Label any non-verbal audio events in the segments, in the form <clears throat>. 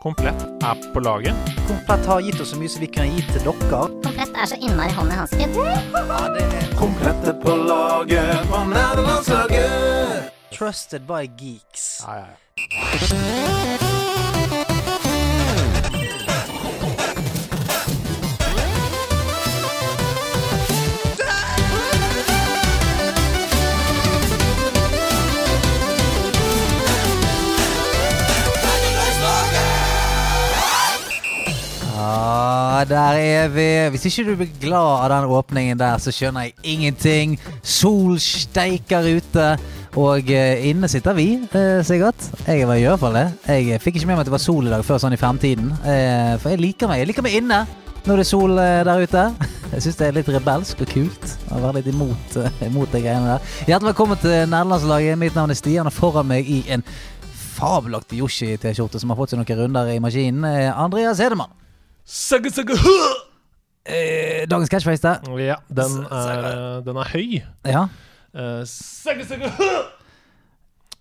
Komplett er på laget. Komplett har gitt oss så mye som vi kan gi til dere. Komplett er så innmari hånd i hansken. Komplette på laget fra nederlandslaget. Trusted by geeks. Ja, ja, ja. Ja, Ah, der er vi. Hvis ikke du blir glad av den åpningen der, så skjønner jeg ingenting. Sol steiker ute. Og eh, inne sitter vi, eh, Sigurd. Jeg var i hvert fall det. Jeg eh, fikk ikke med meg at det var sol i dag før sånn i femtiden. Eh, for jeg liker meg. Jeg liker meg inne når det er sol eh, der ute. <laughs> Jeg syns det er litt rebelsk og kult å være litt imot, eh, imot de greiene der. Hjertelig velkommen til Nederlandslaget. Mitt navn er Stian, og foran meg i en fabelaktig Yoshi-T-skjorte som har fått seg noen runder i maskinen, eh, Andreas Hedemann. Sagge, sagge, hø! Eh, dagens catchphrase der. Ja, den er, eh, den er høy. Ja. Eh, Sagge, sagge, hø!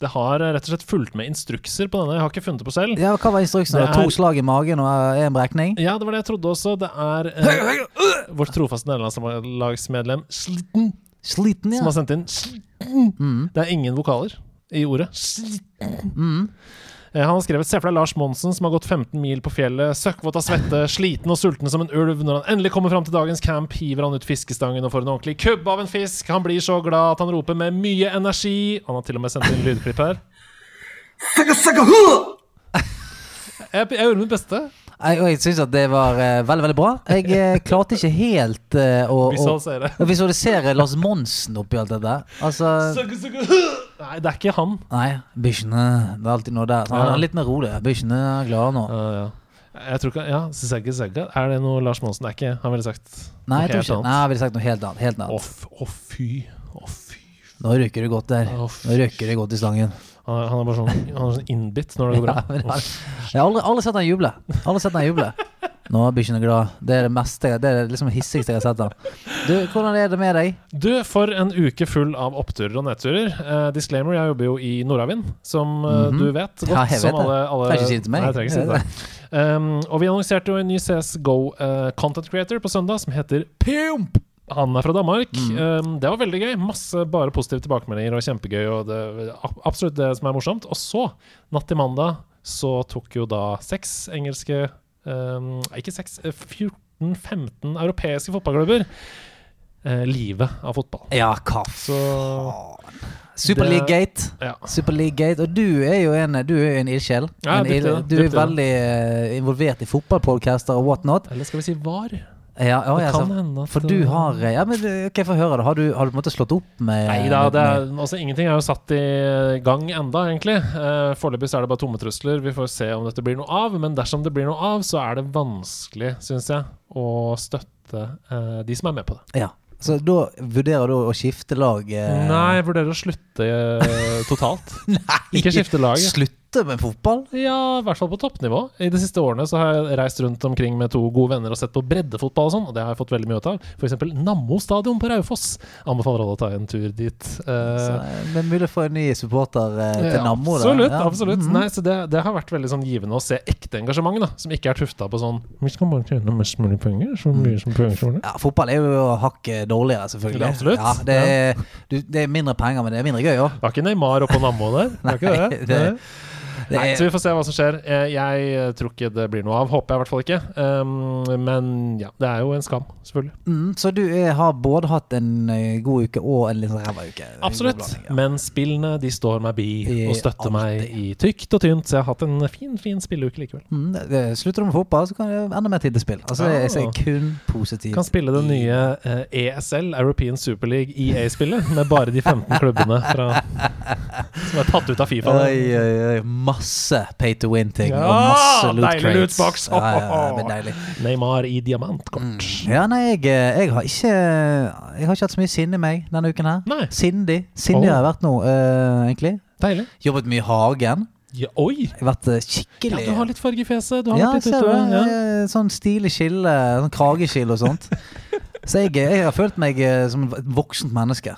Det har eh, rett og slett fulgt med instrukser på denne. Jeg har ikke funnet det på selv. ja, hva var instruksen? Det Det var er- To slag i magen og eh, en brekning? Ja, det var det jeg trodde også. Det er eh, vårt trofaste nederlandslagsmedlem Sliten Sliten, som ja. har sendt inn Sliten. Det er ingen vokaler i ordet. Sliten. Eh, Han har skrevet 'Se for deg Lars Monsen som har gått 15 mil på fjellet, søkkvåt av svette, sliten og sulten som en ulv. Når han endelig kommer fram til dagens camp, hiver han ut fiskestangen og får en ordentlig kubb av en fisk. Han blir så glad at han roper med mye energi. Han har til og med sendt inn lydklipp her. Jeg, jeg gjorde mitt beste. Jeg, og jeg syns at det var eh, veldig, veldig bra. Jeg eh, klarte ikke helt eh, å å- Visualisere. å visualisere Lars Monsen oppi alt dette. Altså Søkke, søkke, hø! Nei, det er ikke han. Nei, bikkjene Det er alltid noe der. Så Han Ja. er litt mer rolig. Bikkjene er glade nå. Ja, ja. Jeg tror ikke, ja, Zegge Zegge Er det noe Lars Monsen? Det er ikke Han ville sagt Nei, jeg noe tror ikke helt Nei, annet. jeg ville sagt noe helt annet. Helt Å, annet. f- å, fy. Å, fy. Nå røyker det godt der. Å, fy. Nå røyker det godt i stangen. Han er, han er bare sånn Han er sånn innbitt når det går <laughs> Ja, men bra. han- Jeg har aldri, aldri sett han juble. Aldri sett han juble. Nå er bikkjene glad. Det er det meste, jeg- det er det liksom hissigste jeg har sett han. Du, hvordan er det med deg? Du, for en uke full av oppturer og nedturer. Eh, disclaimer, jeg jobber jo i Nordavind, som eh, du vet godt. Mhm. Ja, jeg vet som det. alle, alle, Trenger ikke si det til meg. Nei, jeg trenger ikke si det. til deg. Um, og vi annonserte jo en ny CSGO eh, content creator på søndag som heter Pimp. Han er fra Danmark. Mm. Um, det var veldig gøy. Masse bare positive tilbakemeldinger og kjempegøy. Og det, ab- absolutt det som er morsomt. Og så, natt til mandag, så tok jo da seks engelske um, nei, Ikke seks, eh, 14-15 europeiske fotballklubber eh, livet av fotball. <laughs> Ja, hva Så Super Det- League Gate. ja. Super League Gate. Og du er jo en, du er jo en ildsjel. Ja, En dypt i ild- det, du er dypt i det. veldig eh, involvert i fotballpodcaster og whatnot. Eller skal vi si var? Ja, å, Det ja, kan så- hende at- For du har eh, Ja, men eh, ok, få høre det. Har du, har du på en måte slått opp med Nei da, med- det er, altså, ingenting er jo satt i gang enda, egentlig. Eh, Foreløpig så er det bare tomme trusler. Vi får se om dette blir noe av. Men dersom det blir noe av, så er det vanskelig, syns jeg, å støtte eh, de som er med på det. ja. Så da vurderer du å skifte lag? eh, <laughs> Nei, jeg vurderer å slutte eh, totalt. <laughs> Ikke skifte lag. Slutte med fotball? Ja, i hvert fall på toppnivå. I de siste årene så har jeg reist rundt omkring med to gode venner og sett på breddefotball og sånn, og det har jeg fått veldig mye ut av. F.eks. Nammo stadion på Raufoss. Anbefaler alle å ta en tur dit. Så, Eh, eh, men mulig å få en ny supporter eh, til ja, Nammo? da. absolutt. Ja. Mhm. absolutt Nei, så det, det har vært veldig sånn givende å se ekte engasjement, da som ikke er tufta på sånn Vi skal bare tjene mest mulig penger, så Mm. mye som penger som mulig. Ja, fotball er jo hakket dårligere, selvfølgelig. Det er absolutt. Ja, det, er, du, det er mindre penger, men det er mindre gøy òg. Det var ikke Neymar oppå Nammo der. Det var ikke <laughs> Nei, det. det- Nei. Nei, så vi får se hva som skjer. Eh, Jeg eh, tror ikke det blir noe av. Håper jeg i hvert fall ikke. Um, men ja, det er jo en skam, selvfølgelig. Mm, så du eh, har både hatt en eh, god uke og en litt sånn ræva uke? En god Absolutt. blanding, ja. Men spillene de står meg bi I og støtter meg i alltid. tykt og tynt, så jeg har hatt en fin fin spilleuke likevel. Mm, det- det- Slutter du med fotball, så kan det være enda mer tid til spill. Altså, Ja. jeg ser kun positivt. Kan spille det nye eh, ESL, European Super League, EA-spillet, med bare de 15 klubbene fra, som er tatt ut av Fifa. Oi, oi, oi. Masse pay to win-ting. Ja, og masse loot deilig crates. lootbox. Ja, ja, <laughs> ja, men deilig. Neymar i diamantkort. Ja, nei, jeg, eh, jeg har ikke Jeg har ikke hatt så mye sinne i meg denne uken her. Nei. Sindig. Sindig Oh. har jeg vært nå, eh, egentlig. Deilig. Jobbet mye i hagen. Ja, oi! Jeg har vært eh, Ja, skikkelig du har litt farge i fjeset. Du har Ja, vært litt ser utover. du, Ja. eh, Sånn stilig skille, sånn krageskille og <laughs> sånt. Så jeg, jeg har følt meg eh, som et voksent menneske.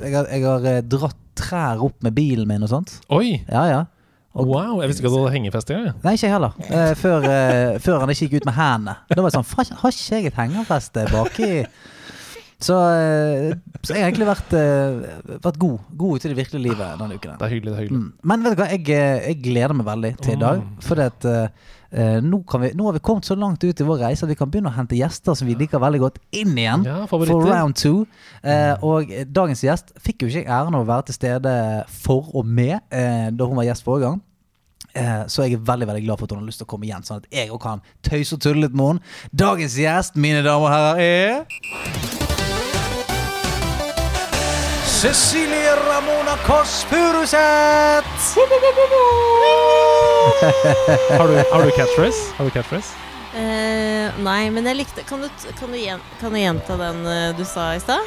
Jeg har, jeg har eh, dratt trær opp med bilen min og sånt. Oi! Ja, ja. Og- Wow, jeg visste ikke at du hadde hengefest engang. jeg. Nei, ikke jeg heller. Eh, før, eh, før han ikke gikk ut med hendene. Da var det sånn "Faen, Har ikke jeg et hengerfeste baki? Så, eh, så jeg har egentlig vært, eh, vært god. God ute i det virkelige livet denne uken. her. Det er hyggelig, det er hyggelig. Mm. Men vet du hva, jeg, eh, jeg gleder meg veldig til i dag. Mm. Fordi at eh, nå, kan vi, nå har vi kommet så langt ut i vår reise at vi kan begynne å hente gjester som vi liker veldig godt, inn igjen. Ja, for favoritter. Mm. round two. Eh, og dagens gjest fikk jo ikke jeg æren av å være til stede for og med eh, da hun var gjest forrige gang. Eh, Så jeg er veldig veldig glad for at hun har lyst til å komme igjen, sånn at jeg òg kan tøyse og tulle litt med henne. Dagens gjest, mine damer og herrer, er Cecilie Ramona Kåss Furuseth! Mm. Har du, har du catchphrase? Har du catchphrase? Eh, nei, men jeg likte Kan du, t- kan du, gjen, kan du gjenta den eh, du sa i stad?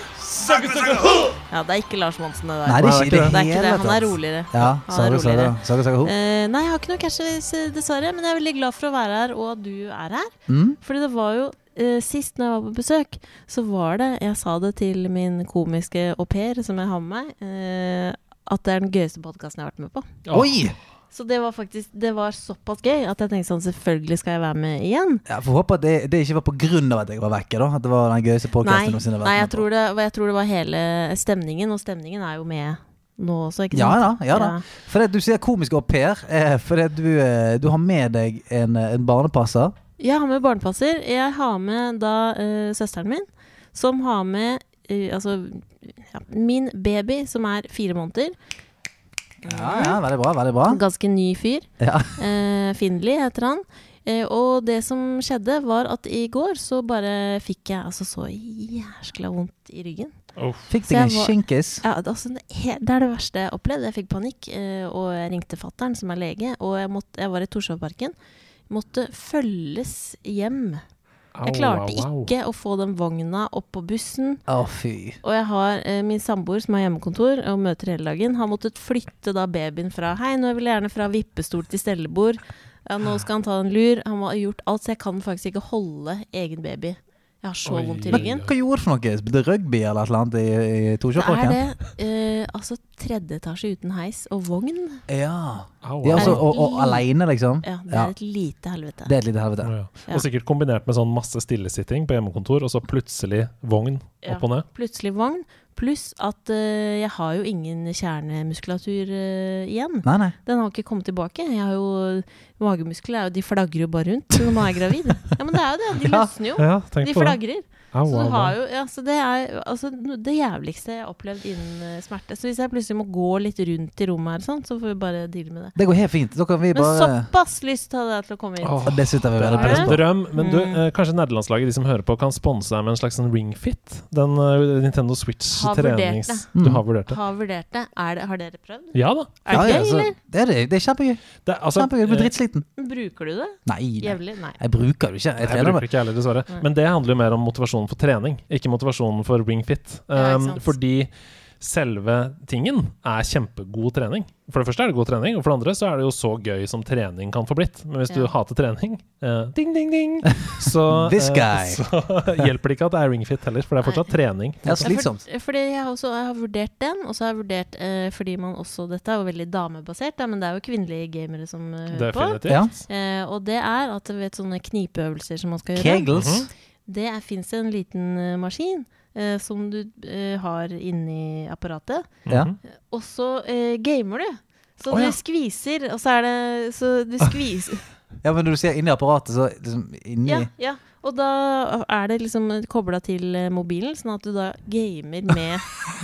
Ja, det er ikke Lars Monsen, det der. Nei, det er ikke det. det, er ikke det. hele Han er tatt. roligere. Ja, Han sa er du, sa du, roligere. sa du, sa du. Eh, nei, jeg har ikke noe catches, eh, dessverre. Men jeg er veldig glad for å være her, og at du er her. Mm. Fordi det var jo eh, Sist når jeg var på besøk, så var det Jeg sa det til min komiske au pair som jeg har med meg, eh, at det er den gøyeste podkasten jeg har vært med på. Åh, Oi! Så det var faktisk Det var såpass gøy at jeg tenkte sånn Selvfølgelig skal jeg være med igjen. Jeg får håpe at det, det ikke var på grunn av at jeg var vekke, da. At det var den gøyeste podcasten Nei, noensinne. nei jeg, tror det, jeg tror det var hele stemningen, og stemningen er jo med nå også, ikke Ja sant? da. ja da For det, at du sier komisk au pair, eh, fordi at du, eh, du har med deg en, eh, en barnepasser. Jeg har med barnepasser. Jeg har med da eh, søsteren min, som har med eh, altså ja, min baby, som er fire måneder. Ja, ja, Veldig bra. veldig bra Ganske ny fyr. ja. Eh, Findley heter han. Eh, og det som skjedde, var at i går så bare fikk jeg altså så jæskla vondt i ryggen. Fikk Så deg en jeg var- skinkis. Ja, det, er altså, det he- det er det verste jeg har opplevd. Jeg fikk panikk, eh, og jeg ringte fattern, som er lege, og jeg, måtte, jeg var i Torshovparken. Måtte følges hjem. Jeg klarte ikke å få den vogna opp på bussen. Å, fy. Og jeg har eh, min samboer som har hjemmekontor og møter hele dagen. Har måttet flytte da babyen fra Hei, nå vil jeg gjerne fra vippestol til stellebord. Ja, nå skal han ta en lur. Han har gjort alt, så jeg kan faktisk ikke holde egen baby. Jeg har så Oi. vondt i Men ryggen. hva gjorde du for noe? Spilte rugby eller et eller annet i, i Det er Torsjåparken? det. eh, altså tredje etasje uten heis og vogn. Ja. Au, au. ja altså, og, og aleine, liksom? Ja, det Ja. er et lite helvete. Det er et lite helvete. Å, ja. Og sikkert kombinert med sånn masse stillesitting på hjemmekontor, og så plutselig vogn Ja. opp og ned. Plutselig vogn. Pluss at eh, jeg har jo ingen kjernemuskulatur eh, igjen. Nei, nei. Den har ikke kommet tilbake. Jeg har jo Magemuskler er jo, de flagrer jo bare rundt når man er gravid. Ja, men det er jo det. De <laughs> Ja. løsner jo. Ja, tenk De på det. Oh, flagrer. Au, Så, au, du har au. jo, ja, så det er altså, no- det jævligste jeg har opplevd innen eh, smerte. Så hvis jeg plutselig må gå litt rundt i rommet her, sånn, så får vi bare deale med det. Det går helt fint. Da kan vi Men bare såpass lyst hadde jeg til å komme hit. Åh, Og Det setter vi veldig Det er pris en på. drøm, men du, Mm. eh, kanskje nederlandslaget, de som hører på, kan sponse deg med en slags sånn ringfit? Den eh, Nintendo Switch Har vurdert trenings... det. Mm. Du har vurdert det? Har vurdert det. Er det. Har dere prøvd? Ja da. Er det Ja, ja, gøy, så- eller? Det er, det. Det er kjempegøy. Det, er- altså, kjempegøy. Jeg blir eh, dritsliten. Bruker du det Nei, nei. jevnlig? Nei. Jeg bruker det ikke. Jeg Jeg bruker trener bare. det ikke heller, dessverre. Nei. Men det handler jo mer om motivasjonen for trening, ikke motivasjonen for ring fit. Ja, ikke Um, sant. fordi selve tingen er kjempegod trening. For det første er det god trening, og for det andre så er det jo så gøy som trening kan få blitt. Men hvis Ja. du hater trening, eh, ding, ding, ding, så, This eh, guy. så <laughs> hjelper det ikke at det er ring fit heller, for det er fortsatt trening. Ja, Ja, for- slitsomt. Fordi jeg, har også, jeg har vurdert den, og så har jeg vurdert eh, fordi man også Dette er jo veldig damebasert, da, men det er jo kvinnelige gamere som eh, hører på. Definitivt. Ja. Eh, og det er at du vet sånne knipeøvelser som man skal gjøre. Mhm. Kegels. Det fins en liten eh, maskin eh, som du eh, har inni apparatet, Ja. Mhm. og så eh, gamer du. Så Å, ja. Ah, du skviser, og så er det Så <laughs> du skviser Ja, men når du sier inni apparatet, så liksom inni Ja, ja. Og da er det liksom kobla til eh, mobilen, sånn at du da gamer <laughs> med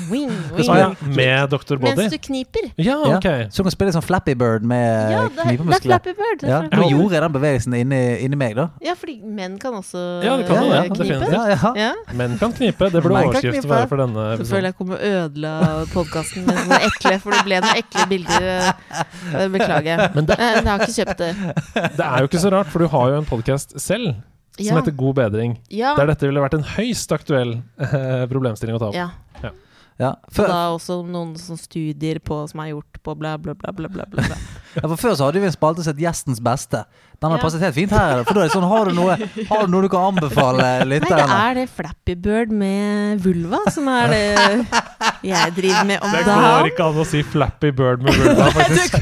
wing, wing. Å ja, med Dr. Body? Mens du kniper. Ja, Ja. ok. Så du kan spille sånn Flappy Bird Eh, med Ja, ja, det er, det er knipemuskler. Flappy Bird. det er Ja. Flappy Nå Bird. gjorde jeg den bevegelsen inni, inni meg, da. ja, fordi menn kan også Ja, det kan eh, du, ja, knipe. definitivt. Ja, ja. Ja. Menn kan knipe. Det burde Menn kan overskriften knipe. være for denne Så føler episoden. jeg kommer ødela podkasten med sånne ekle For det ble noen ekle bilder. eh, Beklager. <laughs> Men det, Eh, Men jeg har ikke kjøpt det. det er jo ikke så rart, for du har jo en podkast selv som Ja. heter God bedring. Ja. Der dette ville vært en høyst aktuell eh, problemstilling å ta opp. ja. Ja. Og Før, da også noen sånne studier på, som er gjort på bla, bla, bla, bla, <laughs> bla. bla. bla. ja, for før så hadde vi en spalte som het Gjestens beste. Den har Ja. passet helt fint her. For da er det sånn, har du noe, har du, noe du kan <laughs> anbefale Nei, det lytterne? er det Flappy Bird med vulva som er det jeg driver med om Det går dagen. ikke an å si Flappy Bird med vulva, faktisk. Det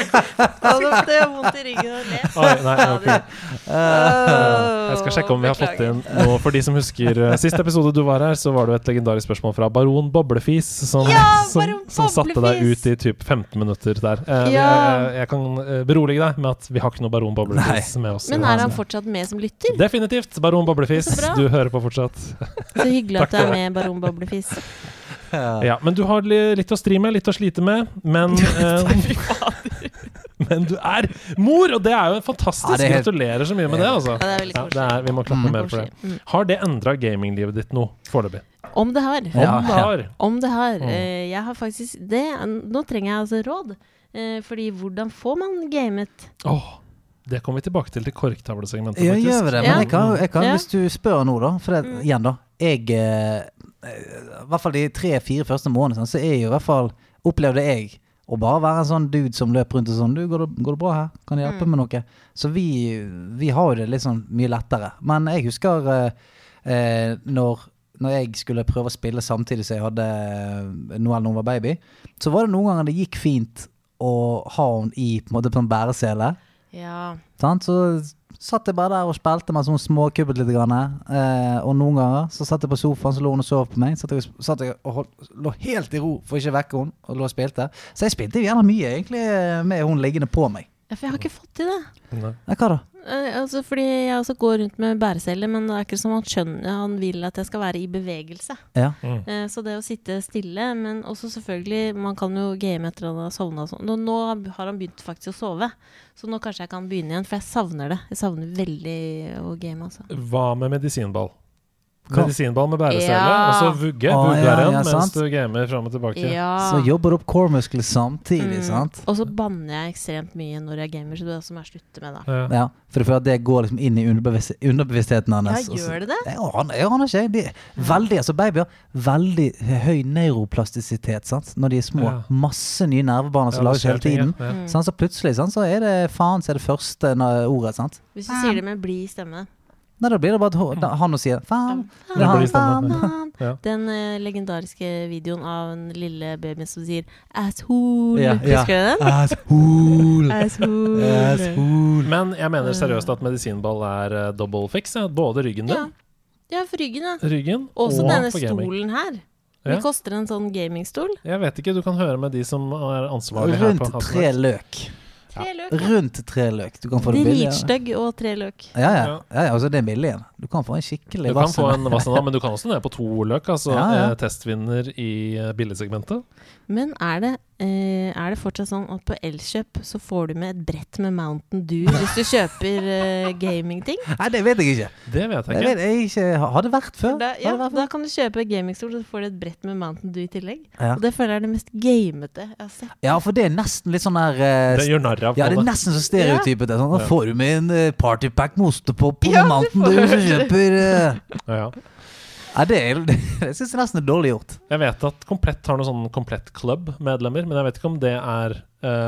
Å, Det gjør vondt i ryggen å le. Oi, nei, <laughs> ok. Åh, <laughs> Eh, Jeg skal sjekke om vi har fått beklager. inn noe. For de som husker eh, sist episode du var her, så var det jo et legendarisk spørsmål fra Baron Boblefis som, Ja, som, Baron som satte deg Boblefis! ut i typ 15 minutter der. Eh, Ja. jeg, jeg kan eh, berolige deg med at vi har ikke noe Baron Boblefis med oss. i Men dag. er han fortsatt med som lytter? Definitivt. Baron Boblefis, Så bra. du hører på fortsatt. Så hyggelig Takk at du er for med, <laughs> baron Boblefis. Ja, men du har li- litt å stri med, litt å slite med, <laughs> men eh, Men du er mor, og det er jo en fantastisk. Ja, det er helt- Gratulerer så mye med det, altså. Ja, det er veldig Ja, koselig. det er, vi må klappe Mm. mer for det. Koselig. Mm. Har det endra gaminglivet ditt noe foreløpig? Om det har. Om Ja. det har. Om det har. Mm. Eh, Jeg har faktisk det. Nå trenger jeg altså råd. Eh, Fordi hvordan får man gamet? Åh, det kommer vi tilbake til til korktavlesegmentet, Ja, gjør vi det? Men Ja. jeg kan, jeg kan Ja. Mm. hvis du spør nå, da. For det, igjen, da. Jeg eh, I hvert fall de tre-fire første månedene sånn, så er jo i hvert fall Opplevde jeg å bare være en sånn dude som løper rundt og sånn Du, går det, går det bra her? Kan Mm. jeg hjelpe med noe? Så vi, vi har jo det litt sånn mye lettere. Men jeg husker eh, eh, når når jeg skulle prøve å spille samtidig som jeg hadde eh, Noel når hun var baby, så var det noen ganger det gikk fint å ha henne i på en måte på en bæresele. Ja. Sant? Så satt jeg bare der og spilte mens hun småkubbet litt. Grann, eh, og noen ganger så satt jeg på sofaen, så lå hun og sov på meg. Satt jeg, satt jeg og holdt, lå helt i ro for ikke å vekke henne, og lå og spilte. Så jeg spilte jo gjerne mye, egentlig, med hun liggende på meg. Ja, For jeg har ikke fått til det. Nei. Ja, hva da? Eh, Altså, fordi jeg også går rundt med bærecelle, men det er ikke som han skjønner Han vil at jeg skal være i bevegelse. Ja. Eh, Så det å sitte stille, men også selvfølgelig Man kan jo game etter han har sovna og sånn. Nå, nå har han begynt faktisk å sove, så nå kanskje jeg kan begynne igjen, for jeg savner det. Jeg savner veldig å game, altså. Hva med medisinball? Hva? Medisinball med bæresele, Ja. og så vugge. Å, Vugge ja, er ja, igjen mens sant. du gamer fram og tilbake. Ja. Så jobber du opp core-muskler samtidig, Ah. Mm. sant? Og så banner jeg ekstremt mye når jeg gamer, så det er det som jeg slutter med, da. Ja. Ja, For du føler at det går liksom inn i underbevis underbevisstheten hans? Ja, gjør det det? Jeg aner, jeg aner ikke. jeg. De, veldig, altså Babyer veldig høy neuroplastisitet sant? når de er små. Ja. Masse nye nervebaner som Ja, det lages skjer altså, ting, hele ja. tiden. Ja. Mm. Sånn, så plutselig sånn, så er det faen som er det første na- ordet. sant? Hvis du sier det med blid <laughs> stemme. Nei, da blir det bare at ho- Mm. da, han og sier faen. Ja. Det er han, Det blir stemme. faen. Ja. Den eh, legendariske videoen av den lille babyen som sier 'asshole'. Ja, ja. Husker <laughs> du den? Asshole. Asshole. Asshole. Men jeg mener seriøst at medisinball er eh, double fix. ja. Både ryggen din, Ja. ja, for ryggen, ja. ryggen og Også denne for gaming. stolen her. Ja. Det koster en sånn gamingstol. Jeg vet ikke, du kan høre med de som er ansvarlig her. Rundt på Hatten. tre løk. Tre løk. Rundt tre løk. Du kan få det billig. Ja, Dritstygg og tre løk. ja. ja, ja altså, det er billig igjen. Du kan få en Du skikkelig kan få vassende. en Vassendal, men du kan også ned på to løk. Altså Ja, ja. eh, testvinner i eh, billedsegmentet. Men er det, eh, er det fortsatt sånn at på Elkjøp så får du med et brett med Mountain Dew hvis du kjøper eh, gamingting? Nei, det vet jeg ikke. Det vet Det jeg ikke. vet jeg ikke. Har det vært før? Da, ja, Har det vært før? da kan du kjøpe gamingstol, så får du et brett med Mountain Dew i tillegg. Ja. Og det føler jeg er det mest gamete jeg har sett. ja, for det er nesten litt sånn der eh, Det gjør narr av Ja, det er alle. nesten så stereotypet. det er Sånn, da Ja. får du med en eh, partypack med ostepop på Ja, det Mountain får Dew som du. kjøper <laughs> eh, Ja, ja. Ja, det er <laughs> Jeg syns nesten det er dårlig gjort. Jeg vet at Komplett har noen sånn Komplett Club-medlemmer, men jeg vet ikke om det er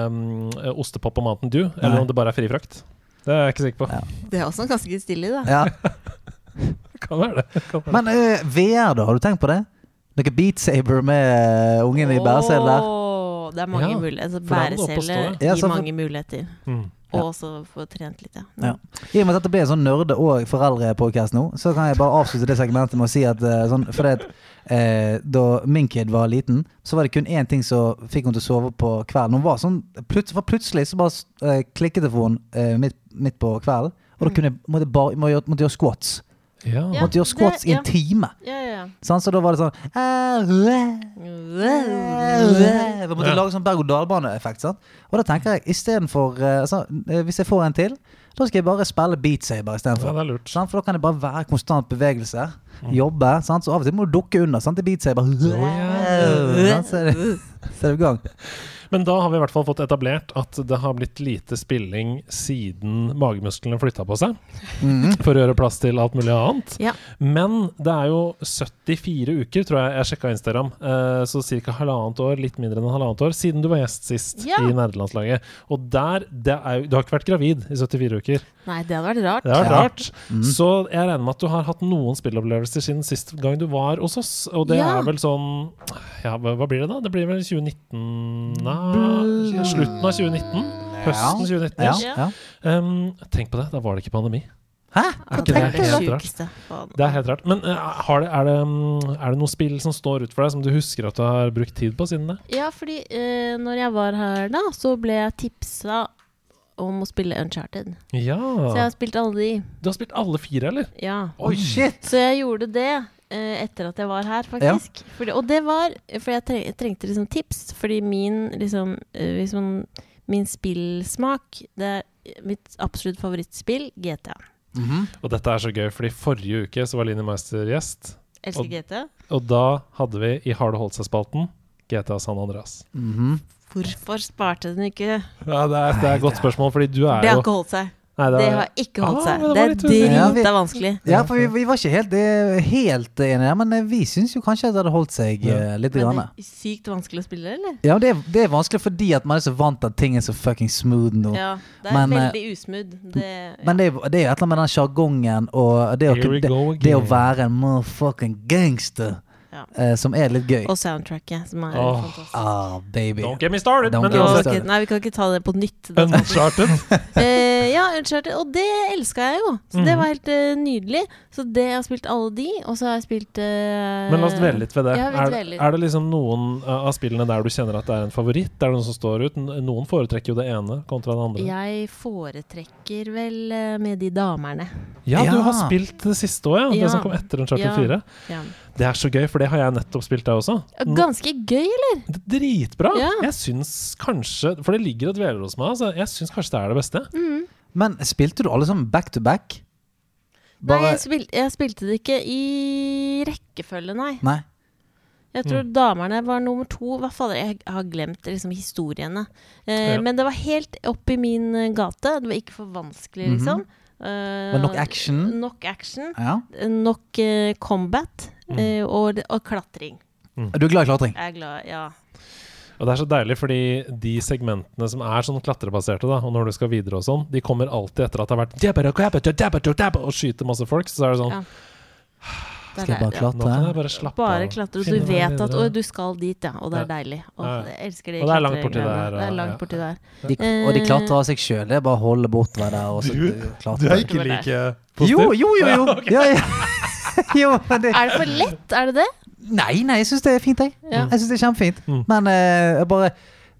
um, ostepop og Mountain Dew, eller Nei. om det bare er fri frakt. Det er jeg ikke sikker på. <laughs> Ja. Det er også ganske stilig, da. Ja. Kan være det. Kan være det. Men eh, VR, da? Har du tenkt på det? Noe Beat Saber med eh, ungen i bæreselen? Åh, Det er mange Ja, muligheter. Altså, for da må du opp og stå, Bærecelle ja. Ja, gir så for- mange muligheter. Mm. Og også få trent litt, ja. Ja. I og med at dette blir en sånn nerde- og foreldrepodkast nå, så kan jeg bare avslutte det segmentet med å si at eh, sånn, for det, at, eh, da min kid var liten, så var det kun én ting som fikk henne til å sove på kvelden. Hun var sånn, plut, for plutselig så bare eh, klikket det for henne eh, midt, midt på kvelden, og da kunne jeg, måtte jeg bare, må gjøre, måtte gjøre squats. Ja. Mm. Ja. Måtte gjøre squats i det- en time. Ja, ja, Sånn, så da var det sånn eh, eh, ja. Vi måtte lage sånn berg-og-dal-bane-effekt. sant? Og da tenker jeg istedenfor eh, altså, eh, Hvis jeg får en til, da skal jeg bare spille Beat ja, Saber Mm. istedenfor. det er lurt. Sant? For da kan det bare være konstant bevegelse. Jobbe. Sant? Så av og til må du dukke under. Sant? Det er Beat Saber. ja. Sant? Så er det- så er du i gang. Men da har vi i hvert fall fått etablert at det har blitt lite spilling siden magemusklene flytta på seg, Mm. for å gjøre plass til alt mulig annet. Ja. Men det er jo 74 uker, tror jeg jeg sjekka Instagram, eh, så ca. halvannet år, litt mindre enn halvannet år, siden du var gjest sist Ja. i nerdelandslaget. Og der det er, jo- Du har ikke vært gravid i 74 uker. Nei, det hadde vært rart. Det har vært Ja. rart. Mm. Så jeg regner med at du har hatt noen spillopplevelser siden sist gang du var hos oss. Og det Ja. er vel sånn Ja, hva hva blir det da? Det blir vel 2019 Nei, slutten av 2019? Høsten 2019. Ja. Ja. ja. Um, tenk på det, da var det ikke pandemi. Hæ? Ja, ikke det er det det helt rart? sjukeste. Faen. Det er helt rart. Men eh, har det, er, det, mm, er det noen spill som står ut for deg, som du husker at du har brukt tid på siden det? Ja, fordi eh, når jeg var her da, så ble jeg tipsa om å spille Uncharted. Så jeg Ja. har spilt alle de. Du har spilt alle fire, eller? Ja. Oi, shit! Så jeg gjorde det eh, etter at jeg var her, faktisk. Fordi, og det var For jeg treng- jeg trengte liksom tips, fordi min liksom, eh, hvis man- Min spillsmak Det er eh, mitt absolutt favorittspill, GTA. Mhm. Og dette er så gøy, fordi forrige uke så var Line Meister gjest, Elsker Og- GTA. og da hadde vi i Har det holdt seg-spalten GTA San Andreas. Mhm. Hvorfor sparte den ikke? Ja, det er, det er et godt spørsmål, fordi du er Det har jo ikke holdt seg. Nei, det Det er- har ikke holdt Ah, men seg. Det det er var litt uheldig. Ja, vi- drita vanskelig. Ja, for vi, vi var ikke helt, eh, helt enige der, men eh, vi syns jo kanskje at det hadde holdt seg Ja. eh, litt. Men Grann. det er sykt vanskelig å spille, eller? Ja, det er, det er vanskelig fordi at man er så vant til at ting er så fucking smooth nå. Ja, det er Men, eh, veldig usmooth. Det, Men det er, det er jo et eller annet med den sjargongen og det å, Here we det, go det å again. være en motherfucking gangster Ja. eh, som er litt gøy. Og soundtracket, som er Åh. fantastisk. Ah, baby. Don't get me started! Don't Men altså, get me uansett, Ok, nei, vi kan ikke ta det på nytt. Da. Uncharted. <laughs> Eh, ja, Uncharted. Og det elska jeg jo! Så det Mhm. var helt eh, nydelig. Så det jeg har spilt alle de, og så har jeg spilt eh, Men la oss dvele litt ved det. Ja, vi Er, dveler. er det liksom noen av spillene der du kjenner at det er en favoritt? Er det noen som står ut? N- Noen foretrekker jo det ene kontra det andre. Jeg foretrekker vel eh, med de damerne. Ja, du Ja. har spilt det siste òg, ja. Ja. Det som kom etter Uncharted Ja. 4. Ja. Det er så gøy, for det har jeg nettopp spilt, jeg også. Ganske gøy, eller? N- Dritbra! Ja. Jeg syns kanskje For det ligger og dveler hos meg. Altså. Jeg syns kanskje det er det beste. Mm. Men spilte du alle sammen back to back? Nei, Bare jeg, spil jeg spilte det ikke i rekkefølge, nei. Nei. Jeg tror Mm. damerne var nummer to. Hva fader, jeg har glemt liksom historiene. Eh, Ja. Men det var helt opp i min eh, gate. Det var ikke for vanskelig, Mhm. liksom. Eh, Det var nok action. Nok action. Ja. eh, Nok eh, combat. Mm. eh, og, det- og klatring. Er Du er glad i klatring? Jeg er glad, ja. Og det er så deilig, fordi de segmentene som er sånn klatrebaserte, da, og når du skal videre og sånn, de kommer alltid etter at det har vært «Dabba, dabba, dabba, dabba», og skyter masse folk. Så er det sånn Ja, Det er Skal jeg bare der- Nå kan jeg klatre? bare slappe Bare av. klatre, og Finne du meg vet videre. at å, du skal dit, ja. Og det er Ja. deilig. Å, Ja. jeg elsker de Og det er langt borti klatregreiene. der, Det er og- langt ja. borti der. De, Eh, og de klatrer av seg sjøl. Det er bare å holde bort ved det og så Du- Du klatre. er ikke like Jo, positiv. jo, jo! <laughs> jo. Ja, ja. <laughs> jo men det, Er det for lett? Er det det? Nei, nei, jeg syns det er fint, jeg. Ja. Jeg synes det er kjempefint. Mm. Men eh, jeg bare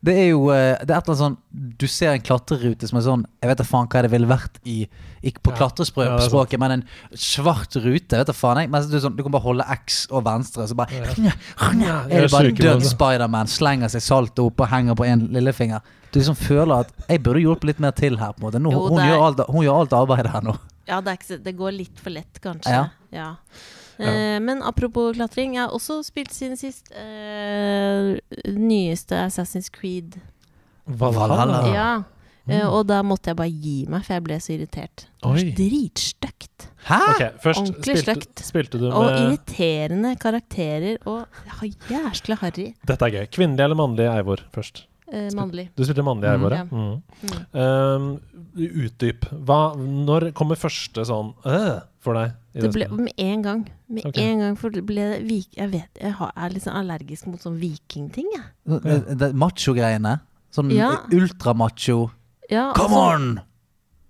det er jo eh, det er et eller annet sånn Du ser en klatrerute som er sånn Jeg vet da faen hva det ville vært i Ikke på Ja. Ja, det er sant. klatrespråket, men en svart rute. Vet da faen jeg Men du, er sånn, du kan bare holde X og venstre, og så <laughs> bare Er Jeg det bare sjuker på død det. Spiderman, slenger seg saltet opp og henger på én lillefinger. Du liksom føler at Jeg burde hjulpet litt mer til her. på en måte nå, Jo, hun, det er- gjør alt, hun gjør alt arbeidet her nå. Ja, det, er ikke, så- det går litt for lett, kanskje. Ja. Ja. Eh, men apropos klatring, jeg har også spilt siden sist eh, nyeste Assassin's Creed. Valhalla. Ah. Ja. Eh, og da måtte jeg bare gi meg, for jeg ble så irritert. Det var Oi. så Dritstygt. Hæ?! Ok, først Ordentlig sløkt. spilte, spilte du Og med irriterende karakterer og ja, jæskla harry. Dette er gøy. Kvinnelig eller mannlig Eivor først? Eh, mannlig. Du spilte mannlig Mm. Eivor, Ja. ja. Mm. Um, utdyp. Hva, når kommer første sånn øh, for deg? i Det det ble spillet? med en gang. Med Ok. en gang, for det ble det vik... Jeg vet, jeg har- er liksom allergisk mot sånn vikingting, jeg. Det- det- Macho-greiene. Sånn Ja. ultramacho. Ja, Come altså- on!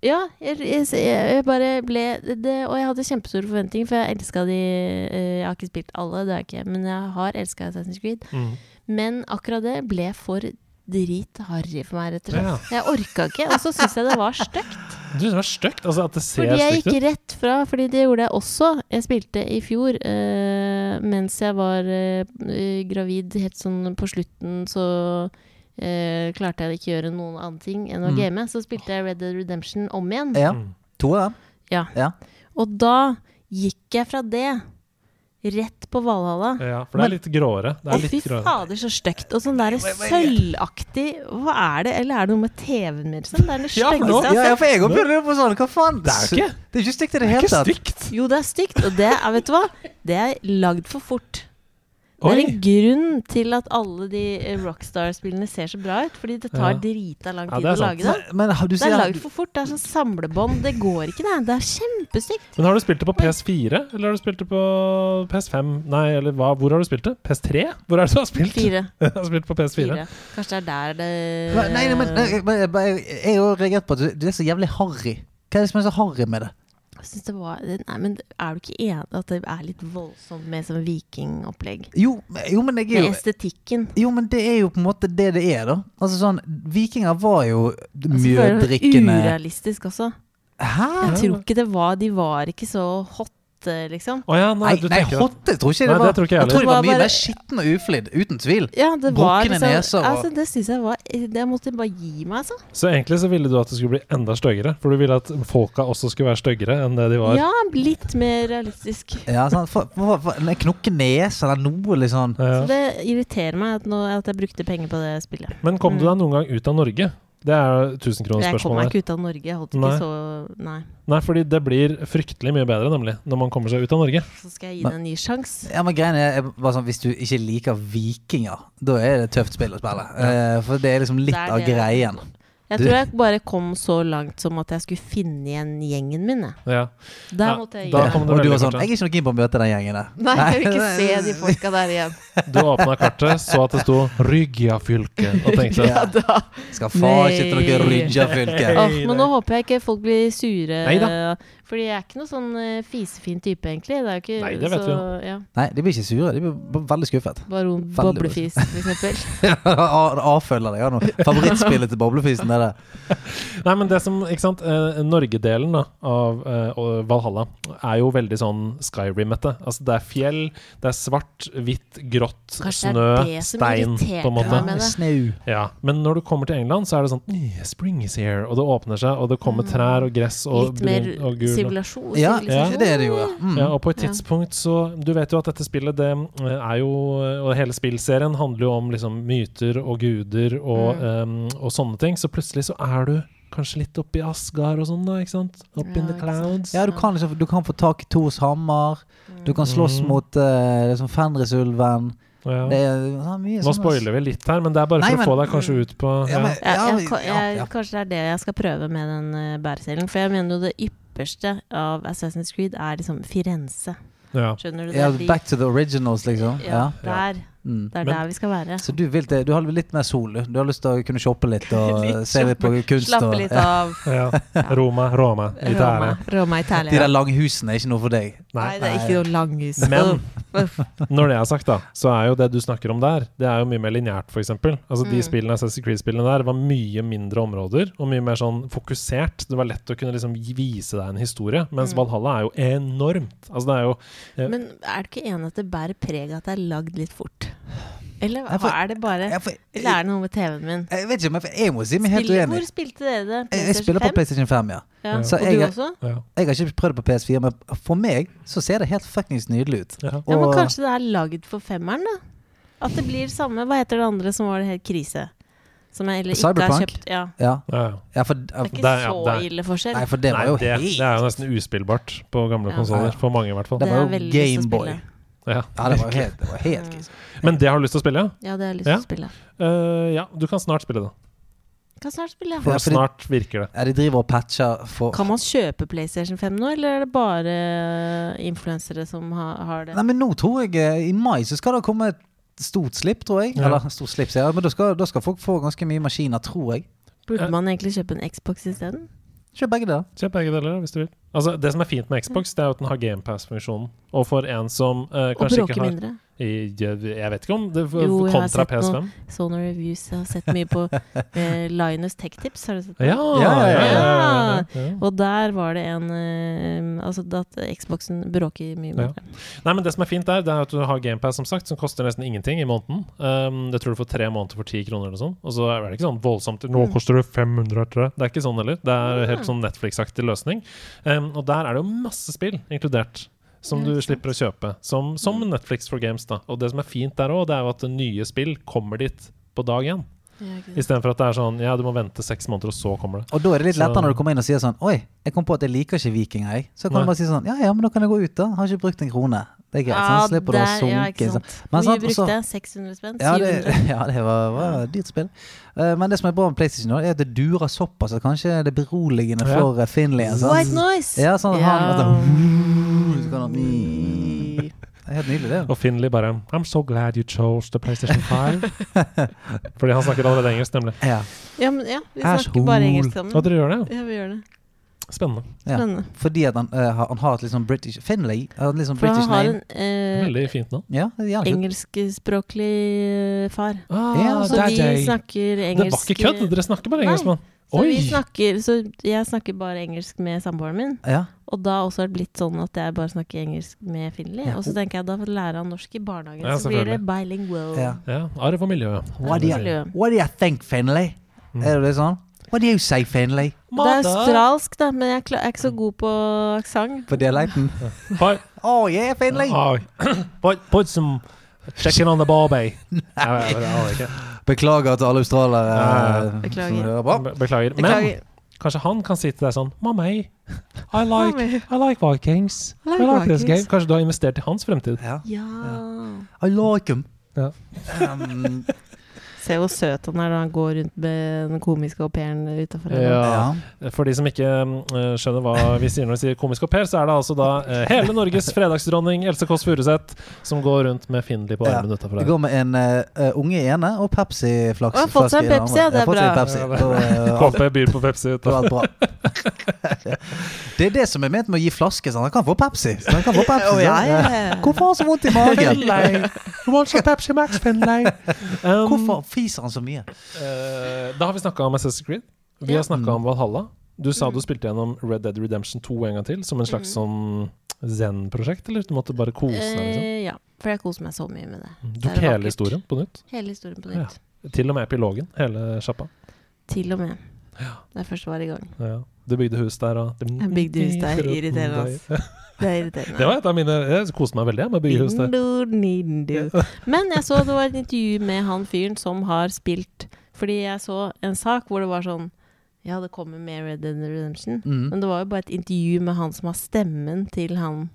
Ja, jeg, jeg, jeg bare ble det, det, Og jeg hadde kjempestore forventninger, for jeg elska de eh, Jeg har ikke spilt alle, det har jeg ikke, men jeg har elska Assassin's Creed. Mm. Men akkurat det ble for dritharry for meg, rett og slett. Ja. Jeg orka ikke, og så syns jeg det var <laughs> stygt. Du, det var stygt. Altså, at det ser Fordi jeg stygt gikk ut. rett fra, fordi det gjorde jeg også. Jeg spilte i fjor eh, mens jeg var eh, gravid, helt sånn på slutten så eh, klarte jeg ikke å gjøre noen annen ting enn å Mm. game. Så spilte jeg Red Dead Redemption om igjen. Ja. Mm. Toeren. Og da gikk jeg fra det rett på Valhalla. Ja, for det er litt gråere. Det Å, er fy litt gråere. fader, så stygt. Og sånn der sølvaktig Hva er det? Eller er det noe med TV-en min? Sånn? Det er det Ja, for nå- styggeste jeg Ja, har ja, sett. for jeg òg begynner på sånn. Hva faen? Det er ikke, Det er ikke stygt det i det er hele ikke tatt. stygt. Jo, det er stygt. Og det er, vet du hva, det er lagd for fort. Det er Oi. en grunn til at alle de eh, Rockstar-spillene ser så bra ut. Fordi det tar Ja. drita lang Ja, tid det er å lage det. Men har du Det er sier- lagd for fort. Det er sånn samlebånd. Det går ikke, det. Det er Kjempestygt. Men har du spilt det på PS4, eller har du spilt det på PS5? Nei, eller hva? Hvor har du spilt det? PS3? Hvor er det du har spilt? Fire. <laughs> Jeg har spilt på PS4. Fire. Kanskje det er der det Nei, nei, men, nei, men jeg bare- jeg har jo reagert på at du, du er så jævlig harry. Hva er det som er så harry med det? Jeg synes det var Nei, men er du ikke enig at det er litt voldsomt med sånn vikingopplegg? Jo, men- jo men jeg er Med jo estetikken. jo, men det er jo på en måte det det er, da. Altså sånn, Vikinger var jo Altså, jeg føler det var mjødrikkende Urealistisk også. Hæ? Jeg tror ikke det var De var ikke så hotte, liksom. Å ja, nei, Nei, du nei tenker det. hotte tror ikke Nei, det var. det tror ikke jeg jeg tror heller. det var mye Bare- mer skitten og uflidd. Uten tvil. Ja, det var Brukkende liksom neser og- altså, Det syns jeg var Det måtte jeg bare gi meg, altså. Så egentlig så ville du at det skulle bli enda styggere? For du ville at folka også skulle være styggere enn det de var? Ja, litt mer realistisk. Ja, sånn, for, for, for, en knokke nese eller noe litt sånn Ja. Så det irriterer meg at, nå, at jeg brukte penger på det spillet. Men kom du deg noen gang ut av Norge? Det er Mm. Jeg kom tusenkronersspørsmålet. meg ikke ut av Norge. Jeg holdt ikke Nei. så Nei. Nei, fordi det blir fryktelig mye bedre, nemlig, når man kommer seg ut av Norge. Så skal jeg gi det en ny sjanse. Ja, men greien er bare sånn Hvis du ikke liker vikinger, da er det et tøft spill å spille. Eh, for det er liksom litt Det er av det. greien. Jeg Du- tror jeg bare kom så langt som at jeg skulle finne igjen gjengen min. jeg. Ja. Der Ja, måtte jeg da gi meg. kom det og du veldig var sånn fort, ja. Jeg er ikke noe keen på å møte den gjengen der. <laughs> Nei, jeg vil ikke se de folka der igjen. Du åpna kartet, så at det sto Rygja fylke, og <laughs> tenkte <laughs> Ja. Da. Skal faen ikke til noe Nei. Rydja-fylke. <laughs> Åh, men nå håper jeg ikke folk blir sure. Neida. Fordi jeg er ikke noe sånn eh, fisefin type, egentlig. Det er jo ikke, Nei, det vet så, vi ja, Nei, de blir ikke sure. De blir b- veldig skuffet. <laughs> Baron Veldig bra. Boblefis, for eksempel. A- Avfølger deg av noe. Favorittspillet til Boblefisen er det. Nei, men det som, ikke sant eh, Norgedelen da, av eh, og Valhalla er jo veldig sånn Skyrim-ete. Altså det er fjell, det er svart, hvitt, grått, Kanskje det snø, er det som stein, irriterte på en måte. meg med det. Snau. Ja. Men når du kommer til England, så er det sånn "Eh, Spring is here, og det åpner seg, og det kommer trær og gress <laughs> og, Mm. Litt mer brun- og gul. og- sivilasjon. Ja, sivilisasjon. det er det jo, ja. Mm. Ja, og på et tidspunkt så Du vet jo at dette spillet det eh, er jo Og hele spillserien handler jo om liksom myter og guder og, Mm. eh, og sånne ting. Så plutselig så er du kanskje litt oppi Asgard og sånn, da. ikke sant? Up Ja, in the ikke sant. clouds. Ja, du kan, liksom, du kan få tak i Thors hammer. Du kan slåss Mm. mot eh, liksom Fenrisulven. Ja. Det er ja, mye Nå sånn, spoiler vi litt her, men det er bare Nei, for men- å få deg kanskje ut på altså. ja, Ja, men, Ja, ja, jeg, ka- ja, jeg, ja. Kanskje det er det jeg skal prøve med den uh, bæreselen. For jeg mener jo det ypperste av Assassin's Creed er liksom Firenze. ja. Skjønner du? ja, det? Back to the originals, liksom. Ja. ja, Der. Mm. Det er Men- der vi skal være. Så du, vil til, du har litt mer sol, du. Du har lyst til å kunne shoppe <laughs> litt og se litt på kunst. Slappe og, litt av. Ja. <laughs> Roma, Roma, Roma, Italia. Roma De Italia. der langhusene er ikke noe for deg. Nei, Nei. det er ikke noe langhus. Men- Uff. Når det er sagt, da, så er jo det du snakker om der, det er jo mye mer lineært, f.eks. Altså, de Mm. spillene, Assassin's Creed-spillene der var mye mindre områder og mye mer sånn fokusert. Det var lett å kunne liksom gi- vise deg en historie, mens Mm. Valhalla er jo enormt. Altså, det er jo Men er du ikke enig at det bærer preg av at det er lagd litt fort? Eller Ja, for- hva er det bare Jeg, for, jeg, Eller er det noe med TV-en min? jeg vet ikke, men for- jeg må si meg helt Spiller- uenig. Hvor spilte dere det? Jeg, jeg spiller på PlayStation 5, ja. Ja. Så og jeg- du også? ja, Jeg har ikke prøvd på PS4, men for meg så ser det helt fuckings nydelig ut. ja. Ja, men Og- kanskje det er lagd for femmeren, da? At det blir samme Hva heter det andre som var det helt krise? Som jeg heller ikke har Cyberpunk? kjøpt. Ja. Ja, ja, ja for, Det er ikke Der, ja, så der. ille forskjell. nei, for det var Nei, jo det, helt det er jo nesten uspillbart på gamle Ja. konsoller. For mange, i hvert fall. det var er jo veldig lyst til å Gameboy. spille. Ja. Ja, det var jo helt, det var helt Mm. krise. Men det har du lyst til å spille? ja? Ja, det har jeg lyst Ja. til å spille. Eh, ja, du kan snart spille det. Kan snart spille. For Ja, fordi- snart virker det. Ja, de driver og patcher for Kan man kjøpe PlayStation 5 nå, eller er det bare influensere som har, har det? Nei, men nå tror jeg eh, I mai så skal det komme et stort slipp, tror jeg. Ja. Eller stort slipp, sier jeg. Men da skal, da skal folk få ganske mye maskiner, tror jeg. Burde man egentlig kjøpe en Xbox isteden? Kjøp begge deler. Kjøp begge deler, hvis du vil. Altså, det som er fint med Xbox, det er jo at den har GamePass-funksjonen. Og for en som eh, Og kanskje bråke ikke har mindre. I, jeg, jeg vet ikke om det Jo, jeg har kontra sett PS5. Sonar Reviews jeg har sett mye på eh, Linus Tech Tips, har du sett det? Ja, Ja, ja, ja, ja, ja. Og der var det en eh, Altså at Xboxen bråker mye Ja. mindre. Nei, men Det som er fint der, det er at du har GamePass, som sagt, som koster nesten ingenting i måneden. Um, det tror du får tre måneder for ti kroner eller sånn. Og så er det ikke sånn voldsomt Nå koster det 500 etter det. Det er ikke sånn heller. Det er helt Ah. sånn Netflix-aktig løsning. Um, og der er det jo masse spill inkludert. Som Ja, du ikke sant. Mm. slipper å kjøpe. Som, som Netflix for Games. da Og det som er fint der òg, det er jo at nye spill kommer dit på dag én. Istedenfor at det er sånn ja, du må vente seks måneder, og så kommer det. Og da er det litt Så- lettere når du kommer inn og sier sånn Oi, jeg kom på at jeg liker ikke vikinger, jeg. Så kan Nei. du bare si sånn Ja ja, men da kan jeg gå ut, da. Har ikke brukt en krone. Det er greit, så han slipper da å der- ja, sunke. ikke i seg. sant. Men Hvor mye sant, også- brukte jeg? 600 spenn? Ja, <laughs> 700? det, ja, det var, var et dyrt spill. Eh, men det som er bra med PlayStation, nå, er at det durer såpass at kanskje det er beroligende Ja. for eh, Finley. altså. White noise! Ja, sånn at han Ja. at han- <laughs> så kan han- Det er helt nydelig, det. Og Finley bare I'm so glad you chose the PlayStation <laughs> 5. Fordi han snakker allerede engelsk, Mm. nemlig. Ja. Ja, men ja, vi Asshole. snakker bare engelsk sammen. Og dere gjør det? Ja, vi gjør det. Spennende. Ja. Spennende. Fordi at han, eh, har- han har et litt sånn British Finlay. har et litt sånn For British han har name. en eh, Veldig fint navn. Ja, det er jævlig kult. engelskspråklig eh, far. Ja, Ah, Så that altså, vi day. snakker Det var engelsk ikke kødd! Dere snakker bare engelsk, Nei. mann. Så, vi Oi! snakker, så jeg snakker bare engelsk med samboeren min. Ja. Og da har også blitt sånn at jeg bare snakker engelsk med Finley. Ja. Og så tenker jeg da lærer han norsk i barnehagen, Ja, så blir det selvfølgelig. bilingual. Ja. Ja, arv og miljø. What, do you, what do you think, Finlay? Er det sånn? What do you say, Finlay? Det er australsk, da, men jeg er kla- jeg er ikke så god på aksent. På dialekten. But, Oh yeah, Finlay! <clears throat> oh, but put some chicken on the <laughs> barbie. Nei, det har jeg ikke. Beklager til alle australiere Ja, eh, Beklager. som hører på. Be- Beklager. Men Beklager. kanskje han kan si til deg sånn <laughs> Mamma, I like, Mommy. I like Vikings. I I like like, this game. Vikings. Kanskje du har investert i hans fremtid. Ja. Ja. I like him. Ja. Um, Se hvor søt han er når han går rundt med den komiske au pairen utafor. ja. For de som ikke eh, skjønner hva vi sier når vi sier komisk au pair, så er det altså da eh, hele Norges fredagsdronning Else Kåss Furuseth som går rundt med Findlay på Ja. armen utafor Det her. går med en eh, unge i ene og Pepsi-flaks. Å, jeg har fått seg en flaske i den Pepsi, ja, andre. det er Jeg har fått seg en bra. Pepsi. Ja, Da, eh, alt- KP byr på Pepsi. da Da. er alt bra. <laughs> Det er det som er ment med å gi flaske. Sånn. Han kan få Pepsi. Så han kan <laughs> få Pepsi sant? Eh, Hvorfor har han så vondt i <laughs> magen? Du må ikke Pepsi Max, Findlay. <laughs> Um, Hvorfor fiser han så mye? eh, da har vi snakka om Assassin's Creed. Vi Ja. Mm. har snakka om Valhalla. Du sa du spilte gjennom Red Dead Redemption 2 en gang til, som en Mm. slags sånn zen-prosjekt, eller du måtte bare kose deg? liksom Eh, ja, for jeg koser meg så mye med det. Du Det er tok hele vakkert. historien på nytt. Hele historien på nytt. Til og med epilogen. Hele sjappa. Til og med. Da jeg først var i gang. Ja. Du bygde hus der og Jeg bygde hus der. Irriterende, ass. Det er irriterende. Det var et av mine Jeg koste meg veldig jeg, med å bygge hus der. Nindu, nindu. Men jeg så det var et intervju med han fyren som har spilt Fordi jeg så en sak hvor det var sånn Ja, det kommer med Red Dead Redemption. Mm. Men det var jo bare et intervju med han som har stemmen til han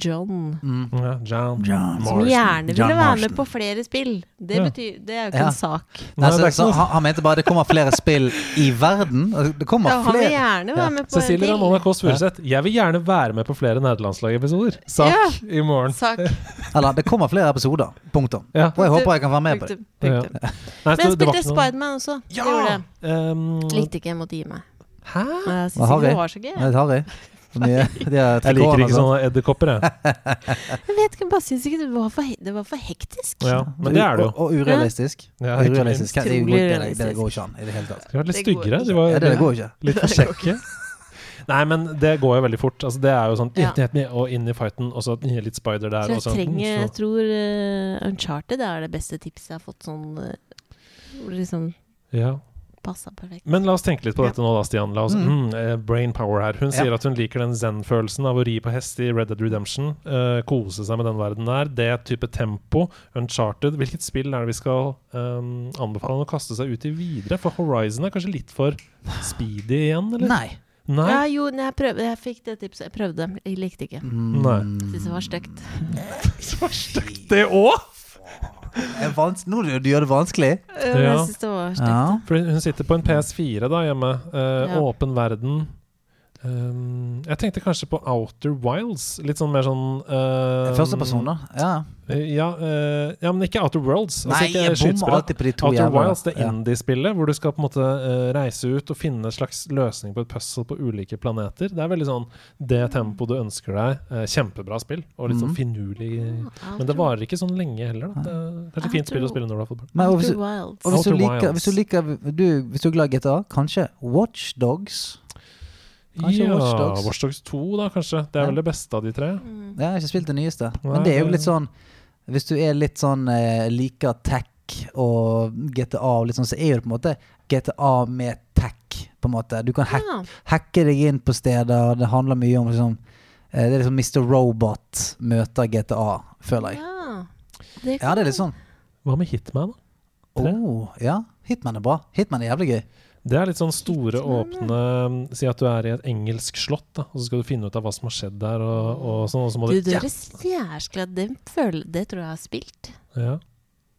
John. Mm. Ja, John. John. Som John gjerne ville være Marston. med på flere spill. Det, Ja. betyr, det er jo ikke Ja. en sak. Nei, Nei, det så, er ikke så, noe- han, han mente bare det kommer flere spill i verden. Det Ja, kommer han vil flere. gjerne Ja. være med på en Cecilie til. Ramona Kåss Furuseth, jeg vil gjerne være med på flere nederlandslagepisoder. Sak i morgen. Sak. Eller det kommer flere episoder. Punktum. Ja. Og jeg håper jeg kan være med på det. Punktum. Punktum. Nei, så det var Men jeg spilte ikke noe- Spiderman også. Ja! Gjorde det. Um, Likte ikke, jeg måtte gi meg. Hæ? Jeg Hva syns har ikke vi? det var så gøy. Det er Harry. Så <laughs> mye- de har Jeg liker trikåene, ikke sånn- sant? sånne edderkopper, jeg. Jeg vet ikke, jeg bare syns ikke det var for, he- det var for hektisk. Ja, men det er det jo. Og, og urealistisk. Ja, ikke urealistisk. Det, er jo- Utrolig det, det, det realistisk. går ikke an i det hele tatt. De var litt Det går styggere. ikke. De var Ja, det, det går ikke. litt for kjekke. <laughs> Nei, men det går jo veldig fort. Altså, det er jo sånn Ja. Og inn i fighten, og så litt spider der. Så Og jeg sånn, trenger så- Jeg tror eh, Uncharted er det beste tipset jeg har fått sånn eh, hvor det Liksom Ja. passa perfekt. Men la oss tenke litt på Ja. dette nå, da, Stian. La oss, mm. Mm. eh, brain power her. Hun Ja. sier at hun liker den zen-følelsen av å ri på hest i Red Dead Redemption. eh, kose seg med den verden der. Det type tempo. Uncharted. Hvilket spill er det vi skal ehm, anbefale henne å kaste seg ut i videre? For Horizon er kanskje litt for speedy igjen, eller? Nei. Nei. Ja, jo, nei, jeg, prøvde, jeg fikk det tipset. Jeg prøvde, jeg likte ikke. Mm. Nei. Syns det var stygt. Mm. Det òg! Det er vans- Nå gjør du gjør det vanskelig. Eh, men Ja. <laughs> Jeg syns det var stygt. Ja. For hun sitter på en PS4 da hjemme. eh, Ja. Åpen verden. Ehm, jeg tenkte kanskje på Outer Wilds. Litt sånn mer sånn eh, Første person, da. Ja. Ja, eh, ja, men ikke Outer Worlds. Nei, altså jeg ikke bommer skytespill. alltid på de to Outer jævla. Wilds, det Ja. indie-spillet hvor du skal på en måte eh, reise ut og finne en slags løsning på et puzzle på ulike planeter. Det er veldig sånn det tempoet du ønsker deg. Eh, kjempebra spill, og litt sånn Mhm. finurlig Ja, Men det varer ikke sånn lenge heller, da. Det er, det er et fint Outer- spill å spille når du er fotball. Men, og hvis, Outer du- Wilds. og hvis, du Outer liker, Wilds. hvis, du liker du, hvis du er glad i GTA, kanskje Watch Dogs? Kanskje ja, Watch Dogs. Watch Dogs 2, da, kanskje. Det er Ja. vel det beste av de tre. Mm. Jeg har ikke spilt det nyeste. Nei, Men det er jo det- litt sånn Hvis du er litt sånn eh, liker tech og GTA og litt sånn, så er jo det på en måte GTA med tech, på en måte. Du kan hacke Ja. hacke deg inn på steder. Det handler mye om liksom, eh, Det er liksom Mr. Robot møter GTA, føler jeg. ja. Det Ja, det er litt sånn. Hva med Hitman, da? Oh, ja. Hitman er bra. Hitman er jævlig gøy. Det er litt sånn store, åpne mm, Si at du er i et engelsk slott, da, og så skal du finne ut av hva som har skjedd der. Og, og sånn, og så må Du, du, dere jæskla, det, føler, det tror jeg jeg har spilt. Ja,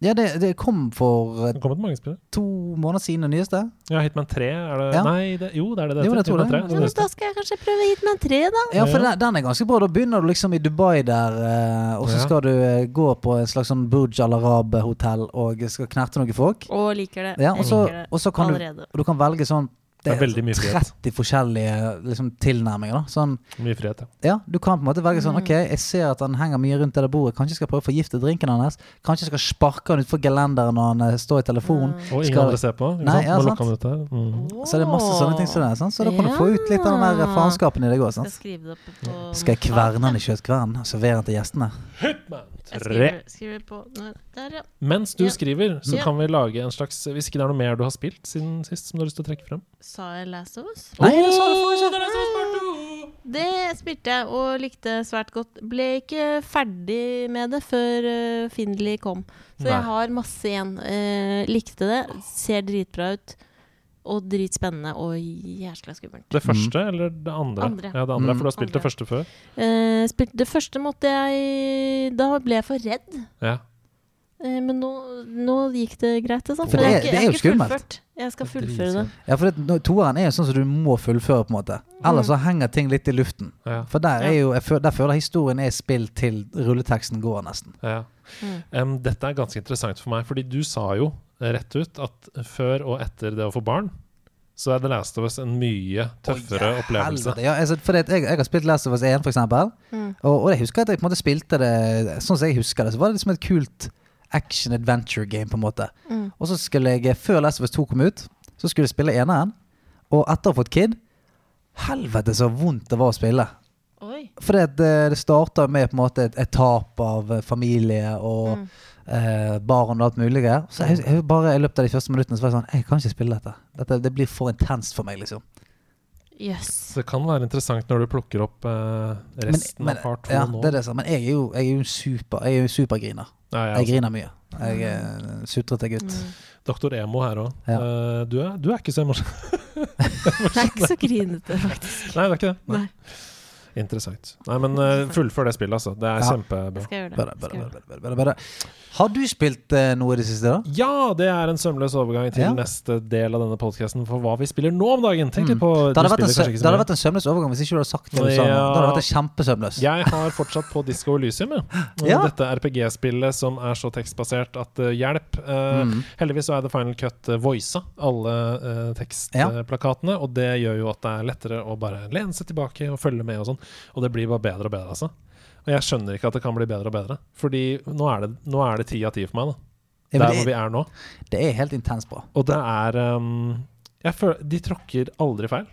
Ja, det, det kom for eh, det kommer til mange spillere. to måneder siden, det nyeste. Ja, Hitman 3 er det Ja. Nei, det, jo, det er det det Jo, heter. det tror jeg. Hitman 3, Ja, Ja, det men neste. da skal jeg kanskje prøve hit med en tre, da. Ja, for Ja. den, den er ganske bra. Da begynner du liksom i Dubai der, eh, og så Ja. skal du eh, gå på en slags sånn Burj Al Arab-hotell og skal knerte noen folk. Og liker det. Ja, og Jeg så, liker det og så kan du, allerede. og du kan velge sånn Det er veldig mye frihet. 30 forskjellige liksom, tilnærminger. da sånn, Mye frihet, ja. ja, Du kan på en måte velge Mm. sånn Ok, jeg ser at han henger mye rundt det der bordet. Kanskje jeg skal prøve å forgifte drinken hans. Kanskje jeg skal sparke han utfor gelenderet når han eh, står i telefonen. Mm. Og ingen Skal- andre ser på. Ikke Nei, sant? ja, Nå sant. lukker han ut der. Mm. Så det er masse sånne ting som det er. sant? Så da kan du få ut litt av den der Ja. faenskapen i deg òg. Skal jeg skrive det opp på Skal jeg kverne han i kjøttkvernen og servere han til gjestene? Jeg Tre. skriver, skriver på nå- Der, ja. Mens du Ja. skriver, så Ja. kan vi lage en slags Hvis ikke det er noe mer du har spilt siden sist som du har lyst til å trekke frem? Sa jeg Last of Us? Nei, det sa du forrige Det er det som er smart, du! Det spilte jeg og likte svært godt. Ble ikke ferdig med det før uh, Findley kom. Så Nei. jeg har masse igjen. Eh, likte det. Ser dritbra ut. Og dritspennende og jæskla skummelt. Det første eller det andre? Mm. Andre. Ja, det andre, Mm. for du har spilt det Andre. første før. Eh, spilte, det første måtte jeg Da ble jeg for redd. Ja. Eh, men nå, nå gikk det greit. sånn, Det, For det er- det er jo skummelt. Fullført. Jeg skal fullføre det. Ja, for det, nå- toeren er jo sånn som du må fullføre, på en måte. Ellers så henger ting litt i luften. Ja, For der er jo, jeg føler, der føler jeg historien er spill til rulleteksten går, nesten. ja. Mm. Em, dette er ganske interessant for meg, fordi du sa jo rett ut at før og etter det å få barn, så er The Last of Us en mye tøffere opplevelse. Helvete. Ja, altså, for det, jeg, jeg har spilt Last of Us 1, for eksempel. Og, og jeg husker at jeg på en måte spilte det sånn som jeg husker det. Så var det liksom et kult action adventure game, på en måte. Og så skulle jeg, før Last of Us 2 kom ut, så skulle jeg spille eneren. Og etter å ha fått kid Helvete, så vondt det var å spille. Oi. Fordi at det, det starter med på en måte et, et tap av eh, familie og Mm. eh, barn og alt mulig greier. Så jeg, jeg bare i løpet av de første minuttene så var jeg sånn Jeg kan ikke spille dette. dette det blir for intenst for meg, liksom. Jøss. Så det kan være interessant når du plukker opp eh, Men, resten men, av part 2 ja, nå. det er det som- men jeg er jo, jeg er jo en super, jeg er jo en supergriner. Ja, ja, Jeg griner mye. Jeg er en sutrete gutt. Mm. Doktor Emo her òg. Ja. du, er- du er ikke så emosjonell. Det er ikke så grinete. <laughs> Nei, det er ikke det. Nei. Interessant. Nei, men eh, fullfør det spillet, altså. Det er Ja. Jeg kjempebra. skal gjøre det. Bare, Jeg bare, Skal gjøre det. bare, bare, bare, bare. Har du spilt eh, noe i det siste, da? Ja, det er en sømløs overgang til Ja. neste del av denne podkasten for hva vi spiller nå om dagen. Tenk litt på Mm. Det hadde, du vært en, spiller sø- kanskje ikke det så hadde mye. vært en sømløs overgang hvis ikke du hadde sagt det du sa. nå. Ja. Da hadde det vært en kjempesømløs. Jeg har fortsatt på Disco Elysium, jeg. Og <laughs> Ja. dette RPG-spillet som er så tekstbasert at eh, hjelp. Eh, Mm. Heldigvis så er The Final Cut uh, voisa alle eh, Ja. tekstplakatene, og det gjør jo at det er lettere å bare lene seg tilbake og følge med og sånn. Og det blir bare bedre og bedre, altså. Og jeg skjønner ikke at det kan bli bedre og bedre, fordi nå er det, nå er det ti av ti for meg, da. Ja, Der men hvor det, vi er nå. det er helt intenst bra. Og det er um, jeg føler, De tråkker aldri feil.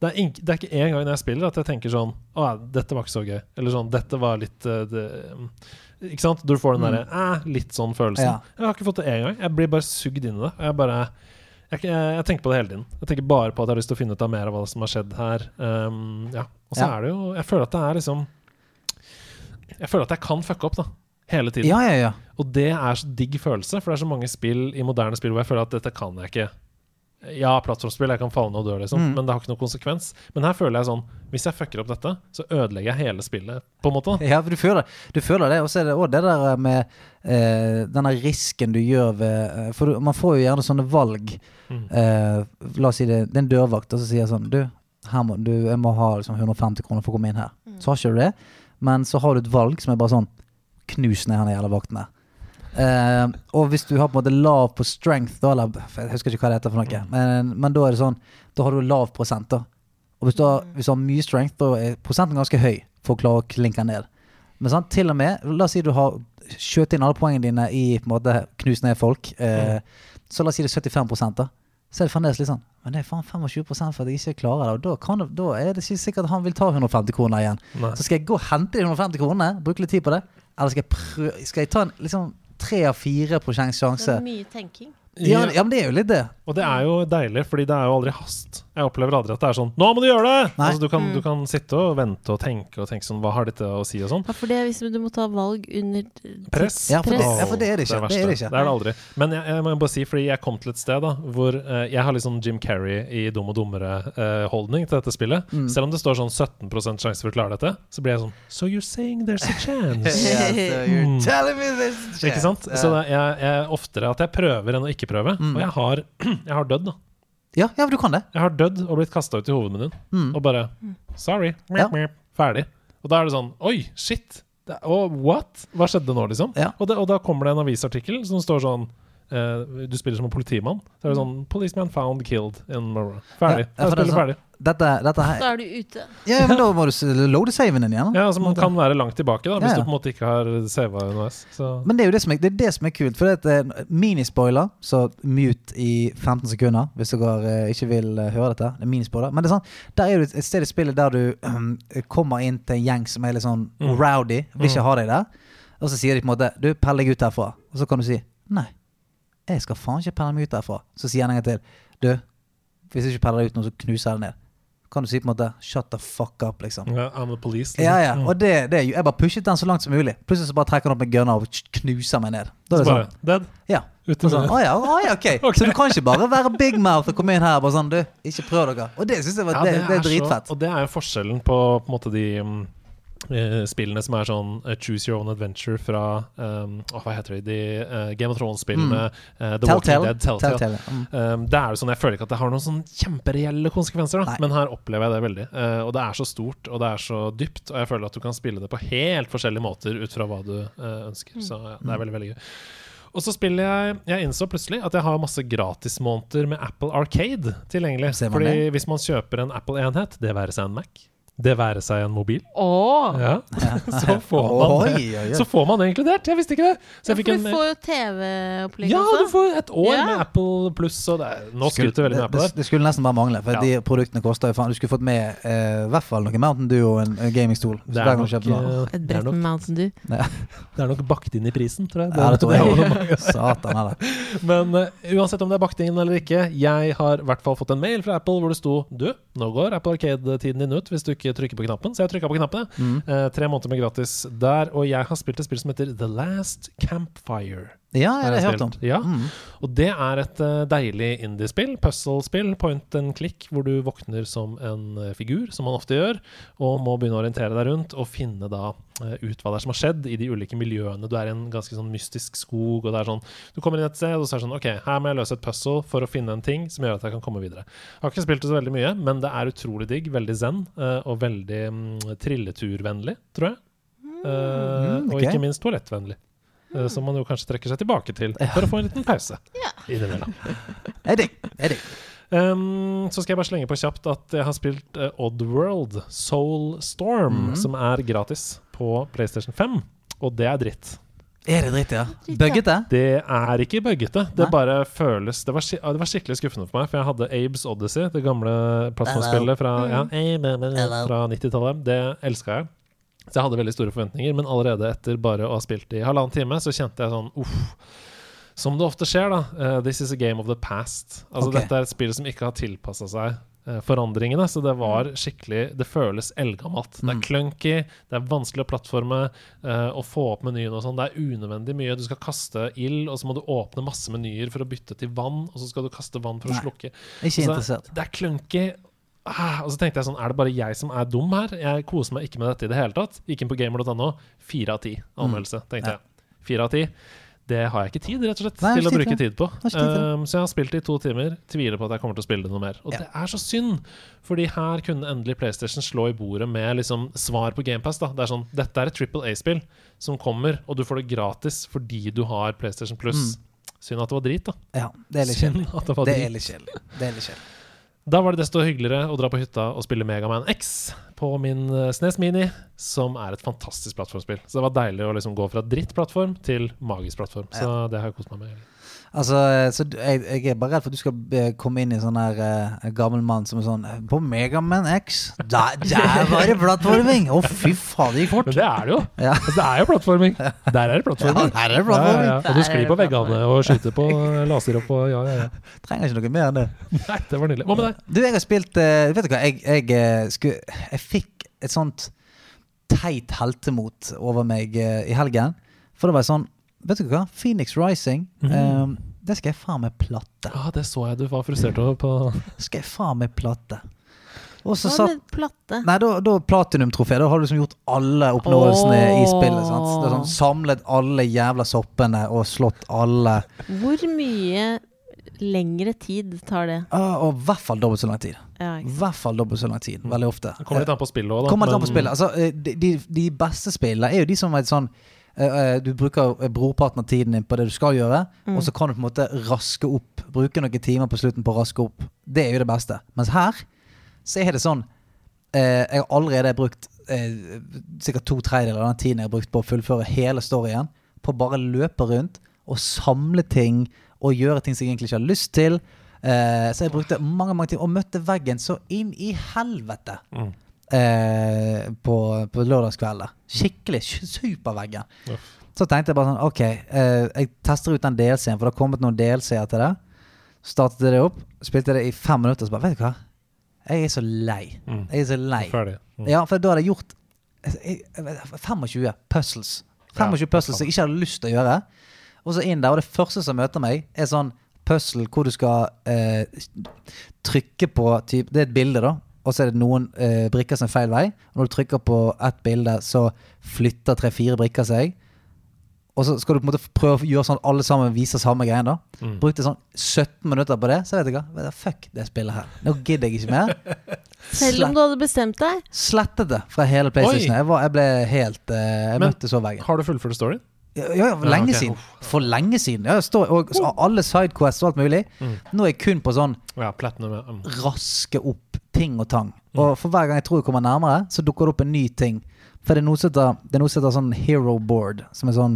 Det er, ink- det er ikke én gang når jeg spiller at jeg tenker sånn Å, dette var ikke så gøy. Eller sånn Dette var litt eh, det, um, Ikke sant? Du får den derre eh, litt sånn følelsen. Mm. Ja. Jeg har ikke fått det én gang. Jeg blir bare sugd inn i det. Og jeg bare jeg, jeg, jeg tenker på det hele tiden. Jeg tenker bare på at jeg har lyst til å finne ut av mer av hva som har skjedd her. Um, ja. Og så Ja. er det jo Jeg føler at det er liksom Jeg føler at jeg kan fucke opp, da. Hele tiden. Ja, ja, ja. Og det er så digg følelse, for det er så mange spill i moderne spill hvor jeg føler at dette kan jeg ikke. Ja, plattformspill, jeg kan falle og dø, liksom, Mm. men det har ikke noen konsekvens. Men her føler jeg sånn Hvis jeg fucker opp dette, så ødelegger jeg hele spillet, på en måte. da. Ja, for du føler, du føler det. Og så er det òg det der med eh, denne risken du gjør ved eh, For du, man får jo gjerne sånne valg. Mm. Eh, la oss si det, det er en dørvakt og så sier jeg sånn Du, her må, du jeg må ha liksom 150 kroner for å komme inn her. Så har ikke du det. Men så har du et valg som er bare sånn Knus ned han jævla vakten der. Eh, og hvis du har på en måte lav på strength, da, eller jeg husker ikke hva det heter for noe, men, men da er det sånn Da har du lav prosent, da. Og hvis du har, hvis du har mye strength, da er prosenten ganske høy for å klare å klinke han ned. Men sant, til og med, la oss si du har skjøt inn alle poengene dine i på en måte knus ned folk. Eh, Så la oss si det er 75 da. Så er det fremdeles litt sånn Men det er faen 25 for at jeg ikke klarer det. Og da, kan, det- da er det ikke sikkert at han vil ta 150 kroner igjen. Nei. Så skal jeg gå og hente de 150 kronene, bruke litt tid på det, eller skal jeg prøve Skal jeg ta en liksom tre av fire prosents det sjanse? er mye tenking. <laughs> Ja, ja, men det er jo litt det. Og det er jo deilig, fordi det er jo aldri hast. Jeg opplever aldri at det er sånn 'Nå må du gjøre det!' Nei. Altså, du, kan, du kan sitte og vente og tenke og tenke sånn 'Hva har dette å si?' og sånn. Ja, for det er hvis du må ta valg under Press. Ja, for det- Åh, ja, for det er det ikke. Det er det verste. ikke. det aldri. Men jeg, jeg må bare si, fordi jeg kom til et sted da hvor eh, jeg har litt sånn Jim Carrey i Dum og dummere-holdning til dette spillet. Mm. Selv om det står sånn 17 sjanse for å klare dette, så blir jeg sånn So you're saying there's a chance? <laughs> Yeah, so you're telling me this Mm. shit. Ikke sant? Så Ja. det, jeg, jeg oftere at jeg prøver enn å ikke prøve. Mm. Og jeg har, <clears throat> jeg har dødd, da. ja, ja, men du kan det. Jeg har dødd og blitt kasta ut i hovedmenyen. Og bare Sorry. Mm. Ja. Ferdig. Og da er det sånn Oi, shit. Det, og what? Hva skjedde nå, liksom? Ja. Og, det, og da kommer det en avisartikkel som står sånn eh, Du spiller som en politimann. Så er det sånn Policeman found killed in Morrow. Ferdig. Ja, ja, jeg for det er spiller sånn. ferdig. Dette, dette her Da er du ute. Ja, men da må du s- loade saven din igjen. da. Ja, altså Man kan være langt tilbake da hvis Mm. Ja, ja. du på en måte ikke har sava underveis. Så Men det er jo det som er, det er, det som er kult. For det er et eh, minispoiler, så mute i 15 sekunder hvis dere eh, ikke vil eh, høre dette. Det er minispoiler. Men det er sånn, der er det et sted i spillet der du eh, kommer inn til en gjeng som er litt sånn rowdy, vil ikke ha deg der. Og så sier de på en måte 'Du, pell deg ut derfra'. Og så kan du si 'Nei, jeg skal faen ikke pelle meg ut derfra'. Så sier han en gang til 'Du, hvis jeg ikke peller deg ut nå, så knuser jeg deg ned'. Kan du si på en måte 'Shut the fuck up', liksom. ja, I'm the police. liksom. Ja, ja. Og det, det, er jo- jeg bare pushet den så langt som mulig. Plutselig så bare trekker han opp en gunner og knuser meg ned. Da er Så det bare sånn. Dead. Ja. Ute Og sånn, med- å ja, å <laughs> ja ok. Ok. Så du kan ikke bare være big mouth og komme inn her og bare sånn Du, ikke prøv dere. Og det syns jeg var Ja, det, det, er så- dritfett. og det er jo forskjellen på, på en måte de mm, eh, spillene som er sånn eh, Choose Your Own Adventure fra um, åh, Hva heter de? de eh, Game of Thrones-spillene. eh, The Walking Mm. Telltale. Dead, Telltale. Telltale, mm. Um, det er jo sånn, Jeg føler ikke at det har noen sånn kjempereelle konsekvenser, da. Nei. men her opplever jeg det veldig. Eh, og det er så stort, og det er så dypt, og jeg føler at du kan spille det på helt forskjellige måter ut fra hva du eh, ønsker. Mm. Så ja, det er veldig, veldig gøy. Og så spiller jeg Jeg innså plutselig at jeg har masse gratismåneder med Apple Arcade tilgjengelig. Ser man Fordi hvis man kjøper en Apple-enhet, det være seg en Mac, det være seg en mobil, Å! ja, <laughs> så får man Oi, det. oi, oi. Så får man det inkludert. Jeg visste ikke det. Så jeg fikk en for eh, du får jo TV-opplegg Ja, du også. får et år Ja. med Apple pluss, og det er, nå Skulle- skryter jeg veldig med det, Apple det, der. det skulle nesten bare mangle, for Ja. de produktene koster jo faen Du skulle fått med eh, i hvert fall noe Mountain Dew og en, en gamingstol. hvis Det hver er, gang du nok, kjøper noe. eh, Et det, er brett nok, med Mountain Dew. det er nok bakt inn i prisen, tror jeg. Ja, det tror holder mange. jeg. Satan heller. <laughs> Men eh, uansett om det er bakt inn eller ikke, jeg har i hvert fall fått en mail fra Apple hvor det sto Du, nå går Apple Arcade-tiden din ut hvis du ikke trykker på knappen. Så jeg trykka på knappen. jeg. Mm. Eh, tre måneder med gratis der. Og jeg har spilt et spill som heter The Last Campfire. Ja, ja, har det har jeg spilt. hørt om. Ja. Mm. Og det er et eh, deilig indiespill, puzzlespill, point and click, hvor du våkner som en eh, figur, som man ofte gjør, og må begynne å orientere deg rundt og finne da eh, ut hva det er som har skjedd i de ulike miljøene. Du er i en ganske sånn mystisk skog, og det er sånn Du kommer inn et sted, og så er det sånn OK, her må jeg løse et puzzle for å finne en ting som gjør at jeg kan komme videre. Jeg har ikke spilt det så veldig mye, men det er utrolig digg, veldig zen, eh, og veldig mm, trilleturvennlig, tror jeg. Eh, Mm, Og ok. ikke minst toalettvennlig. eh, Som man jo kanskje trekker seg tilbake til for å få en liten pause. <laughs> innimellom. Det er digg. Det er digg. Um, så skal jeg bare slenge på kjapt at jeg har spilt eh, Oddworld Soul Storm, Mhm. som er gratis på PlayStation 5. Og det er dritt. Er det dritt, ja? Dritt, ja. Bugget det? Det er ikke bøggete. Det Nei. bare føles det var, skik- det var skikkelig skuffende for meg, for jeg hadde Abes Odyssey, det gamle plattformspillet fra, ja, Mhm. fra 90-tallet. Det elska jeg. Så jeg hadde veldig store forventninger, men allerede etter bare å ha spilt i halvannen time, så kjente jeg sånn uff. Som det ofte skjer, da. eh, this is a game of the past. Altså Ok. Dette er et spill som ikke har tilpassa seg eh, forandringene, så det var skikkelig Det føles eldgammelt. Det er clunky, det er vanskelig å plattforme, eh, å få opp menyen og sånn. Det er unødvendig mye. Du skal kaste ild, og så må du åpne masse menyer for å bytte til vann, og så skal du kaste vann for Nei. å slukke. Ikke Så interessert. Altså, Det er clunky. Ah, og så tenkte jeg sånn, er det bare jeg som er dum her? Jeg koser meg ikke med dette i det hele tatt. Gikk inn på gamer.no. Fire av ti anmeldelse, tenkte Mm. Ja. jeg. Fire av ti. Det har jeg ikke tid rett og slett, Nei, til jeg å har ikke bruke tid til tid på. Jeg har ikke tid til det. Um, så jeg har spilt det i to timer. Tviler på at jeg kommer til å spille det noe mer. Og Ja. det er så synd, fordi her kunne endelig PlayStation slå i bordet med liksom svar på GamePass. Det er sånn, dette er et Triple A-spill som kommer, og du får det gratis fordi du har PlayStation Plus. Synd at det var drit, da. Ja, det er litt Synd kjedelig. at det var Mm. Det drit. er litt kjedelig. Det er litt <laughs> kjedelig. Da var det desto hyggeligere å dra på hytta og spille Megaman X på min eh, Snes Mini, som er et fantastisk plattformspill. Så det var deilig å liksom gå fra drittplattform til magisk plattform. Så det har jeg kost meg med. Altså, så du- jeg, jeg er bare redd for at du skal eh, komme inn i sånn her eh, gammel mann som er sånn eh, På Megaman X, der, der var det plattforming! Å, fy faen, det gikk <laughs> fort. Men det er det jo. <laughs> Ja. Altså, det er jo plattforming. Der er det plattforming. Ja, der er det plattforming. Og du Der er sklir det på veggene og skyter på eh, laser opp og ja, ja, <laughs> ja. Trenger ikke noe mer enn det. Nei, det var nydelig. Hva med deg? Du, jeg har spilt eh, Vet du hva, jeg, jeg, eh, skulle, jeg fikk et sånt teit heltemot over meg eh, i helgen. For det var sånn Vet du hva, Phoenix Rising, Mhm. eh, det skal jeg faen meg platte. Ja, Ah, det så jeg du var frustrert over på Skal jeg faen meg platte. Og så Hva satt med platte? Nei, da, da platinumtrofé. Da har du liksom gjort alle oppnåelsene i spillet. sant? Det er sånn, samlet alle jævla soppene og slått alle. Hvor mye lengre tid tar det? Ah, og i hvert fall dobbelt så lang tid. Ja, I ikke sant? hvert fall dobbelt så lang tid. Mm. Veldig ofte. Det kommer litt an på spillet òg, da. Kommer litt an men- på spillet. Altså, eh, de, de, de beste spillene er jo de som er sånn eh, eh, Du bruker eh, brorparten av tiden din på det du skal gjøre, og så kan du på en måte raske opp. Bruke noen timer på slutten på å raske opp. Det er jo det beste. Mens her så er det sånn eh, Jeg har allerede brukt eh, sikkert to tredjedeler av den tiden jeg har brukt på å fullføre hele storyen, på å bare løpe rundt og samle ting og gjøre ting som jeg egentlig ikke har lyst til. Eh, så jeg brukte mange mange timer og møtte veggen så inn i helvete Mm. eh, på, på lørdagskvelder. Skikkelig superveggen. Uff. Så tenkte jeg bare sånn OK, eh, jeg tester ut den DLC-en, for det har kommet noen DLC-er til det. Startet jeg det opp, spilte det i fem minutter, så bare Vet du hva? Jeg er så lei. Mm. Jeg er så lei. Ferdig. Mm. Ja, for da hadde jeg gjort eh, jeg- jeg- 25 puzzles. 25 Ja, puzzles jeg ikke hadde lyst til å gjøre. Og så inn der, og det første som møter meg, er sånn puzzle hvor du skal eh, trykke på typ, Det er et bilde, da. Og så er det noen eh, brikker som er feil vei. Og når du trykker på ett bilde, så flytter tre-fire brikker seg. Og så skal du på en måte prøve å gjøre sånn alle sammen viser samme greien. da Mm. Brukte sånn 17 minutter på det, så vet jeg hva. Vet du, fuck det spillet her. Nå gidder jeg ikke mer. <laughs> Selv om du hadde bestemt deg? Slettet det fra hele PlayStation. Oi! Jeg, var, jeg ble helt eh, Jeg Men- møtte så veggen. Har du fullført storyen? Ja, ja, for lenge ok. siden. For lenge siden. Ja, jeg står, og, så alle sidequests og alt mulig. Mm. Nå er jeg kun på sånn Ja, platinum. ja. Mm. raske opp ting og tang. Og for hver gang jeg tror jeg kommer nærmere, så dukker det opp en ny ting. For det er noe som heter, det er noe som heter sånn hero board, som er sånn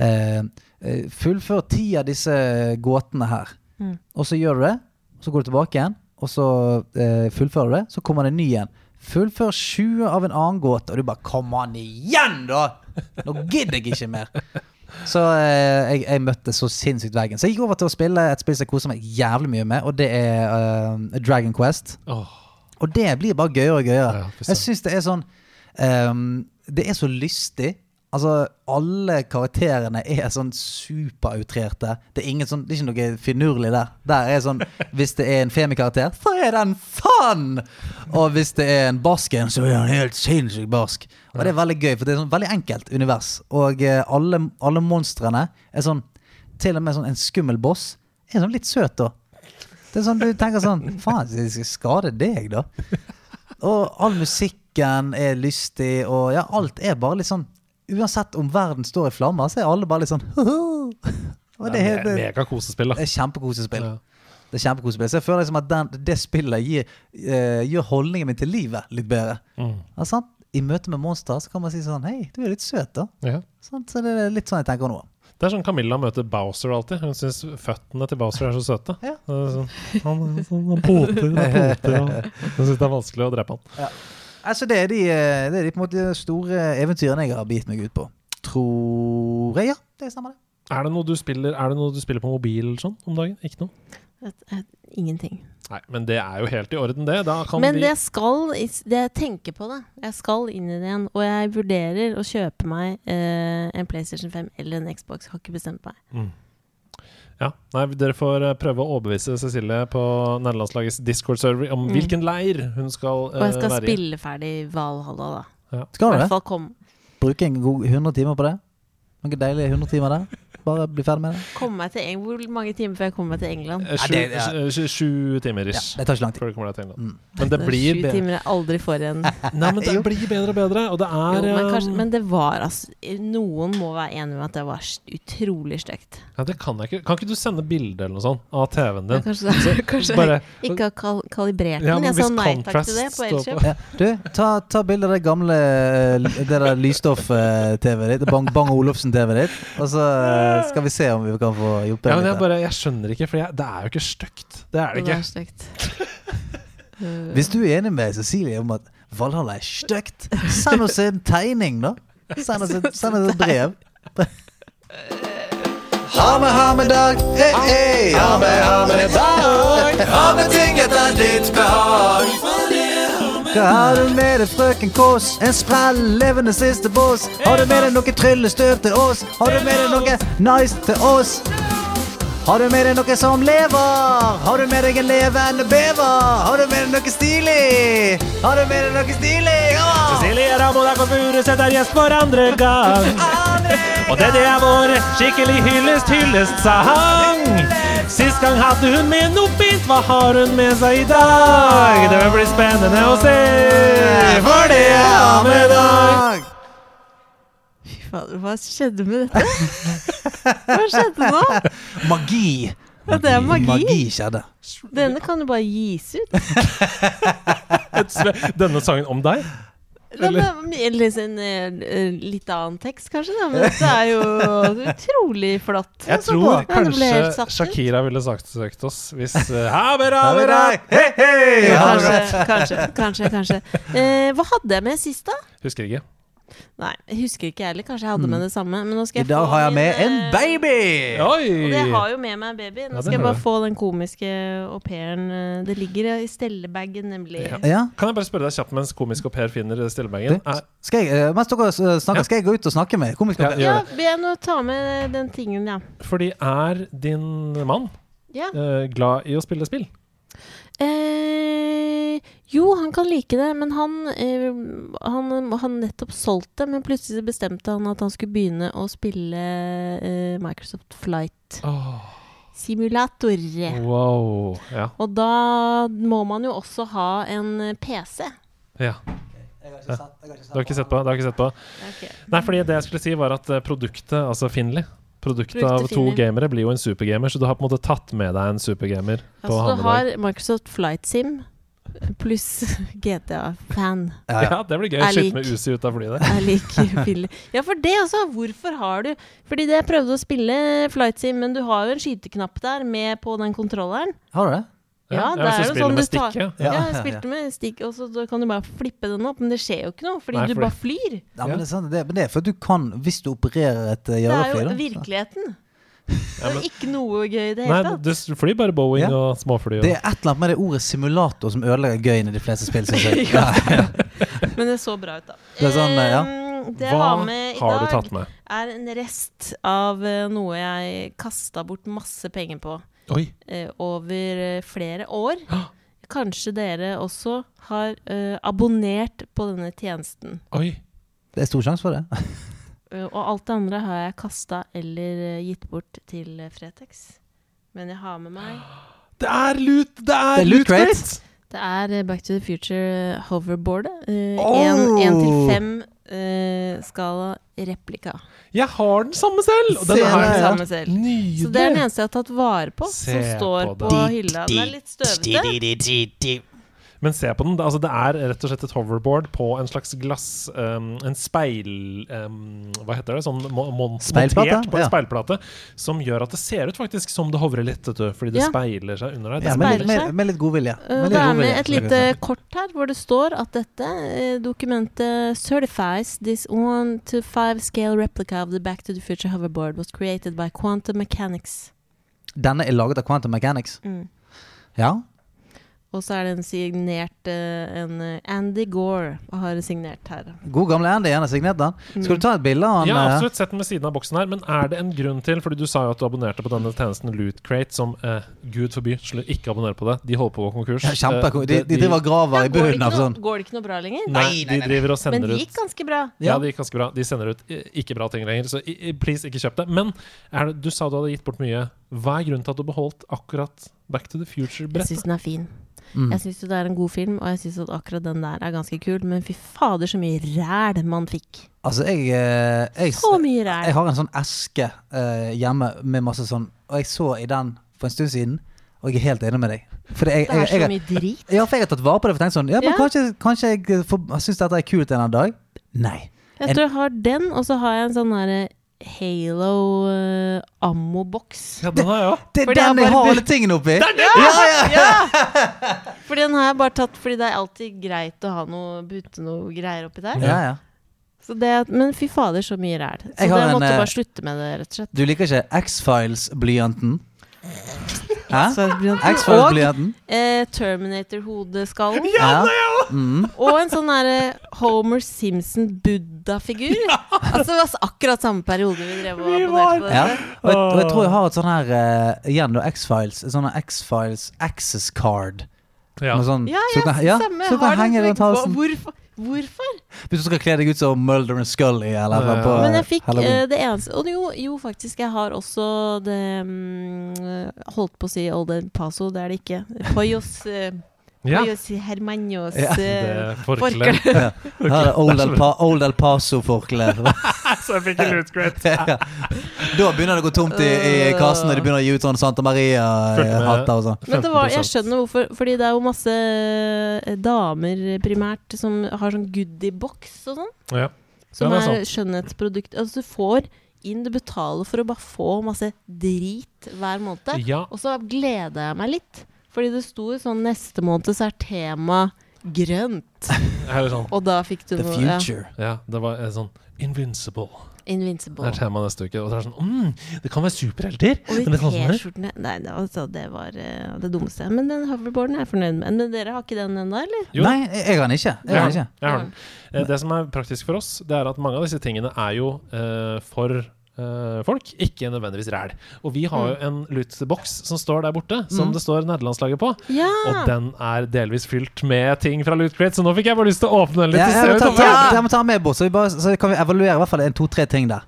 eh, eh, Fullfør ti av disse gåtene her. Mm. Og så gjør du det, og så går du tilbake igjen, og så eh, fullfører du det. Så kommer det en ny igjen. Fullfør 20 av en annen gåte, og du bare Kom an igjen, da! Nå gidder jeg ikke mer. Så eh, jeg, jeg møtte så sinnssykt veggen. Så jeg gikk over til å spille et spill som jeg koser meg jævlig mye med, og det er eh, Dragon Quest. Åh, Og det blir bare gøyere og gøyere. Ja, for sant. jeg syns det er sånn ehm, Det er så lystig. Altså, alle karakterene er sånn superoutrerte. Det er, ingen sånn, det er ikke noe finurlig der. Der er sånn Hvis det er en femikarakter, så er den fun! Og hvis det er en basken, så er han helt sinnssykt barsk. Og det er veldig gøy, for det er sånn veldig enkelt univers. Og eh, alle, alle monstrene er sånn Til og med sånn en skummel boss er sånn litt søt, da. Det er sånn du tenker sånn Faen, jeg skal skade deg, da. Og all musikken er lystig, og ja, alt er bare litt sånn Uansett om verden står i flammer, så er alle bare litt sånn <laughs> «Hoho!» Og det det er, er me- det Megakosespill, da. er kjempekosespill. Ja. Det er kjempekosespill. Så jeg føler liksom at den, det spillet gir, eh, gjør holdningen min til livet litt bedre. Mm. Er det sant? I møte med monstre så kan man si sånn Hei, du er litt søt, da. ja. Sant? så det er litt sånn jeg tenker nå. Det er sånn Camilla møter Bowser alltid. Hun syns føttene til Bowser er så søte. Ja. Det er Sånn, han er sånn, han poter, han poter og Hun syns det er vanskelig å drepe han. Altså, det er de, eh, det er de på en måte store eventyrene jeg har bitt meg ut på. Tror jeg, ja. Det stemmer, det. Er det noe du spiller, er det noe du spiller på mobil sånn om dagen? Ikke noe? Et- et- Ingenting. Nei, men det er jo helt i orden, det. Da kan Men vi det jeg skal is- det Jeg tenker på det. Jeg skal inn i det igjen. Og jeg vurderer å kjøpe meg eh, en PlayStation 5 eller en Xbox. Har ikke bestemt meg. Ja, nei, Dere får eh, prøve å overbevise Cecilie på nederlandslagets Discord-server om Mm. hvilken leir hun skal, Og jeg eh, skal være i. spille ferdig Valhalla, da. I Skal du det? hvert fall kom, Bruke en god 100 timer på det. Noen deilige 100 timer der. Bare bli ferdig med det. komme meg til Eng Hvor mange timer før jeg kommer meg til England? Eh, Sju, Ja, det- ja. sju- sju, sju timer Ja, ish. det tar ikke lang tid. Før du kommer deg til England. Mm. Men det blir Sju bedre. timer jeg aldri får igjen. Nei, men det blir bedre og bedre. Og det er Jo, men, kanskje, eh, men det var altså Noen må være enig med at det var s- utrolig stygt. Ja, det kan jeg ikke. Kan ikke du sende bilde eller noe sånt av TV-en din? Kanskje, det- kanskje Bare, jeg ikke har kal kalibrert Ja, den. men Jeg sa hvis nei takk til det contrast står på Elkjøp. på- Ja. Du, ta, ta bilde av det gamle eh, Det der lysstoff-TV-et ditt. Bang Bang Olufsen-TV-et ditt. Og så eh, eh, skal vi se om vi kan få hjulpet Ja, men jeg, deg litt. her. bare, jeg skjønner ikke, for jeg, det er jo ikke stygt. Det er det Det ikke. er stygt. Uh, Hvis du er enig med Cecilie om at Valhall er stygt, send oss en tegning, da. Send oss, et- send oss et brev. Ha med, ha med dag, hey, hey. Ha med, ha med dag. Ha med ting etter ditt behag. Hva har du med deg, frøken Kåss? En sprell, levende siste bås. Har du med deg noe tryllestøv til oss? Har du med deg noe nice til oss? Har du med deg noe som lever? Har du med deg en levende bever? Har du med deg noe stilig? Har du med deg noe stilig? Ja! Silje Ramodak og Furuseth er gjest for andre <laughs> gang. Og dette er vår skikkelig hyllest, hyllest-sang. Sist gang hadde hun med noe fint, hva har hun med seg i dag? Det vil bli spennende å se, for det er Amedag. Fy fader, hva skjedde med dette? <laughs> Hva <laughs> skjedde nå? Magi. Ja, det er magi. Magi skjedde. Denne kan jo bare gis ut. Denne sangen om deg? Ja, men, eller en eh, litt annen tekst, kanskje. Da. Men dette er jo utrolig flott. Jeg Altså, tror Ja, det ble helt kanskje satt ut. Shakira ville saksøkt oss hvis eh, Amedag! Hei, hei! Kanskje, kanskje. kanskje, kanskje. Eh, hva hadde jeg med sist, da? Husker ikke. Nei, jeg husker ikke jeg heller. Kanskje jeg hadde med det samme. Men nå skal I jeg dag få har jeg min, med en eh, baby! Og det Oi! har jo med meg en baby. Ja, Nå det skal jeg har bare du. få den komiske au pairen. eh, Det ligger i stellebagen, nemlig. Ja. Ja. Kan jeg bare spørre deg kjapt mens komisk au pair finner stillebagen? Du, Skal jeg, eh, mens dere eh, Ja. snakker, skal jeg gå ut og snakke med Ja, komikeren? gjør Ja, det. be henne å ta med den tingen, ja. Fordi er din mann ja. eh, glad i å spille spill? Eh, jo, han kan like det, men han, eh, han Han nettopp solgt det, men plutselig bestemte han at han skulle begynne å spille eh, Microsoft Flight Simulator. Wow. Ja. Og da må man jo også ha en eh, PC. ja. Du har ikke sett på? Du har ikke sett på. Okay. Nei, fordi det jeg skulle si, var at eh, produktet, altså Finley Produktet Produktet av to Finley. gamere blir jo en supergamer, så du har på en måte tatt med deg en supergamer på Altså, Hammedag. du har Microsoft Flight Sim <laughs> pluss GTA-fan. Ja, ja. Ja, det blir gøy. Er Skyte lik. med Uzi ut av flyet der. Jeg liker piller. Ja, for det også. Hvorfor har du Fordi det jeg prøvde å spille flight sim, men du har jo en skyteknapp der med på den kontrolleren. Har du det? Ja, det hvis du er jo spiller sånn med du tar- stikket. Ja, Ja, jeg spilte med stikk, og så da kan du bare flippe den opp, men det skjer jo ikke noe, fordi Nei, du fordi- bare flyr. Ja, men, det er sant, det, men det er for at du kan, hvis du opererer et eh, Det er jagerfly jo da. virkeligheten. Det er jo <laughs> ikke noe gøy i det hele Nei, tatt. du s- flyr bare Boeing Ja. og småfly. Og. Det er et eller annet med det ordet simulator som ødelegger gøyen i de fleste spill. synes jeg. Ja. Men det så bra ut, da. Det er sånn, ja. Ehm, Det jeg Hva har med i har du dag, tatt med? er en rest av eh, noe jeg kasta bort masse penger på. Oi. eh, over eh, flere år. <gasps> Kanskje dere også har eh, abonnert på denne tjenesten. Oi. Det er stor sjanse for det. Eh, og alt det andre har jeg kasta eller eh, gitt bort til eh, Fretex. Men jeg har med meg Det er loot! Det er, Det er loot crate. <gasps> Det er eh, Back to the Future hoverboardet. Én Oh! til fem eh, skala replika. Jeg har den samme selv! Og den Se er der, ja. Samme selv. nydelig. Så det er den eneste jeg har tatt vare på, som Se står på på, hylla. Den er litt støvete. Men se på den. det- Altså, det er rett og slett et hoverboard på en slags glass um, En speil... Um, hva heter det? Sånn mo- mon- Speilplate, montert på en ja. speilplate. Som gjør at det ser ut faktisk som det hovrer litt, vet du, fordi det Ja. speiler seg under deg. Det Ja, er med, speiler litt- veldig- med, seg. med litt godvilje. Eh, Og litt det er godvilje, med et skal vi lite si. kort her hvor det står at dette eh, dokumentet certifies this one to five scale replica of the Back to the Future hoverboard was created by quantum mechanics. Sånn. Denne er laget av Quantum Mechanics. Mm. Ja. Og så er den signert eh, en eh, Andy Gore har signert her. God gamle Andy gjerne signert den. Skal du ta et bilde av han? ja, eh, absolutt. Sett den ved siden av boksen her. Men er det en grunn til Fordi du sa jo at du abonnerte på denne tjenesten Loot Crate, som eh, gud forby, slu- ikke abonner på det. De holder på å gå konkurs. Ja, kjempe, Eh, de, de driver og graver i går, det bunnen ikke av noe, sånn. går det ikke noe bra lenger? Nei, de driver og Men sender det ut gikk ganske bra. Ja, Ja. det gikk ganske bra. De sender ut i- ikke bra ting lenger, så i- i- please, ikke kjøp det. Men er det, du sa du hadde gitt bort mye. Hva er grunnen til at du beholdt akkurat Back to the Jeg Future-brettet? syns den er fin. Mm. Jeg syns det er en god film, og jeg syns at akkurat den der er ganske kul. Men fy fader, så mye ræl man fikk. Altså, jeg, eh, jeg Så mye ræl. Jeg har en sånn eske eh, hjemme med masse sånn, og jeg så i den for en stund siden, og jeg er helt enig med deg. For jeg, Det jeg, er så jeg, mye <laughs> drit. ja, for jeg har tatt vare på det, for jeg tenkte sånn, ja, men Ja. kanskje, kanskje jeg får- jeg syns dette er kult en eller annen dag. Nei. Jeg En- tror jeg har den, og så har jeg en sånn derre Halo eh, ammo-boks. Ja, den har jeg òg. Det er Fordi jeg den jeg bare har bur- alle tingene oppi! For den har jeg bare tatt fordi det er alltid greit å ha noe, putte noe greier oppi der. Ja, ja. Så det, men fy fader, så mye ræl. Så Jeg jeg har en, måtte eh, bare slutte med det, rett og slett. Du liker ikke <laughs> X-Files-blyanten? Hæ? Og X-Files-blyanten? eh, Terminator-hodeskallen. <laughs> Ja. Mm. Og en sånn derre Homer Simpson-buddha-figur. Altså det var akkurat samme periode vi drev og abonnerte på Ja. dette. Og, jeg, og jeg tror jeg har et sånn her eh, Igjen da, X-Files. et Sånn X-Files access card. Ja. Med sånn, Ja, så du ja, kan, ja, samme. så du kan Har henge du sånn- rundt halsen. Hvorfor? hvorfor? Hvis du skal kle deg ut som Mulder and Scully eller Ja, ja. på Men jeg fikk Halloween. eh, det eneste Og jo, jo, faktisk, jeg har også det mm, Holdt på å si Old El Paso, det er det ikke. Poyos, eh, ja. Poyos Hermanos Ja. eh, Det forkle. <laughs> Her er Old El, pa Old El Paso-forkle. <laughs> <laughs> Så jeg fikk en loot crate. Ja. Da begynner det å gå tomt i, i kassen, og de begynner å gi ut sånn Santa Fulgte med- Maria-hatter og sånn. Men det var, 15%. jeg skjønner hvorfor, fordi det er jo masse eh, damer primært som har sånn goodiebox og sånn. Ja. Som Ja, det er er, skjønnhetsprodukt. Altså du får inn, du betaler for å bare få masse drit hver måned. Ja. Og så gleder jeg meg litt. Fordi det sto jo sånn neste måned så er tema grønt. Her er sånn. Og da fikk du The noe ja, future. Ja, det var eh, sånn Invincible. Det Invincible. er tema neste uke. Og det er sånn mm, Det kan være superhelter. Og men de det kan også være- T-skjortene Nei, det, altså, det var eh, det dummeste. Men den hoverboarden er jeg fornøyd med. Men dere har ikke den ennå, eller? Jo. Nei, jeg jeg har den ikke. Jeg Jeg har har den ikke. den. Jeg har den. Eh, Det som er praktisk for oss, det er at mange av disse tingene er jo eh, for eh, folk, ikke nødvendigvis ræl. Og vi har Mm. jo en lootbox som står der borte, Mm. som det står nederlandslaget på. Ja! Og den er delvis fylt med ting fra Loot Crate, så nå fikk jeg bare lyst til å åpne den sånn litt. Ja, og jeg, se må ta, utover. ta, jeg må ta den med bort, så, vi bare, så kan vi evaluere i hvert fall en to-tre ting der.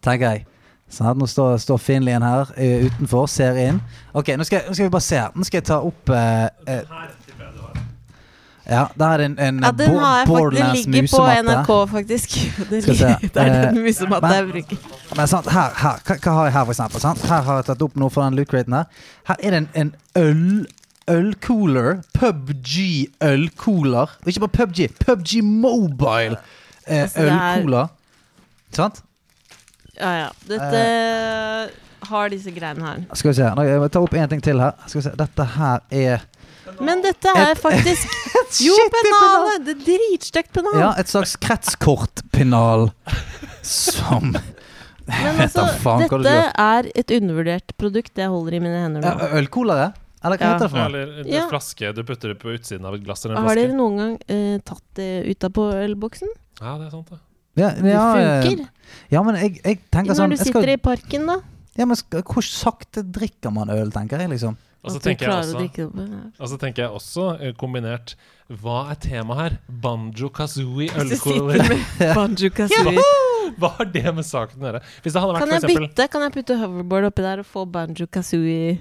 Tenker jeg. Sånn, nå står, står Finlien her eh, utenfor, ser inn. Ok, nå skal, jeg- nå skal vi bare se her. Nå skal jeg ta opp eh, eh, Ja, der er det en, en Ja, den bo- har jeg faktisk. Den Borderlands ligger på musematte. NRK, faktisk. <laughs> Det, Skal vi se. ligger- det er Eh, den musematta jeg men- bruker. Men sant, her, her, hva, hva har jeg her, for eksempel? Sant? Her har jeg tatt opp noe fra den loot-craten her. Her er det en, en øl... Ølcooler. PubG-ølcooler. Og Ikke bare PubG, PubG Mobile. Eh, Altså, det er- ølcooler. Sant? Ja, ja. Dette Eh. har disse greiene her. Skal vi se. Nå, jeg må ta opp én ting til her. Skal vi se. Dette her er Men dette er <laughs> faktisk Jo, Shit, det er pennal! pennale! Det er dritstygt pennal. Ja, et slags kretskortpennal <laughs> som Men vet da altså, faen hva du dette er et undervurdert produkt. Det jeg holder i mine hender ja, øh, nå. Ølcoolere? Eller hva Ja. heter det for noe? Eller en Ja. flaske du putter det på utsiden av et glass øh, eller en Har dere flaske. noen gang eh, tatt det ut av på ølboksen? Ja, det er sant, det. Ja, Det ja, funker. Ja, men jeg, jeg tenker sånn Når du jeg skal- sitter i parken, da. Ja, men sk- Hvor sakte drikker man øl, tenker jeg, liksom. Og så at du tenker jeg klarer å også drikke det opp. Ja. og så tenker jeg også eh, kombinert Hva er temaet her? Banjo kazooie Hvis du sitter ølkoler. <laughs> med banjo kazooie. Hva- Hva har det med saken å gjøre? Hvis det hadde vært Kan for jeg eksempel bytte? Kan jeg putte hoverboard oppi der og få banjo kazooie?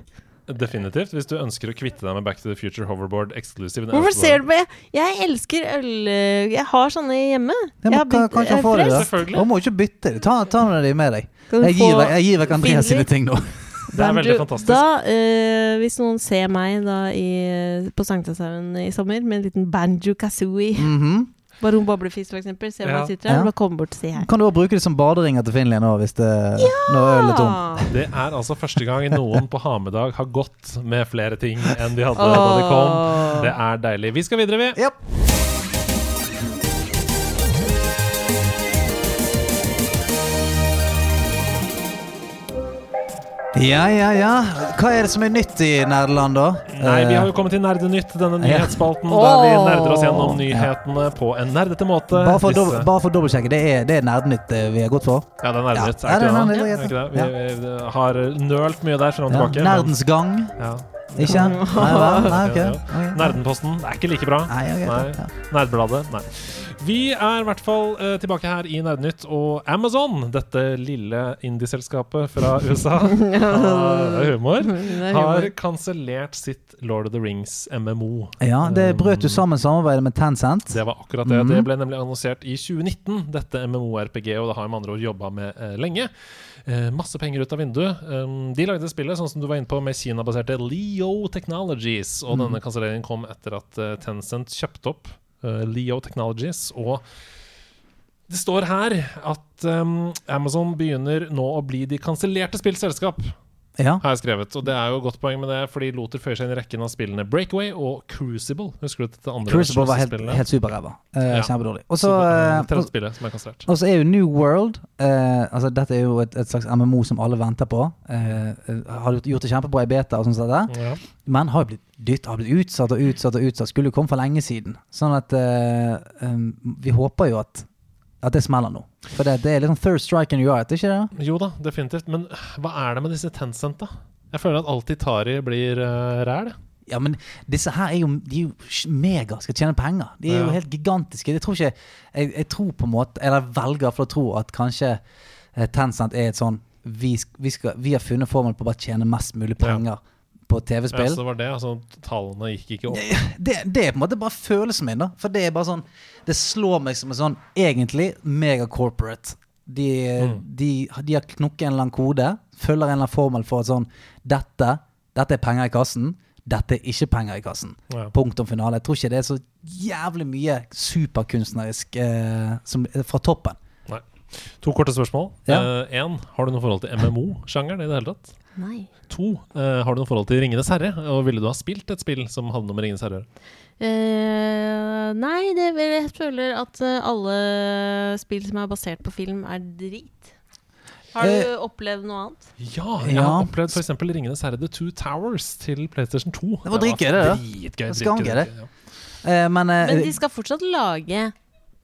Definitivt. Hvis du ønsker å kvitte deg med Back to the Future Hoverboard Exclusive. den Hvorfor øverste ser du på Jeg, jeg elsker øl eh, Jeg har sånne hjemme. Ja, Jeg men har kan, begynt- kan ikke jeg han er få det, da? frelst. Selvfølgelig. Han må ikke bytte det. Ta, ta noen av de med deg. Kan du Jeg gir, få- vekk- jeg gir vekk Andreas sine Finley? ting nå. Det er veldig Banjo- fantastisk. Da, eh, hvis noen ser meg da i, på Sankthanshaugen i sommer med en liten banjo kazooie Mhm. Baron Boblefis, for eksempel. Se om Ja. jeg sitter her. Ja. Bare komme bort og si hei. Kan du også bruke det som baderinger til Finland nå, hvis det når ølet er tomt? <laughs> Ah. Det er altså første gang noen på Hamedag har gått med flere ting enn de hadde da de kom. Det er deilig. Vi skal videre, vi. Japp. Ja, ja, ja. Hva er det som er nytt i Nederland, da? Eh, Nei, vi har jo kommet til Nerdenytt, denne Ja. nyhetsspalten Åh. der vi nerder oss gjennom nyhetene på en nerdete måte. Bare for, å eh, Disse- dob- bare for å dobbeltsjekke, det er, det er Nerdenytt eh, vi har gått for? Ja, det er Nerdenytt. Ja. Er Ja, ikke det, det er da? Er ikke det? Vi, vi har nølt mye der fram og Ja. tilbake. men- Nerdens gang, Ja. ikke? Nei, hva? Nei, ok. Ja, Ok. Nerdenposten det er ikke like bra. Nei, ok, Nei. ja. Nerdbladet. Nei. Vi er i hvert fall eh, tilbake her i Nerdenytt, og Amazon, dette lille indieselskapet <laughs> fra USA har humor, Det er har humor. kansellert sitt Lord of the Rings MMO. Ja, det brøt jo sammen samarbeidet med Tencent. Det var akkurat det. Mhm. Det ble nemlig annonsert i 2019, dette MMO-RPG, og det har jo med andre ord jobba med eh, lenge. Eh, masse penger ut av vinduet. Um, de lagde spillet sånn som du var inne på med Kina-baserte Leo Technologies, og Mhm. denne kanselleringen kom etter at eh, Tencent kjøpte opp eh, Leo Technologies. og det står her at at ehm, Amazon begynner nå å bli de kansellerte spillselskap, Ja. har jeg skrevet. Og det er jo et godt poeng med det, fordi Loter føyer seg inn i rekken av spillene Breakaway og Crucible. Husker du dette andre Crucible var helt, spillene? helt superræva. Eh, Ja. Kjempedårlig. Og Så så det er eh, det tredje spillet som er kansellert. Og så er jo New World eh, altså Dette er jo et, et slags MMO som alle venter på. Eh, har gjort- gjort det kjempebra i beta, og sånt som dette, Ja. men har blitt dytt, har blitt utsatt og utsatt. og utsatt Skulle jo komme for lenge siden. Sånn at eh, um, vi håper jo at, at det smeller nå. For det, det er litt sånn third strike and you are, it, ikke det? Jo da, definitivt. Men eh, hva er det med disse Tencent, da? Jeg føler at alt de tar i, blir uh, ræl. Ja, men disse her er jo, de er jo sj- mega, skal tjene penger. De er Ja. jo helt gigantiske. Jeg tror ikke, jeg, jeg tror på en måte, eller velger for å tro at kanskje eh, Tencent er et sånn, vi, sk- vi, skal, vi har funnet formelen på å bare tjene mest mulig penger på Ja, så TV-spill. det var det. Altså, tallene gikk ikke opp. Det, det er på en måte bare følelsen min da, for det er bare sånn, det slår meg som en sånn, egentlig mega corporate. De, Mm. de, de har knukket en eller annen kode, følger en eller annen formel for at sånn, dette, dette er penger i kassen, dette er ikke penger i kassen. Ja. Punktum finale. Jeg tror ikke det er så jævlig mye superkunstnerisk eh, som, fra toppen. Nei. To korte spørsmål. Ja. Én, har du noe forhold til MMO-sjangeren i det hele tatt? Nei. To, eh, har du noe forhold til Ringenes herre? Og ville du ha spilt et spill som hadde noe med Ringenes herre å gjøre? Eh, nei, det, jeg føler at eh, alle spill som er basert på film, er drit. Har du Eh, opplevd noe annet? Ja, jeg Ja. har opplevd f.eks. Ringenes herre The Two Towers til PlayStation 2. var dritgøy, det, da. Dritgøy, Det skal dritgøy, han gjøre. dritgøy, ja. Eh, men, eh, Men de skal fortsatt lage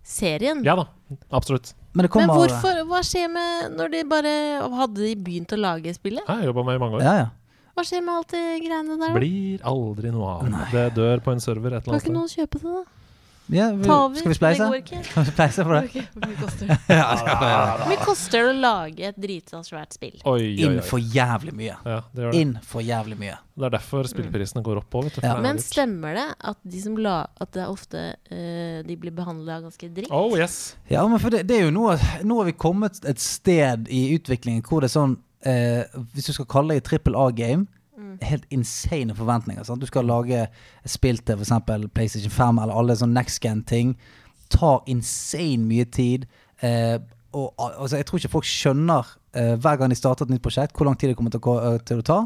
serien. Ja da, absolutt. men det Men kommer hvorfor, hva skjer med når de bare Hadde de begynt å lage spillet? Jeg har jobba med i mange år. Ja, ja. Hva skjer med alt det greiene der? da? Blir aldri noe av. Det dør på en server et eller Kan annet ikke sted. noen kjøpe det, da? ja vi, Ta over? Mm. skal vi spleise? Det går ikke. Skal vi <laughs> spleise for det? Ok, Hvor mye <laughs> koster det? Hvor mye koster det å lage et drita svært spill? Oi, oi, Inn oi. for jævlig mye. Ja, det, gjør det. Inn for jævlig mye. det er derfor spillprisene går opp òg, vet du. Ja. for det er Men dyrt. stemmer det at de som la At det er ofte eh, de blir behandla ganske dritt? Oh yes. Ja, men for det, det er jo noe Nå har vi kommet et sted i utviklingen hvor det er sånn eh, Hvis du skal kalle det et trippel A-game Helt insane forventninger. Sant? Du skal lage spill til f.eks. PlayStation 5 eller alle sånne next gen-ting. Tar insane mye tid. Eh, og al- altså, jeg tror ikke folk skjønner eh, hver gang de starter et nytt prosjekt, hvor lang tid det kommer til å, gå, eh, til å ta.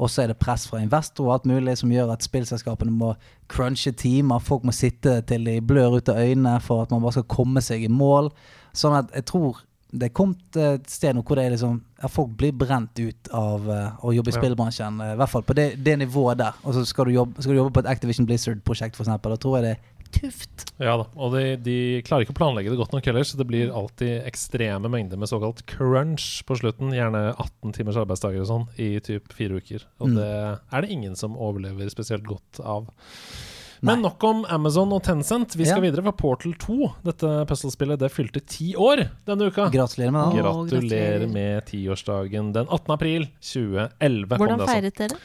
Og så er det press fra investor og alt mulig som gjør at spillselskapene må crunche timer. Folk må sitte til de blør ut av øynene for at man bare skal komme seg i mål. Sånn at jeg tror det er kommet eh, et sted nå hvor det er liksom, ja, folk blir brent ut av eh, å jobbe i Ja. spillbransjen. eh, I hvert fall på det, det nivået der. Og så skal du jobbe, skal du jobbe på et Activision Blizzard-prosjekt, f.eks. Da tror jeg det er tøft. Ja da, og de, de klarer ikke å planlegge det godt nok heller, så det blir alltid ekstreme mengder med såkalt crunch på slutten. Gjerne 18 timers arbeidsdager og sånn i typ fire uker. Og Mm. det er det ingen som overlever spesielt godt av. Nei. Men nok om Amazon og Tencent. Vi skal Ja. videre for Portal 2. Dette puslespillet det fylte ti år denne uka. Gratulerer med det. Gra- Gratulerer gratulerer. med tiårsdagen den 18. april 2011. kom Hvordan det altså. feiret dere?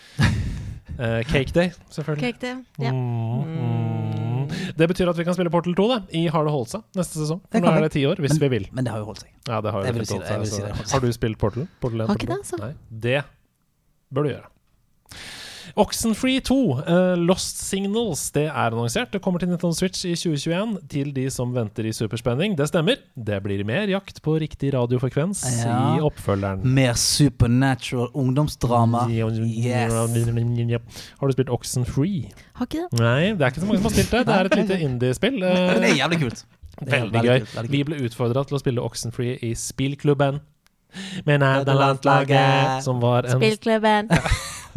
Eh, cake Day, selvfølgelig. Cake Day? Ja. Mm. Det betyr at vi kan spille Portal 2 da, i Har det holdt seg neste sesong. Det For nå kan er vi. det ti år, hvis Men- vi vil. Men det har jo holdt seg. Ja, det har jo Jeg vil helt si holdt det, jeg seg. vil si det. så- Har du spilt Portal? Portal 1, Har ikke Portal 2? det, altså. Nei, det bør du gjøre. Oxenfree 2, eh, Lost Signals, det er annonsert. Det kommer til Nintendo Switch i 2021. Til de som venter i superspenning, det stemmer. Det blir mer jakt på riktig radiofrekvens Ja. i oppfølgeren. Mer supernatural ungdomsdrama. Yes. Har du spilt Oxenfree? Har ikke det? Nei, det er ikke så mange som har spilt det. Det er et lite indiespill. eh, <laughs> Men det er jævlig kult. Det er Veldig gøy. kult, veldig Vi kult. ble utfordra til å spille Oxenfree i spillklubben med nederlandslaget, som var en <laughs> Spillklubben.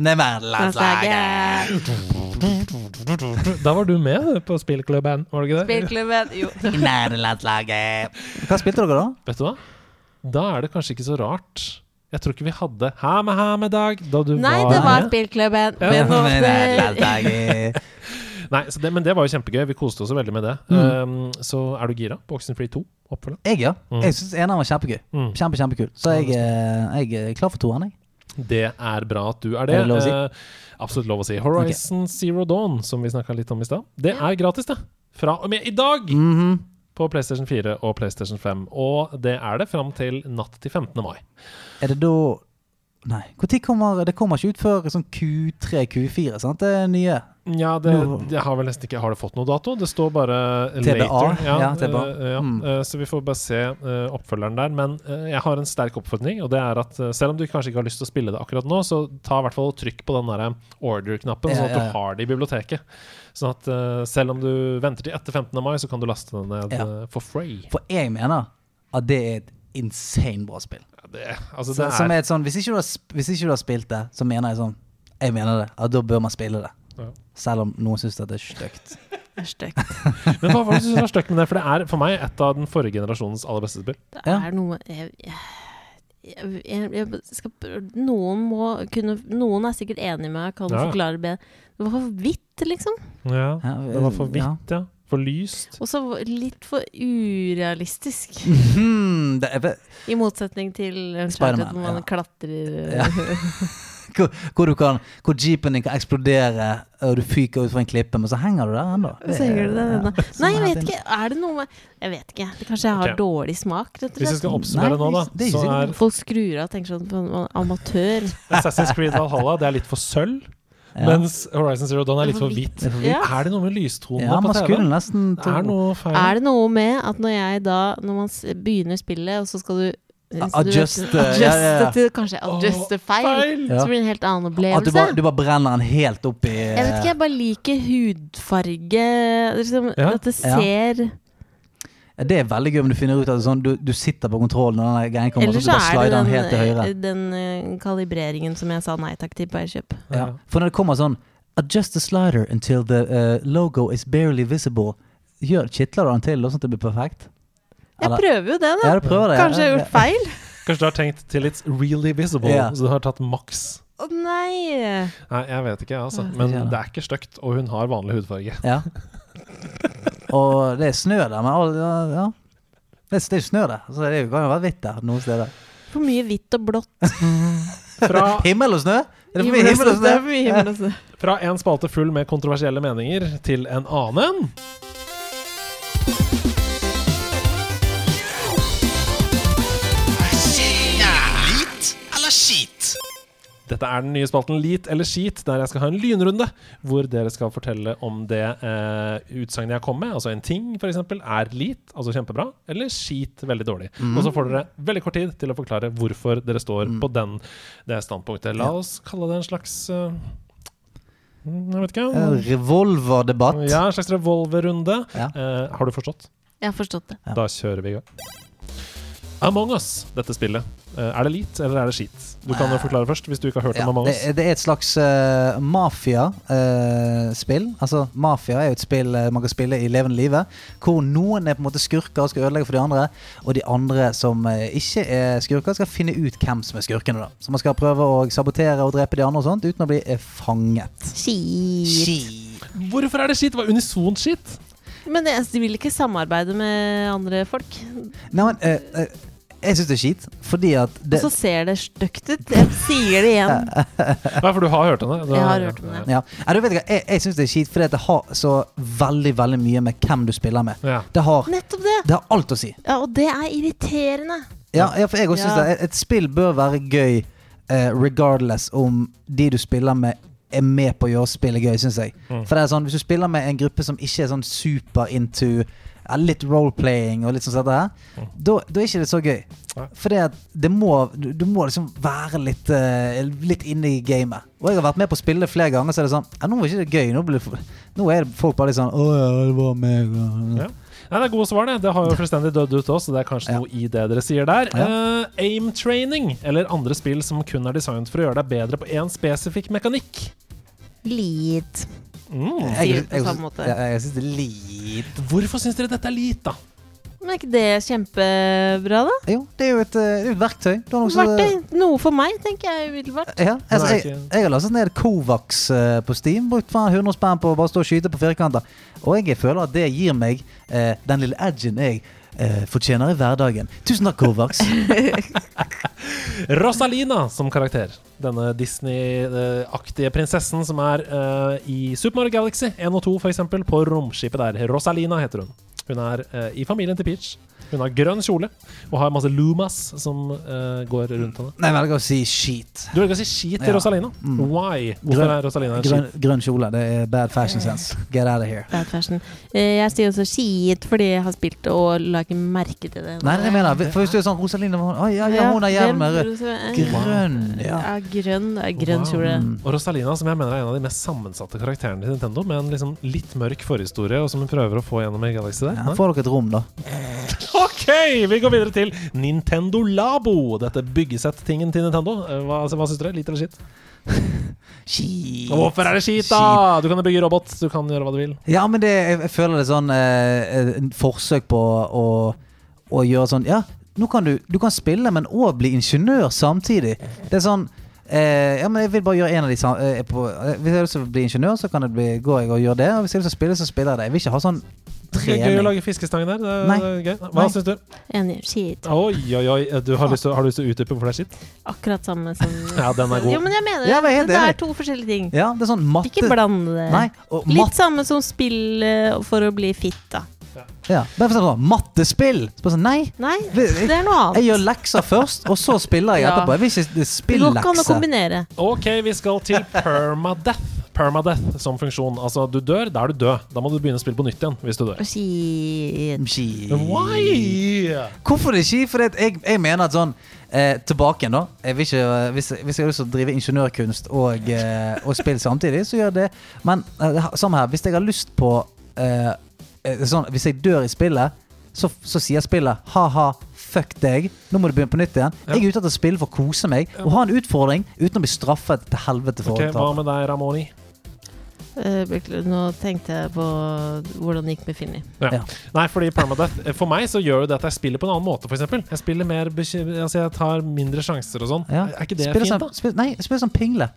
Nederlandslaget. Landslaget. Da var du med på spillklubben, var du ikke det? Spillklubben. Jo. Nederlandslaget. Hva spilte dere da? Vet du hva? Da er det kanskje ikke så rart. Jeg tror ikke vi hadde Ha med ha med dag da du Nei, var, det var med. spillklubben. Ja. Men nå- Nederlandslaget. Nei, så det, men det var jo kjempegøy. Vi koste oss jo veldig med det. Mm. Um, så er du gira på Oxenfree 2? Oppfølger? Jeg, ja. Mm. Jeg syns eneren var kjempegøy. Mm. Kjempe, kjempekul. Så jeg, eh, jeg er klar for toeren, jeg. Det er bra at du er det. Er det lov å si? Eh, absolutt lov å si. Horizon Zero Dawn, som vi snakka litt om i stad, det er gratis, det. Fra og med i dag! Mhm. På PlayStation 4 og PlayStation 5. Og det er det fram til natt til 15. mai. Er det da Nei. Når kommer Det kommer ikke ut før sånn Q3, Q4, sant? Det er nye. Nja, det, Nå- jeg har vel nesten ikke Har det fått noe dato? Det står bare eh, TBA. later. Ja, TBA. eh, ja. Mm. Eh, så vi får bare se eh, oppfølgeren der. Men eh, jeg har en sterk oppfordring, og det er at eh, selv om du kanskje ikke har lyst til å spille det akkurat nå, så ta i hvert fall og trykk på den derre order-knappen, Ja, sånn at ja, ja. du har det i biblioteket. Sånn at eh, selv om du venter til etter 15. mai, så kan du laste den ned Ja. eh, for free. For jeg mener at det er et insane bra spill. Ja, det, altså, Så, det som er, er et sånn, hvis ikke, du har, sp- hvis ikke du har spilt det, så mener jeg sånn Jeg mener det, at da bør man spille det. Ja. Selv om noen syns det er stygt. <laughs> Det er stygt. men hva var det du syntes var støkt med det? For det er for meg et av den forrige generasjonens aller beste spill. Det Ja. er noe jeg, jeg, jeg, jeg skal, prø- Noen må kunne Noen er sikkert enig med meg, kan Ja. forklare bedre. Det var for hvitt, liksom. Ja, Ja, Det var for ja. hvitt, ja. For lyst. Og så litt for urealistisk. Mhm, det er, ve- I motsetning til Uncharted, Spider-Man, hvor man ja. klatrer Ja. hvor, hvor, du kan, hvor jeepen din kan eksplodere, og du fyker ut fra en klippe, men så henger du der ennå. <laughs> Så henger det der Ja. ennå. Sånn Nei, jeg er vet det. ikke. Er det noe med Jeg vet ikke. Det kanskje jeg har Ok. dårlig smak, rett og Hvis vi slett. skal oppsummere nå, da, Nei, det er ikke så sikkert. <laughs> er Folk skrur av og tenker sånn på en amatør. Assassin's Creed Valhalla det er litt for sølv, Ja. mens Horizon Zero Dawn er litt for hvitt. Det er for Ja. Er det noe med lystonene Ja, på man skulle TV? nesten Det er noe feil. Er det noe med at når jeg da Når man s- begynner spillet, og så skal du så du vet- Adjuste, ja, <laughs> adjuste ja, ja. til Kanskje adjuste feil. feil! Ja. Så blir det en helt annen At du opplevelse. bare, du bare brenner den helt opp i Jeg vet ikke, jeg bare liker hudfarge liksom, Ja. At det ser eh, Det er veldig gøy om du finner ut at det er sånn, du, du sitter på kontrollen og den der greien kommer, Eller så du så bare er slider den helt til høyre. det den, den eh, kalibreringen som jeg sa nei takk til på Airkjøp. Ja. For når det kommer sånn Adjust the slider until the eh, logo is barely visible. Gjør, kitler du den til sånn at det blir perfekt? Jeg Eller- prøver jo det, da. Ja, du prøver det. ja. Kanskje jeg har gjort feil? Kanskje du har tenkt til it's really visible, Ja. så du har tatt maks. Å nei! Nei, jeg vet ikke, altså. Jeg vet Men ikke, ja. det er ikke stygt, og hun har vanlig hudfarge. Ja. Og det er snø der, men all- ja, ja. Det er, det er snø der, så det er jo- kan jo være hvitt der noen steder. For mye hvitt og blått. Fra, Himmel og snø? Er det for mye Himmel og himmel og snø? snø, for altså, mye himmel og snø. fra en spalte full med kontroversielle meninger til en annen. Lit eller skit? Dette er den nye spalten Lit eller skit, der jeg skal ha en lynrunde hvor dere skal fortelle om det eh, utsagnet jeg kom med, altså en ting f.eks., er lit, altså kjempebra, eller skit, veldig dårlig. Mm. Og så får dere veldig kort tid til å forklare hvorfor dere står på den, det standpunktet. La Ja. oss kalle det en slags eh, mm, Jeg vet ikke. Eh, Revolverdebatt. Ja, en slags revolverrunde. Ja. Eh, har du forstått? Jeg har forstått det. Ja. Da kjører vi i gang. Among us, dette spillet. Eh, Er det lit, eller er det skit? Du kan jo forklare først, hvis du ikke har hørt Eh, Ja, om Among det, us. det er et slags uh, mafia-spill. altså, mafia er jo et spill eh, man kan spille i levende live. Hvor noen er på en måte skurker og skal ødelegge for de andre. Og de andre som eh, ikke er skurker, skal finne ut hvem som er skurkene. da Så man skal prøve å sabotere og drepe de andre og sånt uten å bli eh, fanget. Shit. Ski. Hvorfor er det skit? Det var unisont skit. Men jeg altså, de vil ikke samarbeide med andre folk. Nei, men eh, eh, jeg syns det er skit, fordi at Og det, så ser det stygt ut. Jeg sier <laughs> det igjen. Nei, for du har hørt henne? Du Jeg har hørt om det. ja. Nei, du vet ikke, Jeg, jeg syns det er skit fordi at det har så veldig veldig mye med hvem du spiller med. Ja. Det har, Nettopp det! det har alt å si. Ja, og det er irriterende. Ja, ja for jeg også synes Ja. det. Et- Et spill bør være gøy eh, regardless om de du spiller med er med på å gjøre spillet gøy, syns jeg. For det er sånn, Hvis du spiller med en gruppe som ikke er sånn super into ja, litt roleplaying og litt sånn som dette her, da da er ikke det så gøy. Nei. For det må, du, du må liksom være litt, eh, litt inne i gamet. Og jeg har vært med på å spille det flere ganger, så er det sånn ja, Nå var ikke det gøy. Nå, ble, det for- nå er folk bare litt sånn Å ja, det var meg. og- Ja. Nei, det er gode svar, det. Det har jo fullstendig dødd ut også, så det er kanskje Ja. noe i det dere sier der. Eh, aim training, eller andre spill som kun er designet for å gjøre deg bedre på én spesifikk mekanikk. Litt. Mm. Sier Jeg, det på jeg, samme måte. jeg, jeg syns det er litt Hvorfor syns dere dette er lit, da? Men er ikke det kjempebra, da? Jo, det er jo et, eh, det er jo et verktøy. Du har noe som- Verktøy. Noe for meg, tenker jeg umiddelbart. Ja, altså, Nei, jeg, ikke- jeg har lastet ned Kovacs eh, på Steam. Brukt faen 100 spenn på å bare stå og skyte på firkanter. Og jeg føler at det gir meg eh, den lille edgen jeg eh, fortjener i hverdagen. Tusen takk, Kovacs. Rosalina som karakter. Denne Disney-aktige prinsessen som er eh, i Super Mario Galaxy 1 og 2, f.eks., på romskipet der. Rosalina heter hun. Hun er eh, i familien til Peach. Hun har grønn kjole og har masse lumas som eh, går rundt henne. Nei, jeg velger å si skit. Du velger å si skit til Ja. Mm. Rosalina. Why? Hvorfor Grønn- er Rosalina en Grønn, skit? grønn kjole. Det er bad fashion sense. Get out of here. Bad fashion. Eh, Jeg sier også skit fordi jeg har spilt og la ikke merke til det. Nei, det er det jeg mener. For hvis du er sånn Rosalina hun, Oi, ja, ja, hun har hjelm med rød Grønn, ja. Ja, grønn, det er Wow. grønn Mm. kjole. Og Rosalina, som jeg mener er en av de mest sammensatte karakterene til Nintendo, med en liksom litt mørk forhistorie, og som hun prøver å få gjennom i Galaxy der. Ja, får dere et rom, da. OK, vi går videre til Nintendo Labo. Dette byggesett-tingen til Nintendo. Eh, Hva, hva syns dere? Litt eller skitt? Skit. Hvorfor er det skit, da? Du kan jo bygge robot, du kan gjøre hva du vil. Ja, men det, jeg, jeg føler det er sånn eh, en forsøk på å, å gjøre sånn Ja, nå kan du, du kan spille, men òg bli ingeniør samtidig. Det er sånn eh, Ja, men jeg vil bare gjøre en av de sam- eh, på, eh, Hvis jeg har lyst til å bli ingeniør, så kan jeg bli, gå jeg og gjøre det. Og hvis jeg har lyst til å spille, så spiller jeg det. Jeg vil ikke ha sånn Det er gøy å trening. lage fiskestang der. Det er, Nei. det er gøy. Nei. Hva syns du? Enig. Skit. Oi, oi, oi. Eh, Du har, lyst til, har du lyst til å utdype hvorfor det er skitt? Akkurat samme <laughs> som Ja, den er god. Jo, men jeg mener Ja, jeg er helt det. Det enig. er to forskjellige ting. Ja, det er sånn Ikke matte blande det. Nei, og Litt matte samme som spill eh, for å bli fit, da. ja. Bare for sånn, mattespill! Så bare sånn, nei, Nei, det Vi- er noe jeg annet. gjør lekser først, og så spiller jeg <laughs> Ja. etterpå. Jeg vil ikke Det spille går ikke an å lekser. kombinere. Ok, vi skal til permadeath. Permadeath som funksjon. Altså, du dør, da er du død. Da må du begynne å spille på nytt igjen hvis du dør. Mm. Skit. Shit. Why? Hvorfor det ikke? For jeg, jeg mener at sånn eh, Tilbake igjen, da. Jeg vil ikke, eh, hvis, hvis jeg har lyst til å drive ingeniørkunst og, eh, og spill samtidig, så gjør jeg det. Men eh, det- samme her, hvis jeg har lyst på eh, eh, sånn, Hvis jeg dør i spillet, så, så sier spillet ha-ha, fuck deg, nå må du begynne på nytt igjen. Jeg er ute etter å spille for å kose meg og ha en utfordring uten å bli straffet til helvete for Ok, å Hva ta. med deg, Ramoni? Eh, beklager, Nå tenkte jeg på hvordan det gikk med Finni. Ja. Ja. Nei, fordi permadeath eh, For meg så gjør jo det at jeg spiller på en annen måte, f.eks. Jeg spiller mer bekym- Altså, jeg tar mindre sjanser og sånn. Ja. Er ikke det Spille fint, som, da? spill, nei, spille som pingle.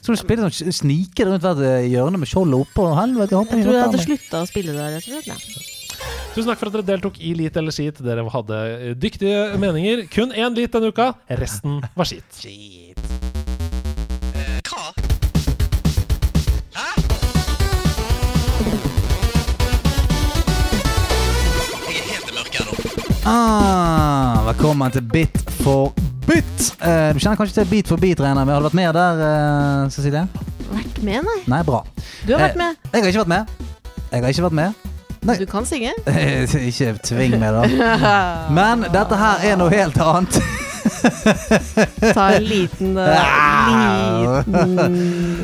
Skal du spille sånn snike rundt hvert eh, hjørne med skjoldet oppå? Helvete, jeg håper Jeg jeg hopper tror jeg av hadde meg. slutta å spille der, rett og slett. Ja. Tusen takk for at dere deltok i Lit eller skit. Dere hadde eh, dyktige meninger. Kun én lit denne uka. Resten var skit. Ah, velkommen til Bit for bit. Eh, du kjenner kanskje til Bit for bit, regner jeg med. Har du vært med der, eh, Cecilie? Vært med, nei. Nei, bra. Du har vært Eh, med. Jeg har ikke vært med. Jeg har ikke vært med. <laughs> nei. Du kan synge. ikke tving meg, <laughs> da. Men dette her er noe helt annet. <laughs> Ta en liten uh, Liten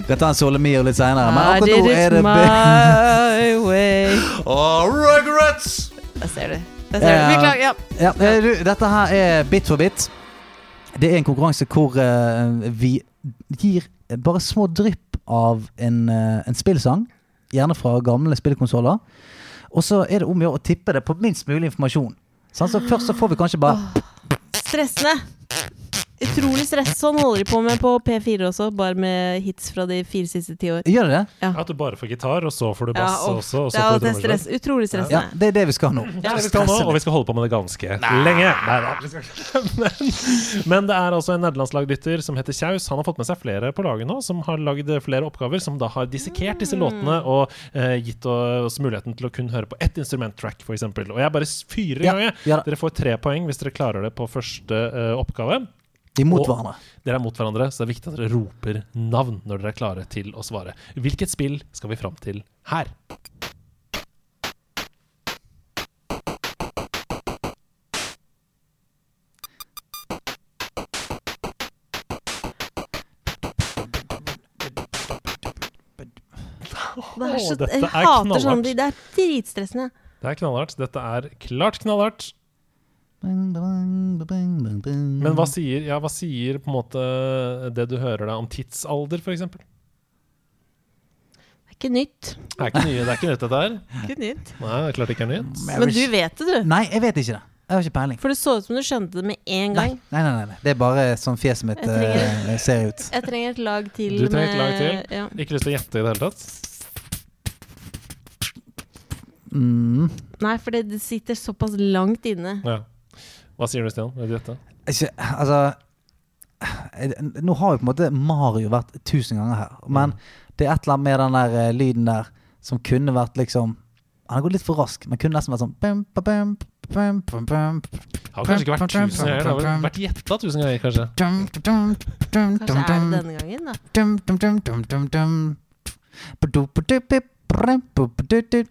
Jeg tar en Solemio litt seinere, Ah. men I akkurat did nå er det it Bit. my way. Og regrets! Jeg ser det. Jeg ser det. Ja. Beklager. Ja. Ja, eh, du, dette her er Bit for bit. Det er en konkurranse hvor eh, vi gir bare små drypp av en, eh, en spillsang. Gjerne fra gamle spillkonsoller. Og så er det om å gjøre å tippe det på minst mulig informasjon. Sant? så først så får vi kanskje bare Stressende. Utrolig stress. Sånn holder de på med på P4 også, bare med hits fra de fire siste ti år. Gjør det det? At du bare får gitar, og så får du Ja, bass og- også, og Det så får er du alltid trommeslag. stress. Utrolig Ja, stressende. det er det vi skal nå. Ja, vi skal nå, og vi skal holde på med det ganske lenge. Nei da. vi skal ikke. <laughs> Men, men det er altså en nederlandslagd lytter som heter Kjaus. Han har fått med seg flere på laget nå, som har lagd flere oppgaver, som da har dissekert disse låtene og eh, gitt oss muligheten til å kun høre på ett instrumenttrack, f.eks. Og jeg bare fyrer i Ja, gang, jeg. ja da. Dere får tre poeng hvis dere klarer det på første eh, oppgave. Imot Og- hverandre. Dere er mot hverandre, så det er viktig at dere roper navn når dere er klare til å svare. Hvilket spill skal vi fram til her? Det er Å, så, dette jeg er hater knallhardt. sånn Det er dritstressende. Det er knallhardt. Dette er klart knallhardt. Men Men hva sier, ja, hva sier på en måte det du hører da om tidsalder, f.eks.? Det Det er ikke nytt. er ikke nye, det er ikke nytt, dette her. Ikke nytt. Nei, det er klart det ikke er nytt. Men du vet det, du. Nei, jeg vet ikke det. Jeg har ikke peiling. For det så ut som du skjønte det med en Nei, gang. nei, nei, nei, nei. Det er bare sånn fjeset mitt Jeg trenger- eh, ser ut. Jeg trenger et lag til. Du trenger et lag med- Ja. Ikke lyst til å gjette i det hele tatt? Mm. Nei, for det det sitter såpass langt inne. Ja. Hva sier du, Stian? Vil du gjette? ikke, altså eh, Nå har jo på en måte Mario vært tusen ganger her, men det er et eller annet med den der eh, lyden der som kunne vært liksom Han har gått litt for rask, men kunne nesten vært sånn bum, ba, bum, pum, pum, pum, Har kanskje ikke vært tusen ganger. Det har vel vært gjetta tusen ganger, kanskje. dum, dum, dum, dum, Kanskje dum, er det dum. denne gangen, da. Dum, dum, dum, dum, dum, dum. Ba-du-ba-du-bi, brum, bu-bu-du-du.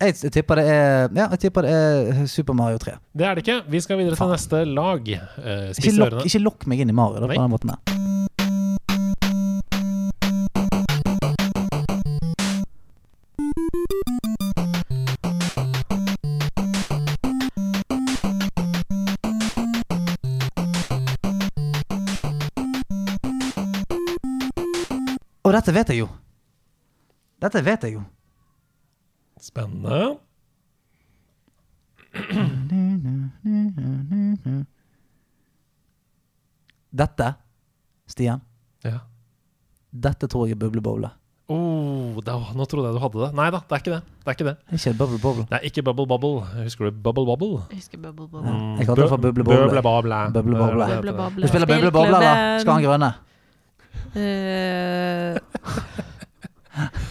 Jeg jeg tipper det er Ja, jeg tipper det er Super Mario 3. Det er det ikke. Vi skal videre til Faen. neste lag. Eh, Ikke Spis lokk, ørene. ikke lokk meg inn i Mario da, Nei. på den måten der. Og dette vet jeg jo. Dette vet jeg jo. Spennende. Dette, Stian, Ja. dette tror jeg er bublebowlet. Oh, da, nå trodde jeg du hadde det. Nei da, det er ikke det. Det er ikke det. Er Ikke bubble bobble. Det er ikke Bubble Bubble. Husker du Bubble Bubble? Jeg husker Bubble Bobble. Mm. Jeg kalte det for Bubble Bobble. Bubble Bobble. Bubble Bobble. Det er det det Bubble heter. Bobble. Du spiller bubble bobler, da? Skal han grønne? Eh,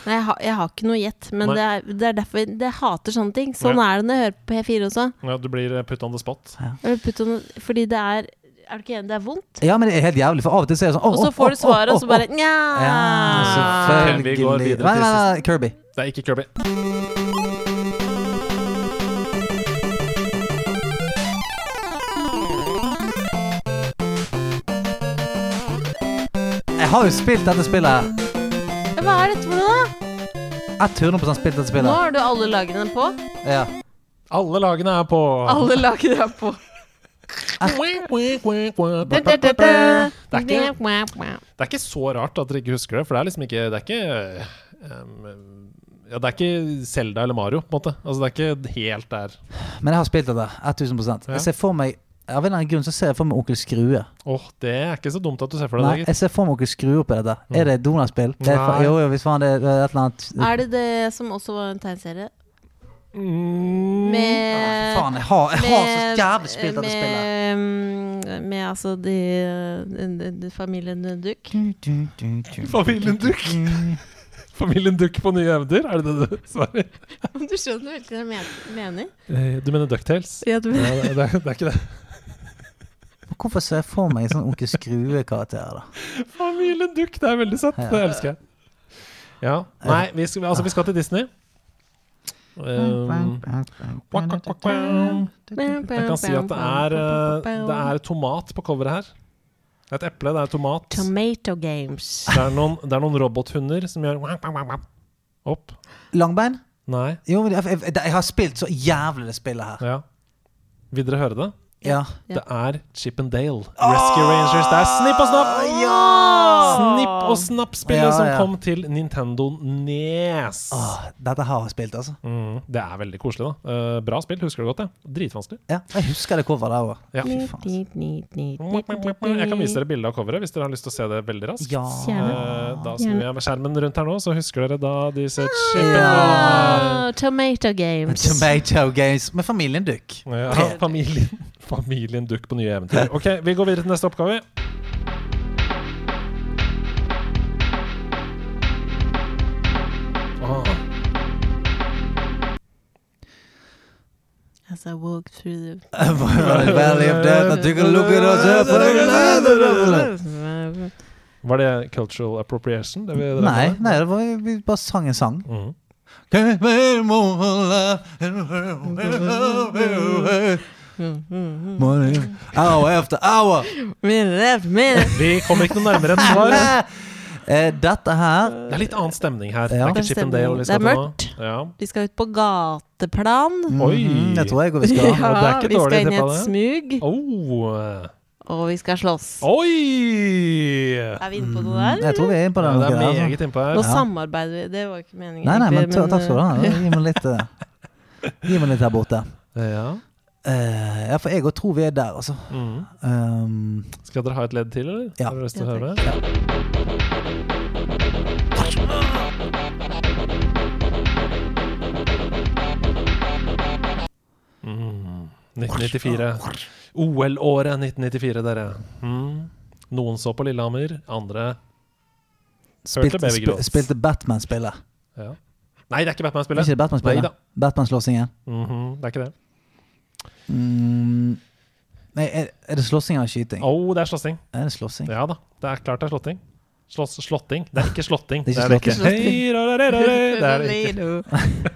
Nei, jeg har, jeg har ikke noe gjett, men Nei. det er, det er derfor jeg, jeg hater sånne ting. Sånn Ja. er det når jeg hører på P4 også. Ja, du blir eh, put on the spot. Jeg vil putte noe- Fordi det er Er du ikke enig? Det er vondt. Ja, men det er helt jævlig, for av og til så er det sånn åh, Og så åh, får du åh, svaret, åh, og så bare "Ah." åh. nja. <laughs> Ja, selvfølgelig. Vi går videre til Vent, vent, vent, Kirby. Det er ikke Kirby. Jeg har jo spilt dette spillet. Hva er dette for noe, da? Jeg har 100 spilt dette Nå spillet. har du alle lagene på. Ja. Alle lagene er på Alle lagene er på. Det Det er er ikke- Det er ikke så rart at dere ikke husker det, for det er liksom ikke Det er ikke um, ja, det er ikke Selda eller Mario, på en måte. Altså, det er ikke helt der. Men jeg har spilt dette. 1000 Ja. Jeg ser for meg Av en eller annen grunn så ser jeg for meg Onkel Skrue. Åh, Det er ikke så dumt at du ser for Nei, deg det. jeg ser for meg Onkel Skrue oppi dette. Er det Donald-spill? Det er fa- Nei. Jo, jo, hvis faen det er eh, et eller annet Er det det som også var en tegneserie? Mm, Med Faen, jeg har, jeg har så med- jævlig spilt dette spillet. Med, mm, med altså de, de, de familien <laughs> Duck. Familien Duck. <laughs> Familien Duck på nye eventyr, er det det du svarer? Du skjønner vel hva jeg men- <laughs> mener? Eh, Du mener Ducktails? Ja, du- Ja, det, det, er- det er ikke det. Men Hvorfor ser jeg for meg en sånn Onkel Skrue-karakter, da? Familien Duck, det er veldig søtt. Det elsker jeg. Ja. Nei, vi skal, altså, vi skal til Disney. Um, jeg kan si at det er, eh, det er tomat på coveret her. Det er et eple, det er tomat. Tomato Games. Det er noen, det er noen robothunder som gjør opp. Langbein? Nei. Jo, men jeg, jeg, jeg har spilt så jævlig det spillet her. Ja. Vil dere høre det? Ja. Ja. Det er Chip and Dale. Ah, Rescue Rangers. Det er snipp og snapp! Snipp og snapp-spillet Ja, Ah. som ja. kom til Nintendo Nes. Åh, dette har jeg spilt, altså. Mm, det er veldig koselig, da. Eh, bra spill, husker du godt det? Dritvanskelig. Ja, jeg husker det coveret der òg. Ja. Fy faen. altså. mm, Jeg kan vise dere bilde av coveret hvis dere har lyst til å se det veldig raskt. Ja. Eh, da snur jeg med skjermen rundt her nå, så husker dere da disse chipene. Ah, Tomato Games. Tomato Games med familien Duck. Ja, familien, familien Duck på nye eventyr. Ok, Vi går videre til neste oppgave. Ah, As I walk through <laughs> the <laughs> Valley of Death, and take a look at us up and down. var det cultural appropriation? Det vi drev Nei, med? nei, det var, vi bare sang en sang. Mhm. Morning, Hour after hour. Minute after minute. Vi kommer ikke noe nærmere enn svar. Eh, Dette her Det er litt annen stemning her. Det Ja. er ikke Chip and Dale vi Det er skal til nå. mørkt. Ja. Vi skal ut på gateplan. Oi. Mm, Det tror jeg vi skal. <laughs> Ja, det er ikke vi skal dårlig inn i tippa, et det. smug, Oh. og vi skal slåss. Oi! Er vi inne på noe Mm, der? Jeg tror vi er inne på Ja, den. det er altså. meget innpå her. Nå samarbeider vi. Det var ikke meningen. Nei, nei, men egentlig, ta- takk skal du ha. eh, Gi meg litt, eh, gi meg litt her borte. Ja. Eh, ja, for jeg òg tror vi er der, altså. Mhm. Um, Skal dere ha et ledd til, eller? Ja. Har dere lyst til å Ja, høre? Mm. 1994. OL-året 1994, dere. Mm. Noen så på Lillehammer, andre spilte, Hørte Baby sp Gråt. spilte Batman-spillet. ja. Nei, det er ikke Er Batman-spillet. Ikke det Batman-spillet? Neida. Batman-slåssingen. Mhm, Det er ikke det. Mm, nei, er, er det slåssing eller skyting? Oh, det er slåssing. Er det slåssing? Ja da, det er klart det er slåtting. Slåss, slåtting. Det er ikke slåtting. Det er ikke slåtting. Hei, ra, ra, ra, ra, eh, ra. Det er det ikke.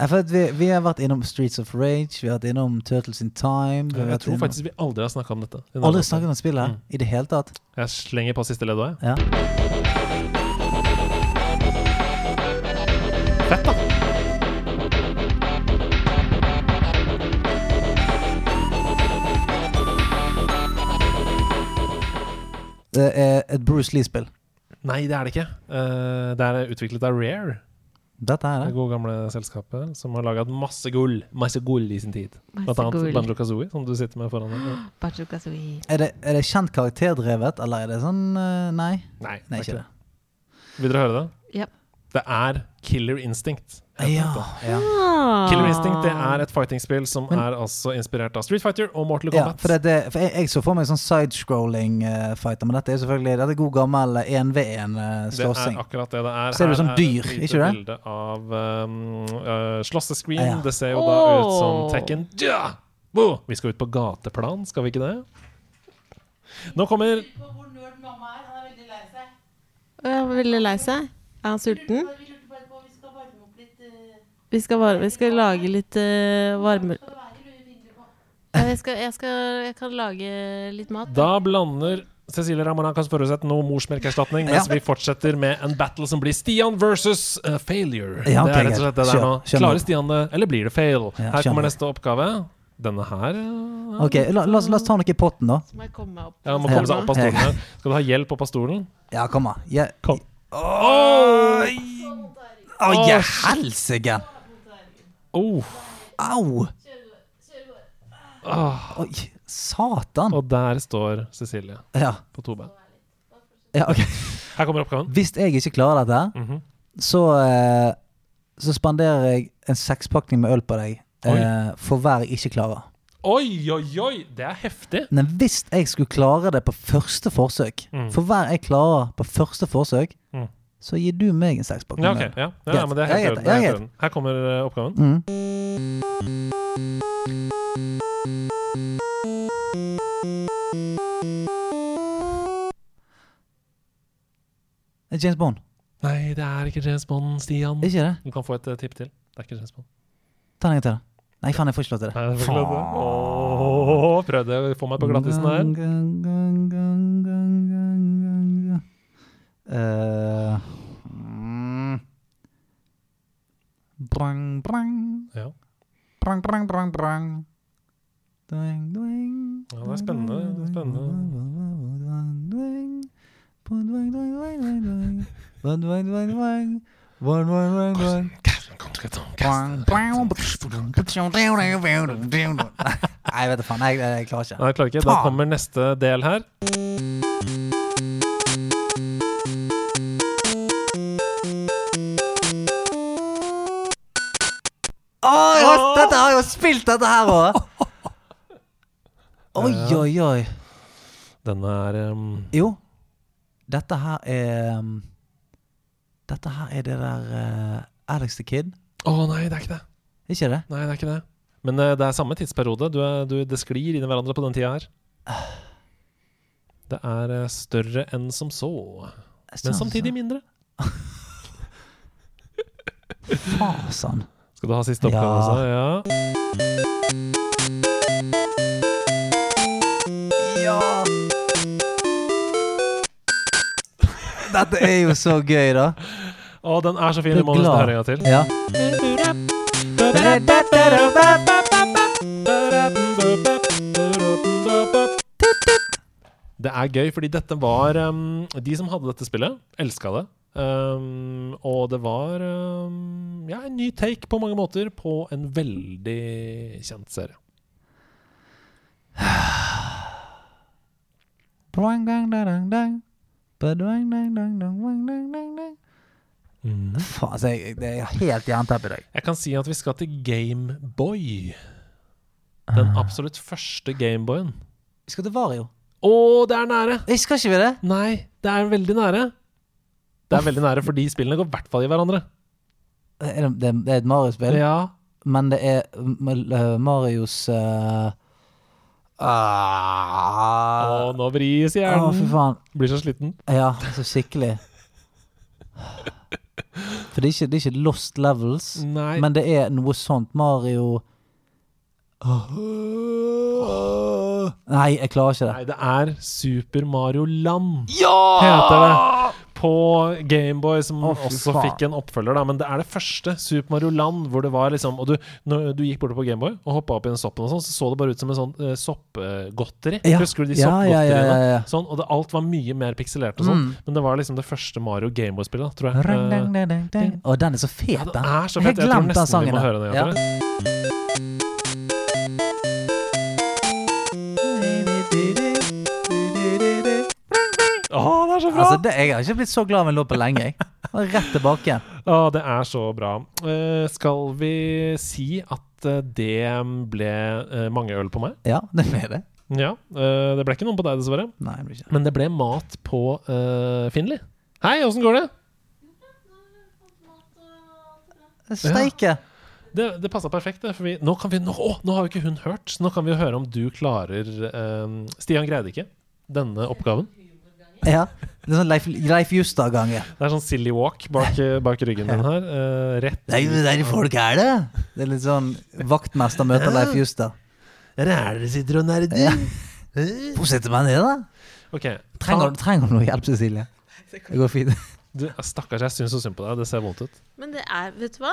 Ja, for at vi, vi har vært innom Streets of Rage, vi har vært innom Turtles in Time vi har Jeg vært tror innom- faktisk vi aldri har snakka om dette. Aldri snakket om spillet her, Mm. i det hele tatt. Jeg slenger på siste ledd òg, Ja. jeg. Fett, da. Det er et Bruce Lee-spill. Nei, det er det ikke. Eh, det er utviklet av Rare, Dette er det det. gode gamle selskapet, som har laga masse gull. Masse gull i sin tid. Blant annet Banjo Kazooie, som du sitter med foran deg. Er det, er det kjent karakterdrevet, eller er det sånn eh, Nei, Nei, det er det er ikke det. Vil dere høre det? Ja. Det er Killer Instinct. heter Ja, dette. ja. Ah. Killer Instinct det er et fightingspill som Men- er altså inspirert av Street Fighter og Mortal ja Kombat. for, det, det- for jeg, jeg så for meg sånn sidescrolling-fighter, men dette er jo selvfølgelig Dette er god gammel eh, Det 1v1-slåssing. er akkurat det det er. Ser Her ut som er dyr, et lite ikke det? Ah, bilde av um, uh, slåssescreen. Ja. Det ser jo da ut som Åh. Tekken. Ja! Wow! Vi skal ut på gateplan, skal vi ikke det? Nå kommer Er han veldig lei seg? Er han sulten? Vi skal, varme, vi skal lage litt eh, varme... Ja, Jeg, skal, jeg, skal, jeg kan lage litt mat. Da blander Cecilie Ramona kan forutsette noe morsmelkerstatning, mens Ja. vi fortsetter med en battle som blir Stian versus uh, failure. Ja, det ok, er rett og slett det greit. der nå. Skjønner, skjønner. Klarer Stian det, eller blir det fail? Ja, Her skjønner. kommer neste oppgave. Denne her uh, Ok, la, la, oss, la oss ta noe i potten, da. Så må jeg komme meg opp. ja, må komme seg opp av Ja. stolen her. Skal du ha hjelp opp av stolen? Ja, kom, da. Ja. Kom. Oi! Å, ja, helsike! Oh. Au! Ah, Oi, satan! og der står Cecilie Ja, på to ben. ja, ok. Her kommer oppgaven. Hvis jeg ikke klarer dette, Mhm. så, eh, så spanderer jeg en sekspakning med øl på deg eh, for hver jeg ikke klarer. Oi, oi, oi! Det er heftig. Men hvis jeg skulle klare det på første forsøk, Mm. for hver jeg klarer på første forsøk, Mm. så gir du meg en sekspakning Ja, ok. med øl. Ja, ja, ja, men det er helt i Jeg heter- orden, det er jeg helt i orden. Her kommer eh, oppgaven. Mm. Det er James Bond, Nei, det er ikke James Bond, Stian. ikke det? Du kan få et eh, tipp til. Det er ikke James Bond. Ta den en gang til. da. Nei, faen, jeg får ikke lov til det. Nei, det er ikke det. Åh, prøvde å få meg på glattisen Mm. her. Gang, gang, gang, gang, gang, gang, gang. Eh, mm. Brang, brang. Ja. Brang, brang, brang, brang. Doing, doing. Ja, det er spennende, det er Doing, doing, doing, doing, doing, doing. Doing, doing, doing, doing. Doing, doing, doing, doing. Brang, brang, brang, brang, brang. Nei, vet du faen. Jeg, jeg klarer ikke. Nei, jeg klarer ikke. Da Faen. kommer neste del her. Åh, jeg har, dette har jeg jo spilt, dette her òg! <laughs> Oi, oi, oi. Denne er ehm, Jo, dette her er um, Dette her er det der eh, Alex the Kid. Å nei, det er ikke det. Ikke det? Nei, det er ikke det. Men eh, det er samme tidsperiode. Du er, du, det sklir inn i hverandre på den tida her. Det er eh, større enn som så, men samtidig mindre. Fasan. Skal du ha siste oppgave Ja. også? Ja. Ja! Dette er jo så gøy, da. Å, den er så fin. Jeg Du er må nesten glad. høre en gang til. Ja. Det er gøy, fordi dette var um, De som hadde dette spillet, elska det. Um, og det var um, ja, en ny take på mange måter på en veldig kjent serie. Boing, dang, dang, dang. Badoing, dang, dang, dang, boing, dang, dang, dang. Faen, altså, jeg, det er helt jernteppe i dag. Jeg kan si at vi skal til Gameboy. Ah. Den absolutt første Gameboyen. Vi skal til Vario. Å, det er nære! Nei, Skal ikke vi det? Nei, det er veldig nære. Det er veldig nære, fordi spillene går i hvert fall i hverandre. Er det, det, det er et Mario-spill? Ja, men det er mm, eh, Marios eh, Å, ah, nå vris Å, hjernen. fy faen. Blir så sliten. Ja, så skikkelig. For det er ikke, det er ikke lost levels, Nei. men det er noe sånt Mario Nei, jeg klarer ikke det. Nei, det er Super Mario Land, Ja! heter det. På Gameboy, som Å, fy også faen. fikk en oppfølger, da. Men det er det første Super Mario Land hvor det var liksom Og du, når du gikk borte på Gameboy og hoppa opp i den soppen og sånn, så så det bare ut som en sånn eh, soppgodteri. Ja. Husker du de Ja, ja, ja, soppgodteriene? ja, ja. Mm. Sånn, og det, alt var mye mer pikselert og sånn. Men det var liksom det første Mario Gameboy-spillet, tror jeg. Rang, Eh, dang, dang, dang, dang. Å, den er så fet, ja, den. det er så fett. Jeg tror glemte den nesten vi sangen, må da. høre den. Ja. igjen, tror jeg. Å, det er så bra! Altså, det, jeg har ikke blitt så glad av en låt på lenge. Jeg. Og Rett tilbake igjen. Å, det er så bra. Eh, skal vi si at eh, det ble eh, mange øl på meg? Ja, det ble det. Ja. eh, det ble ikke noen på deg, dessverre. Nei, det blir ikke det. Men det ble mat på uh, Finli. Hei, åssen går det? Steike! Det, det passa perfekt. det, For vi, nå, kan vi, nå, å, nå har jo ikke hun hørt, så nå kan vi jo høre om du klarer eh, Stian greide ikke denne oppgaven. Ja. Det er sånn Leif, Leif Justad-gang. ja. Det er sånn silly walk bak, bak ryggen din her. eh, rett Det er jo der de folk er, det! Det er litt sånn vaktmester møter Leif Justad. Der er dere sitter og nerder. Ja. Hvor sitter man ned, da? Ok, Trenger, ta- trenger du noe hjelp, Cecilie? Det går fint. du, Stakkars, jeg syns så synd på deg. Det ser vondt ut. Men det er, vet du hva?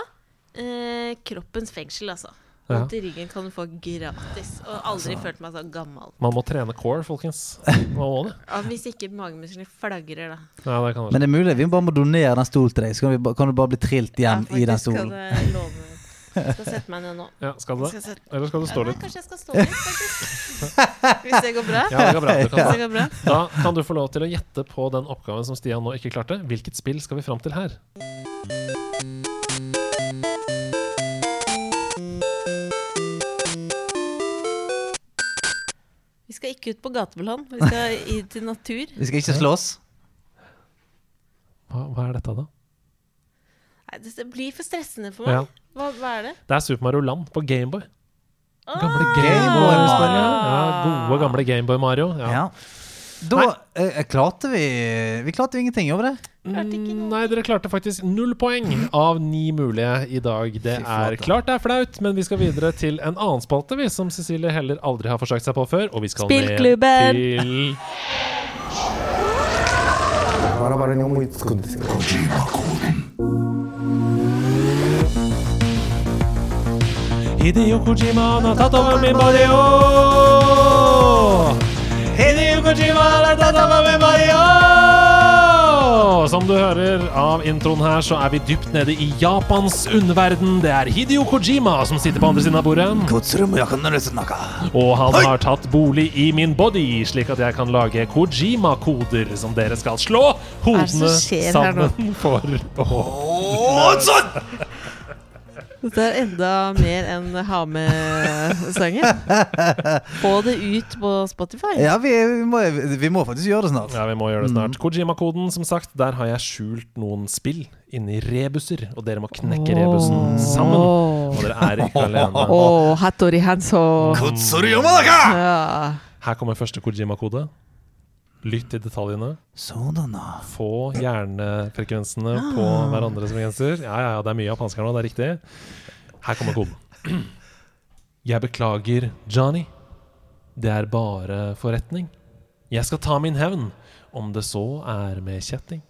Eh, kroppens fengsel, altså. Ja. Vondt i ryggen kan du få gratis. Og aldri følt meg så gammel. Man må trene core, folkens. Man må det. Ja, hvis ikke magemusklene flagrer, da. Nei, det kan Men det er mulig vi bare må donere den stolen til deg, så kan, vi, ba- kan du bare bli trilt Ja, igjen i den faktisk stolen. Skal det love. Jeg skal sette meg ned nå. ja, skal du Jeg det? skal sette... Eller skal du ja, stå nei, litt? kanskje jeg skal stå litt, faktisk. Hvis det går bra. Ja, det går bra. Du Hvis kan det det. går bra. Da kan du få lov til å gjette på den oppgaven som Stian nå ikke klarte. Hvilket spill skal vi fram til her? Vi skal ikke ut på gateplan. Vi skal i, til natur. Vi skal ikke slåss. Hva, hva er dette, da? Nei, det blir for stressende for Ja. meg. Hva, hva er det? Det er Super Mario Land på Gameboy. Gamle Ah! Gameboy Mario. Ja, gode, gamle Gameboy Mario. Ja. Ja. Da eh, klarte vi Vi klarte jo ingenting, gjorde vi det? Klarte ikke noe. Nei, dere klarte faktisk null poeng av ni mulige i dag. Det Fy flate. er klart det er flaut, men vi skal videre til en annen spalte, vi, som Cecilie heller aldri har forsøkt seg på før. Og vi skal Spillklubben. ned til バラバラに思いつくんですけど Hideo Kojima han har tatt over min Mario! Hideo Kojima han har tatt over min Mario! Som du hører av introen her, så er vi dypt nede i Japans underverden. Det er Hideo Kojima som sitter på andre siden av bordet. Og han har tatt bolig i min body, slik at jeg kan lage Kojima-koder som dere skal slå er det som hodene skjer her nå? sammen <laughs> for. Åh. Dette er enda mer enn ha med-sangen. Få det ut på Spotify. Ja, vi, vi, må, vi må faktisk gjøre det snart. Ja, vi må gjøre det snart. Kojima-koden, som sagt, der har jeg skjult noen spill inni rebuser, og dere må knekke rebusen sammen. Og dere er ikke <laughs> alene. Og Hattori Hanso. Ja. Her kommer første Kojima-kode. Lytt til detaljene. Sådanna. Få hjernefrekvensene Ah. på hverandres frekvenser. Ja, ja, ja, det er mye japansk her nå, det er riktig. Her kommer koden. <clears throat> Jeg beklager, Johnny. Det er bare forretning. Jeg skal ta min hevn, om det så er med kjetting.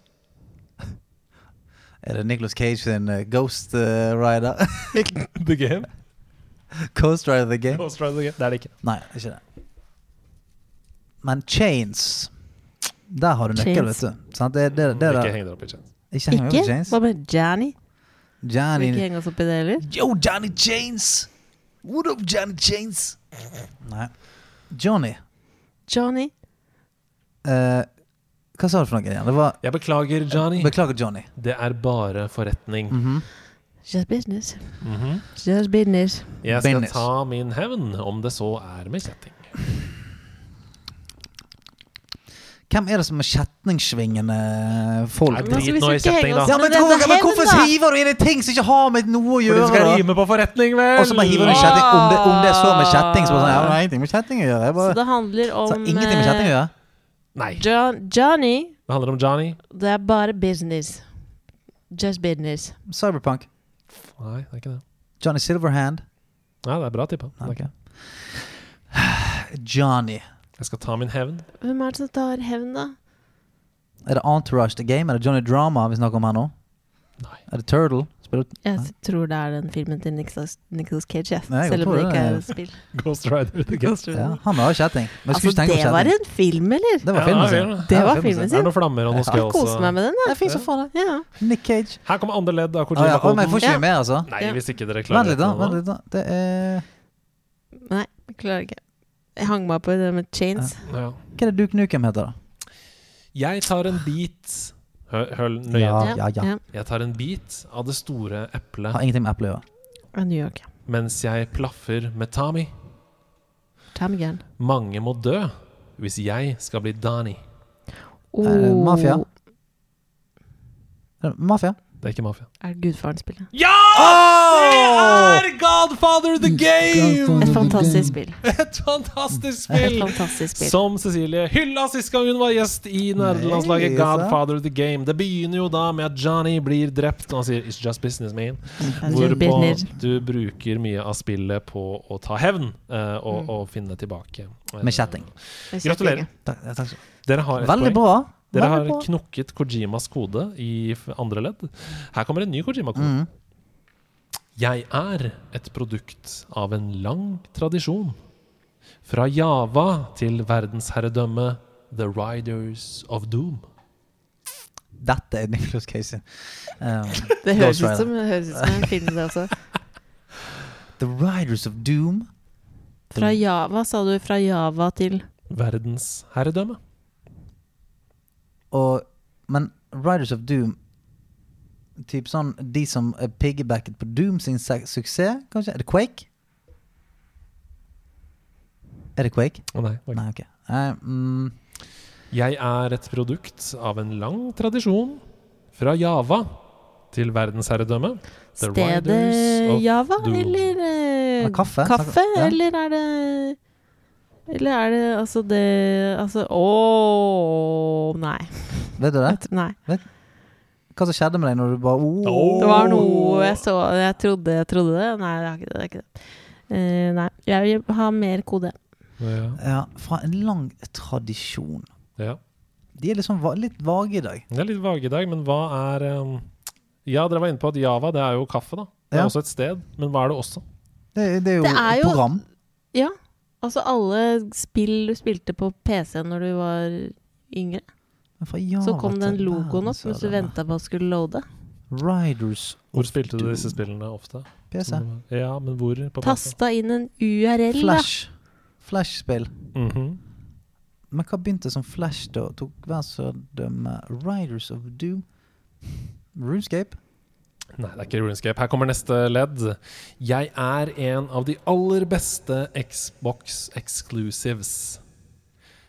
Er det Nicholas Cage sin eh, Ghost eh, Rider? <laughs> The game. Ghost Rider the Game? Ghost Rider Game. Det er det ikke. Nei, det er ikke det. Men Chains Der har du nøkkel, Chains. vet du. Sant? Det, det, det, Ikke det. heng dere opp i chains. Ikke heng Ikke? over Chains. Hva med Janny? Vil Johnny ikke henge oss opp i det heller. Yo, Johnny Chains! What up, Johnny Chains? Nei. Johnny, Johnny. eh, hva sa du for noe igjen? Det var Jeg beklager, Johnny. Beklager, Johnny. Det er bare forretning. Mhm. Just business. Mhm. Just business. Jeg skal Business. ta min hevn, om det så er med kjetting. Hvem er det som er kjetningssvingende folk? Nei, drit nå i kjetting, da. Ja, men, hvor, men hvorfor hiver du inn i ting som ikke har med noe å For gjøre? det skal da? rime på forretning, vel! Og så bare hiver du inn kjetting. Om det, om det er så med kjetting, så bare sånn, ja, det har ingenting med kjetting å gjøre. Jeg Så bare, det handler så om ingenting med kjetting å gjøre. Nei. eh, John, Johnny. Det handler om Johnny. Det er bare business. Just business. Cyberpunk. Nei, det er ikke det. Johnny Silverhand. Nei, det er bra tippa. Det er ikke- <sighs> Johnny. Jeg skal ta min hevn. <laughs> Hvem er det som tar hevn, da? Er det Entourage The Game? Er det Johnny Drama vi snakker om her nå? Nei. Er det Turtle? Spiller du Jeg tror det er den filmen til Nicolas, Nicolas Cage, jeg. Nei, jeg selv om det tror det ikke er er- et <laughs> spill. Ghost Rider. Det er ja, Han må ha kjetting. Men jeg Altså, skulle ikke tenke på det var en film, eller? Det var Ja, filmen det er sin. det. Det var filmen sin. noen flammer og noe Jeg skall. koser meg så- med den, Det er fint som faen, det. jeg. Ja. Nick Cage. Her kommer andre ledd av Å ja, å, men jeg får Kojima-koden. ikke Ja. mer, altså. Nei, hvis ikke dere klarer Vent litt, da. dette nå. Vent litt da. Det er Nei, jeg klarer ikke. Jeg hang meg på det med chains. Ja. Hva er det Duke Nukem heter, da? Jeg tar en bit Hør, hør nøye Ah, Ja, etter. ja, ja. Jeg tar en bit av det store Har eplet ingenting med Apple å gjøre. Ja, New York. mens jeg plaffer med Tommy. Time again. Mange må dø hvis jeg skal bli Dani. Eh, Oh, mafia. Er det Mafia? Det er ikke mafia. Er det Gudfaren-spillet? Ja! Det er Godfather the Game! Et fantastisk spill. <laughs> Et fantastisk Et spill! fantastisk spill. Som Cecilie hylla sist gang hun var gjest i nerdelandslaget Nei, Godfather of the Game. Det begynner jo da med at Johnny blir drept, og han sier 'It's just business, man'. Fantastisk Hvorpå business. du bruker mye av spillet på å ta hevn eh, Mm. og, og finne tilbake. Eh, Med kjetting. Jeg synes Gratulerer. ikke. Takk- takk skal du ha. Dere har et Veldig poeng. bra. Dere har Veldig bra. knokket Kojimas kode i f- andre ledd. Her kommer en ny Kojima-kode. Mm. Jeg er et produkt av en lang tradisjon. Fra Java til verdensherredømmet The Riders of Doom. Dette er Nicholas Casey. Um, <laughs> Det høres Ghost ut Rider. som, det høres ut som en film, det også. The Riders of Doom. Fra Java, sa du. Fra Java til Verdensherredømme. Og, men Riders of Doom Typ sånn De som er piggybacket på Doom sin se- suksess, kanskje? Er det Quake? Er det Quake? Å nei. ok. Nei, ok. Nei, mm, Jeg er et produkt av en lang tradisjon. Fra Java til verdensherredømme. The Riders stedet of Java, Doom. eller eh, Ja, kaffe. kaffe Ja. Eller er det Eller er det altså det Altså Å, nei. vet du det? Vet- nei. Hva som skjedde med deg når du bare oh. Åh. Det var noe jeg så Jeg trodde jeg trodde det. Nei, det er ikke det. det, er ikke det. Eh, nei. Jeg vil ha mer kode. Ja, Ja, Fra en lang tradisjon. ja. De er liksom va litt vage i dag. Det er litt vage i dag, men hva er um... Ja, dere var inne på at Java det er jo kaffe, da. Det er Ja. også et sted, men hva er det også? Det, det er jo Det er et jo- program. Ja. Altså alle spill du spilte på PC når du var yngre. Men fra Java Så kom den til logoen opp verdens- mens du venta på at skulle loade. Riders Hvor of spilte du Doom. disse spillene ofte? PC. Som det var- Ja, men hvor? På PC? Tasta inn en URL, da. Flash. Flash-spill. Mhm. Men hva begynte som Flash, da? Tok verdensdømme Riders of Doom? Runescape? Nei, det er ikke RuneScape. Her kommer neste ledd. Jeg er en av de aller beste Xbox exclusives.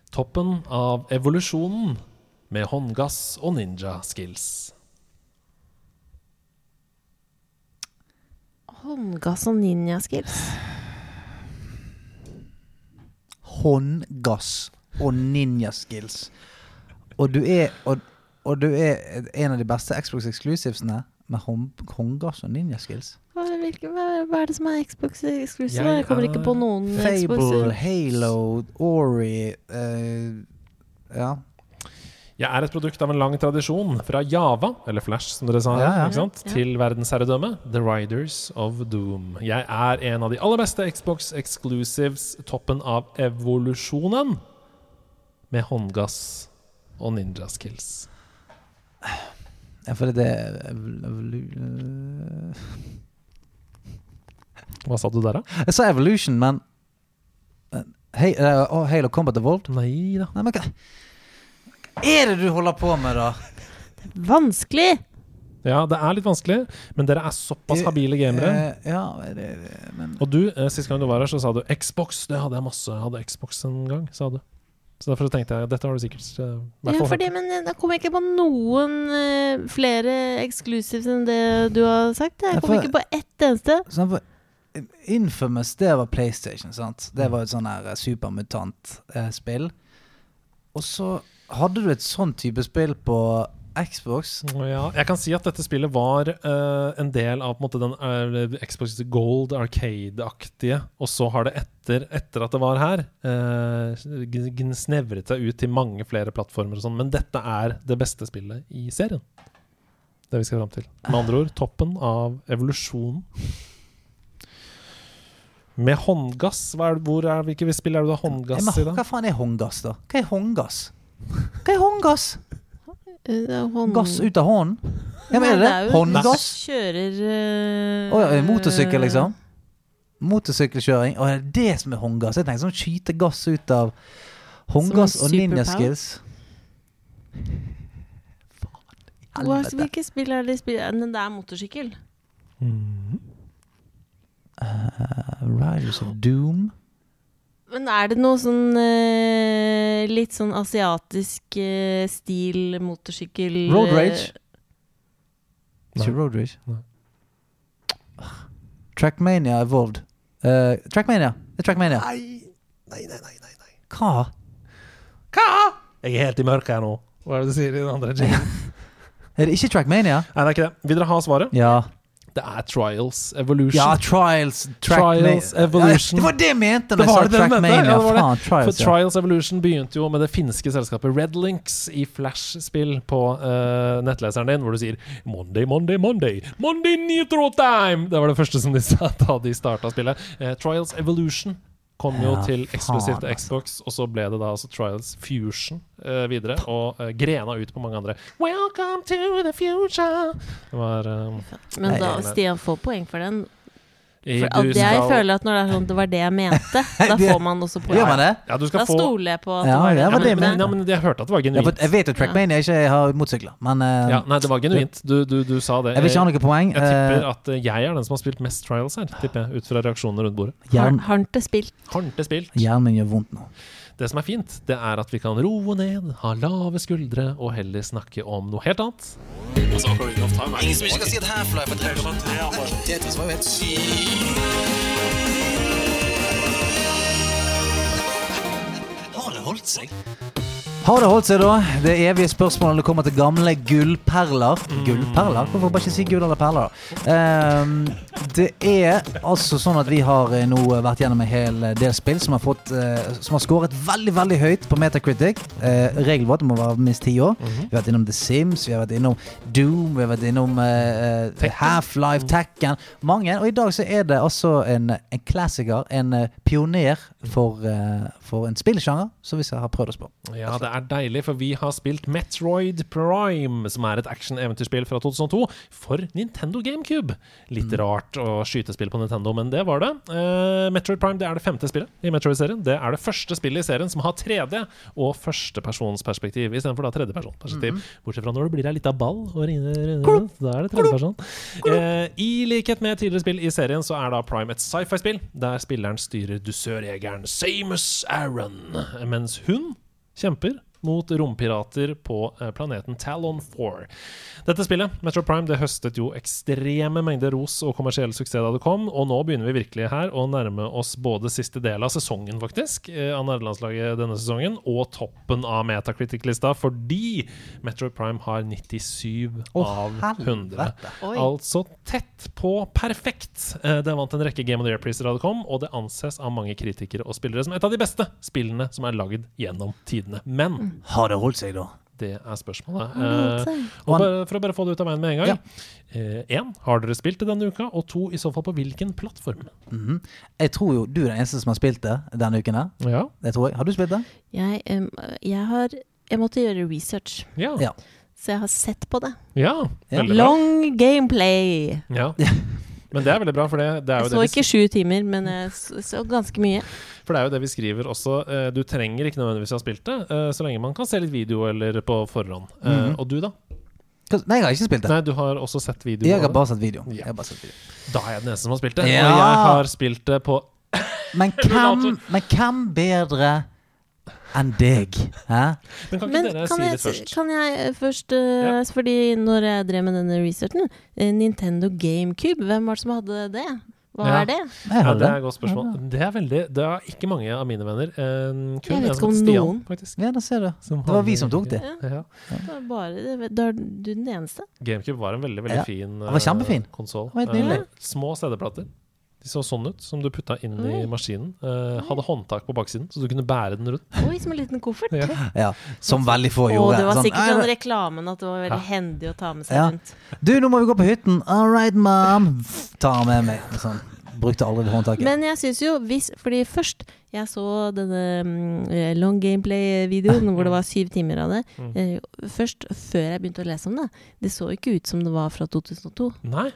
Toppen av evolusjonen med håndgass og ninja skills. Håndgass og ninja skills. Håndgass og ninja skills. Og du er, og, og du er en av de beste Xbox exclusivesene med hånd, håndgass og ninja skills. Hva er, det- hvilke, hva, er, hva er det som er Xbox exclusive? Jeg Jeg, kommer ikke på er- noen Fable, Xbox. Halo, Ori eh, Ja. Jeg er et produkt av en lang tradisjon fra Java, eller Flash som dere sa, her, Ja, ja. Ikke sant? Ja. til verdensherredømme, The Riders of Doom. Jeg er en av de aller beste Xbox exclusives, toppen av evolusjonen, med håndgass og ninja skills. Jeg føler det er evol- evolu- eh, Hva sa du der, da? Jeg sa Evolution, men men Hei- eh, og Halo Combat Evolved? Nei da. Nei, men hva er det du holder på med, da? Vanskelig! Ja, det er litt vanskelig, men dere er såpass habile gamere. Eh, ja, det, men Og du, eh, sist gang du var her, så sa du Xbox. Det hadde jeg masse. Jeg hadde Xbox en gang, sa du. Så derfor så tenkte jeg dette har du sikkert eh, i hvert Ja, fall hørt. fordi, men da kom jeg ikke på noen eh, flere exclusives enn det du har sagt. Jeg Ja, kom for- ikke på ett eneste. Så han var- Sånn, Infamous, det var PlayStation, sant? Det var et sånn her eh, supermutant-spill. Og så hadde du et sånn type spill på Xbox. Ja, jeg kan si at dette spillet var eh, en del av på en måte, den eh, Xbox Gold Arcade-aktige, og så har det etter, etter at det var her, eh, gn- gn- snevret seg ut til mange flere plattformer og sånn, men dette er det beste spillet i serien. Det vi skal fram til. Med andre ord, toppen av evolusjonen. Med håndgass? Hva er, det- hvor er, hvilke spill er det du har Ja, håndgass i, men da? hva faen er håndgass, da? Hva er håndgass? Hva er håndgass? Eh, det er hånd- Gass ut av hånden? Ja, men er Nei, det det? jo- Håndgass? Kjører Å eh, ja, motorsykkel, liksom? Motorsykkelkjøring. Å, er det det som er håndgass? Jeg tenker sånn skyte gass ut av håndgass Som en og ninja superpower? skills. Hva- Faen i helvete. Hvilke spill er det de spiller? Men det er motorsykkel. Riders of Doom. Men er det noe sånn eh, litt sånn asiatisk eh, stil motorsykkel Road eh, Rage? Nei. Ikke Road Rage. Nei. Trackmania Evolved. Eh, Trackmania. Det er Trackmania. Nei, nei, nei, nei, nei. nei. Hva? Jeg er helt i mørket her nå. Hva er det du sier i den <laughs> andre jingen? Er det ikke Eh, Trackmania? Nei, det er ikke det. Vil dere ha svaret? Ja. Det er Trials Evolution. Ja, Trials. Trackma- Trials Evolution. Ja, det var det jeg mente Det når jeg var sa det den mente, ja, Trackmania. det var det. Faen, For Trials, ja. Trials Evolution begynte jo med det finske selskapet Red Links i Flash-spill på eh, nettleseren din, hvor du sier 'Monday, Monday, Monday'. Monday Nitro Time! Det var det første som de <laughs> sa da de starta spillet. Eh, Trials Evolution kom jo Ja, til eksklusivt faen, altså. til Xbox, og så ble det da altså Trials Fusion eh, videre, og eh, grena ut på mange andre. Welcome to the future! Det var eh, Men da, Nei. Stian får poeng for den. i- For at du jeg skal- føler at når det er sånn det var det jeg mente, da Det- får man også Gjør poeng. man det? ja, du skal Da få stoler jeg på at Ja, Ah, det det ja, var men, det jeg det, men, ja, mente. men jeg hørte at det var Ja, eh, for genuint. jeg vet jo Trackmania ikke har motorsykler, men eh, Ja, Eh, nei, det var genuint. Du, du, du sa det. jeg vil ikke ha noe poeng. Jeg tipper Eh, at eh, jeg er den som har spilt mest trials her, tipper jeg, ut fra reaksjonene rundt bordet. Har, hjernen, har han ikke spilt? Har ikke spilt. hjernen min gjør vondt nå. Det som er fint, det er at vi kan roe ned, ha lave skuldre og heller snakke om noe helt annet. Ingen som ikke skal si at Half-Life er trash. Tetris var jo helt sykt. Har det holdt seg? Har det holdt seg, da? Det evige spørsmålet når det kommer til gamle gullperler. Gullperler? Hvorfor bare ikke si gull eller perler? Ehm, det er altså sånn at vi har eh, nå vært gjennom en hel del spill som har, fått, eh, som har skåret veldig veldig høyt på Metacritic. Uh, Regelen vår at det må være minst ti år. Vi har vært innom The Sims, vi har vært innom Doom, vi har vært innom eh, eh, Half-Life, Tekken Mange. Og i dag så er det altså en, en klassiker, en eh, pioner for, eh, for en spillsjanger som vi har prøvd oss på. Ja, det er deilig, for vi har spilt Metroid Prime, som er et action-eventyrspill fra 2002 for Nintendo GameCube. Litt rart å skytespill på Nintendo, men det var det. Eh, Metroid Prime det er det femte spillet i Metroid-serien. Det er det første spillet i serien som har 3D og førstepersonsperspektiv istedenfor da tredjepersonsperspektiv. Bortsett fra når det blir ei lita ball og ringer, da er det tredjeperson. Eh, I likhet med tidligere spill i serien så er da Prime et sci-fi-spill, der spilleren styrer dusørjegeren Samus Aran, mens hun kjemper mot rompirater på eh, planeten Talon 4. Dette spillet, Metro Prime, det høstet jo ekstreme mengder ros og kommersiell suksess da det kom, og nå begynner vi virkelig her å nærme oss både siste del av sesongen, faktisk, eh, av nederlandslaget denne sesongen, og toppen av Metacritic-lista, fordi Metro Prime har 97 Å, av helvete. 100. Oi. Altså tett på perfekt. Eh, Det vant en rekke Game of the Year-priser da det kom, og det anses av mange kritikere og spillere som et av de beste spillene som er lagd gjennom tidene. Men Har det holdt seg, da? det er spørsmålet. Mm. det holdt seg? Eh, Og bare, for å bare få det ut av veien med en gang. Eh, En, har dere spilt det denne uka? Og to, i så fall på hvilken plattform? Mhm. Jeg tror jo du er den eneste som har spilt det denne uken. her. Ja. Det tror jeg. Har du spilt det? Jeg, em, jeg har Jeg måtte gjøre research, Ja. Ja. så jeg har sett på det. ja. Ja. Veldig bra. Long gameplay! Ja. Men det er veldig bra, for det, det er Jeg jo så det vi ikke sju timer, men jeg så, så ganske mye. For det er jo det vi skriver også. eh, Du trenger ikke nødvendigvis å ha spilt det, eh, så lenge man kan se litt video eller på forhånd. Eh, Mm. Og du, da? Hva- Nei, jeg har ikke spilt det. Nei, du har også sett video. Jeg har av det. bare sett video. Ja. Jeg har bare sett video. Da er jeg den eneste som har spilt det. Ja! Og jeg har spilt <laughs> det på Men hvem, later. men hvem bedre enn deg. Hæ? Men kan ikke Men dere kan si jeg, litt først? kan jeg eh, først eh, Ja. Fordi når jeg drev med denne researchen, eh, Nintendo GameCube, hvem var det som hadde det? Hva Ja. er det? Jeg Ja, hadde. det er et godt spørsmål. Det er veldig Det er ikke mange av mine venner. eh, Kun Jeg vet en ikke som om heter Stian, noen. faktisk. Ja, da ser du. som Det var hadde- vi som tok det. Ja. Det var Bare, da er du den eneste. GameCube var en veldig veldig Ja. fin var kjempefin. konsoll. Den var helt nydelig. små CD-plater. De så sånn ut, som du putta inn i Oi. maskinen. Eh, hadde håndtak på baksiden, så du kunne bære den rundt. Oi, som en liten koffert. Ja. Ja, som veldig få Og gjorde. det var Sånn, sikkert «Nei, sånn nå- reklamen at det var veldig hendig å ta med seg Ja. rundt. Du, nå må vi gå på hytten. All right, mom. Tar med meg. Sånn. Brukte aldri det håndtaket. Men jeg syns jo hvis Fordi først jeg så denne mm, eh, long <laughs> gameplay-videoen hvor det var syv timer av det. Mm. eh, Først før jeg begynte å lese om det. Det så ikke ut som det var fra 2002. Nei?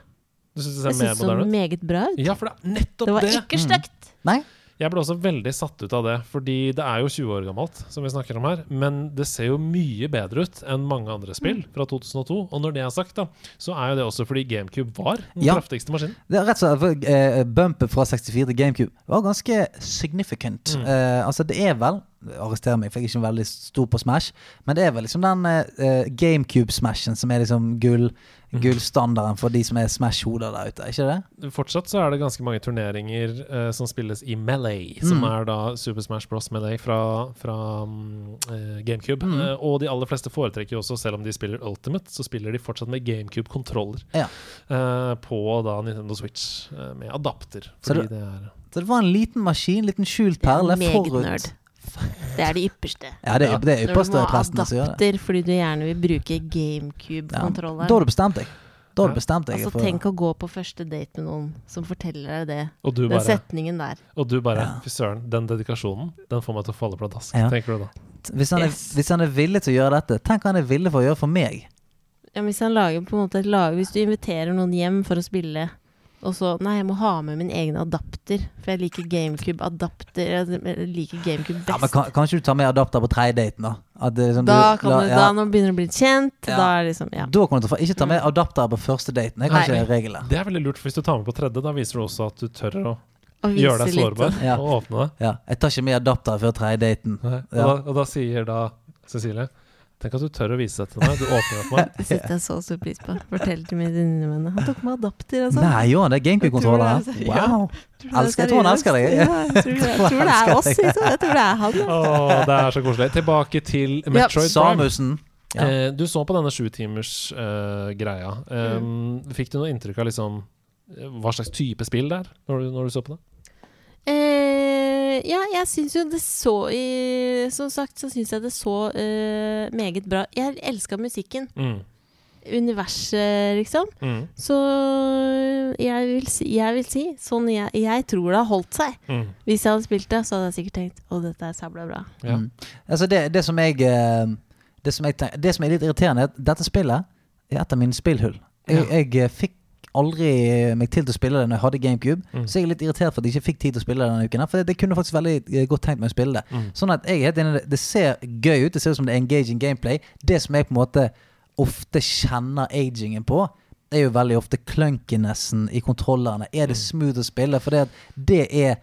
Du syns det ser Jeg syns mer det så moderne ut? meget bra ut. Ja, for det er nettopp det! Det var ikke Mm. stygt. Nei? Jeg ble også veldig satt ut av det, fordi det er jo 20 år gammelt, som vi snakker om her, men det ser jo mye bedre ut enn mange Mm. andre spill fra 2002. Og når det er sagt, da, så er jo det også fordi GameCube var den Ja. kraftigste maskinen. Det er rett og slett for, eh, Bumpet fra 64 til GameCube var ganske significant. Eh, altså, det er vel Arrester meg, for jeg er ikke veldig stor på Smash. Men det er vel liksom den eh, eh, GameCube-smashen som er liksom gull gullstandarden for de som er Smash-hoder der ute, er ikke det? Fortsatt så er det ganske mange turneringer eh, som spilles i Melee, som Mm. er da Super Smash Bros. Melee fra, fra mm, eh, GameCube. Eh, og de aller fleste foretrekker jo også, selv om de spiller Ultimate, så spiller de fortsatt med GameCube-kontroller Ja. eh, på da Nintendo Switch eh, med adapter. Så Fordi det- det er Så det var en liten maskin, liten skjult perle Meget forut. nerd. Det er det ypperste. Ja, det er, det er Når du ypperste må ha presten som gjør det. adapter fordi du gjerne vil bruke Ja. Da har GameCube-kontrolleren. du bestemt deg. Da har du bestemt deg. Altså, for- tenk å gå på første date med noen som forteller deg det. Og du Den bare, setningen der. og du bare Fy søren, den dedikasjonen, den får meg til å falle pladask, Ja. tenker du da. Hvis han, Yes. er, hvis han er villig til å gjøre dette, tenk hva han er villig for å gjøre for meg. Ja, men hvis han lager på en måte et lag Hvis du inviterer noen hjem for å spille og så Nei, jeg må ha med min egen adapter, for jeg liker GameCube-adapter. Jeg liker GameCube Ja, men best. kan, Kanskje du tar med adapter på tredjedaten, da? At det er liksom da du- kan la- du, ja. da når du begynner å bli kjent, Ja. da er det liksom Ja. Da kan du ta, ikke ta med adapter på første daten. Det er kanskje regelen. Det er veldig lurt, for hvis du tar med på tredje, da viser du også at du tør å Og gjøre vise deg litt, sårbar Ja. og åpne deg. Ja, jeg tar ikke med adapter før tredjedaten. Nei, Og, Ja. da, og da sier da Cecilie Tenk at du tør å vise deg til meg. Du åpner deg for <laughs> meg. Det setter jeg så stor pris på. Fortell til mine venner. Han tok med adapter, altså. Nei, gjør han det? Gamecube-kontroller? Jeg tror det er- <laughs> Wow. det er elsker- jeg tror han elsker deg. seriøst. <laughs> Ja, jeg, tror, jeg tror det er oss, liksom. Jeg tror det er han. Å, det er så koselig. Tilbake til Metroid Prime. Samusen. Ja. Eh, du så på denne sjutimers-greia. Ehm, Fikk du noe inntrykk av liksom eh, hva slags type spill det er, når du, når du så på det? Eh, ja, jeg syns jo det så i, Som sagt så syns jeg det så eh, meget bra. Jeg elska musikken. Mm. Universet, liksom. Mm. Så jeg vil si, jeg vil si sånn jeg, jeg tror det har holdt seg. Mm. Hvis jeg hadde spilt det, så hadde jeg sikkert tenkt å, dette er sabla bra. Ja. Mm. Altså det, det som jeg eh, det som, jeg tenk, det som er litt irriterende, er at dette spillet er et av mine spillhull. Jeg, jeg eh, fikk aldri eh, meg til til å spille det når jeg hadde GameCube, så jeg er litt irritert for at jeg ikke fikk tid til å spille det denne uken. her, For det, det kunne faktisk veldig eh, godt tenkt meg å spille det. Sånn at jeg er helt enig, i det- det ser gøy ut, det ser ut som det er engaging gameplay. Det som jeg på en måte ofte kjenner agingen på, er jo veldig ofte clunkinessen i kontrollerne. Er det smooth å spille? For det, at det er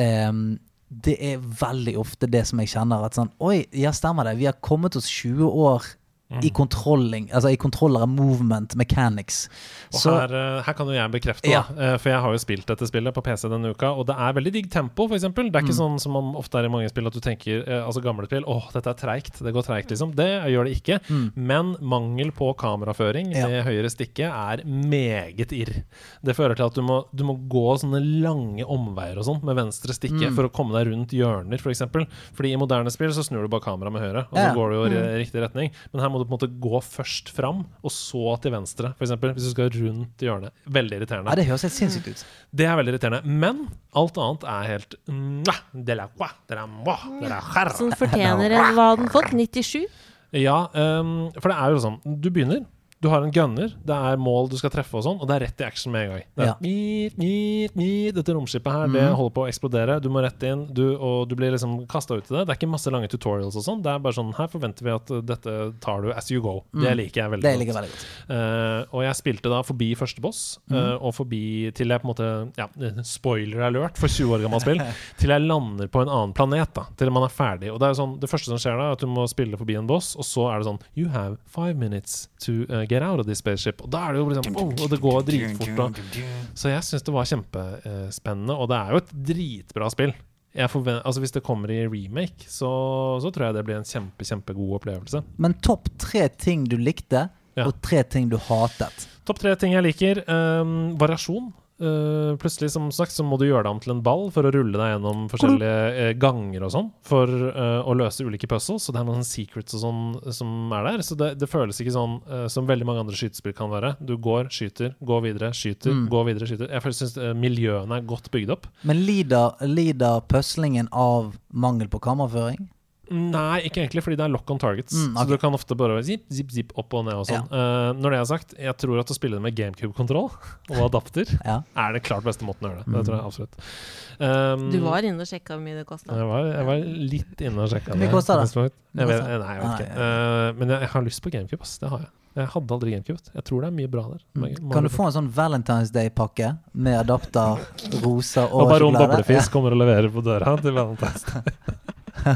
ehm, det er veldig ofte det som jeg kjenner at sånn Oi, ja, stemmer det. Vi har kommet oss 20 år i Mm. kontrolling, altså i kontroller av movement mechanics. Og Så her, eh, her kan jo jeg bekrefte, Ja. da, eh, for jeg har jo spilt dette spillet på PC denne uka, og det er veldig digg tempo, f.eks. Det er ikke Mm. sånn som man ofte er i mange spill at du tenker eh, altså gamle spill, åh, dette er treigt, det går treigt, liksom. Det gjør det ikke. Men mangel på kameraføring Mm. Ja. med høyre stikke er meget irr. Det fører til at du må, du må gå sånne lange omveier og sånn med venstre stikke Mm. for å komme deg rundt hjørner, f.eks. For eksempel. Fordi i moderne spill så snur du bare kameraet med høyre, og så Ja. går du jo i Mm. riktig retning. Men her må du på en måte gå først fram, og så til venstre, f.eks. Hvis du skal rundt hjørnet. Veldig irriterende. Ja, det høres helt sinnssykt ut. Det er veldig irriterende. Men alt annet er helt mwah, de la qua, de la moi, de la jarra. <laughs> Sånn. Som fortjener en Hva hadde den fått? 97? Ja, ehm, for det er jo sånn Du begynner, Du har en gunner, det er mål du skal treffe, og sånn Og det er rett i action med en gang. Det er, Ja. Mm. «Miip, miip, miip», Dette romskipet her Det holder på å eksplodere, du må rett inn, du, og du blir liksom kasta ut i det. Det er ikke masse lange tutorials og sånn. Det er bare sånn Her forventer vi at uh, dette tar du as you go. Mm. Det liker jeg veldig Det godt. liker jeg veldig godt. Mhm. Eh, og jeg spilte da forbi første boss, eh, og forbi til jeg på en måte ja, Spoiler alert for 20 år <laughs> gammelt spill. Til jeg lander på en annen planet, da. Til man er ferdig. Og Det er jo sånn, det første som skjer da, er at du må spille forbi en boss, og så er det sånn You have five minutes to eh, get out of this spaceship. Og da er det jo liksom oh, Og det går dritfort. da Så jeg syns det var kjempespennende, og det er jo et dritbra spill. Jeg forven- altså Hvis det kommer i remake, så, så tror jeg det blir en kjempe, kjempegod opplevelse. Men topp tre ting du likte, Ja. og tre ting du hatet. Topp tre ting jeg liker. Ehm, variasjon. Eh, plutselig som sagt så må du gjøre deg om til en ball for å rulle deg gjennom forskjellige eh, ganger og sånn for eh, å løse ulike puzzles. Så det er noen secrets og sånn som er der. Så det, det føles ikke sånn eh, som veldig mange andre skytespill kan være. Du går, skyter, går videre, skyter, går videre, skyter. Jeg syns miljøene er godt bygd opp. Men lider, lider pøslingen av mangel på kameraføring? Nei, ikke egentlig, fordi det er lock on targets. Mm, ok. Så du kan ofte bare zip, zip, zip opp og ned og sånn. Eh, når det er sagt, jeg tror at å spille det med GameCube-kontroll <laughs> og adapter Ja. Mm. er det klart beste måten å gjøre det. Det tror jeg absolutt. Um, Du var inne og sjekka hvor mye det kosta. jeg var, jeg var litt inne og sjekka Hvor mye koster det? Jeg, Hvor mye vet, koster det? nei, jeg vet ikke. Nei, Eh, men jeg, jeg har lyst på GameCube, ass. Det har jeg. Jeg hadde aldri GameCube. Jeg tror det er mye bra der. Må- Kan du få en sånn Valentine's Day-pakke med adapter, roser og og Baron sjokolade? Boblefisk kommer og leverer på døra til Valentine's.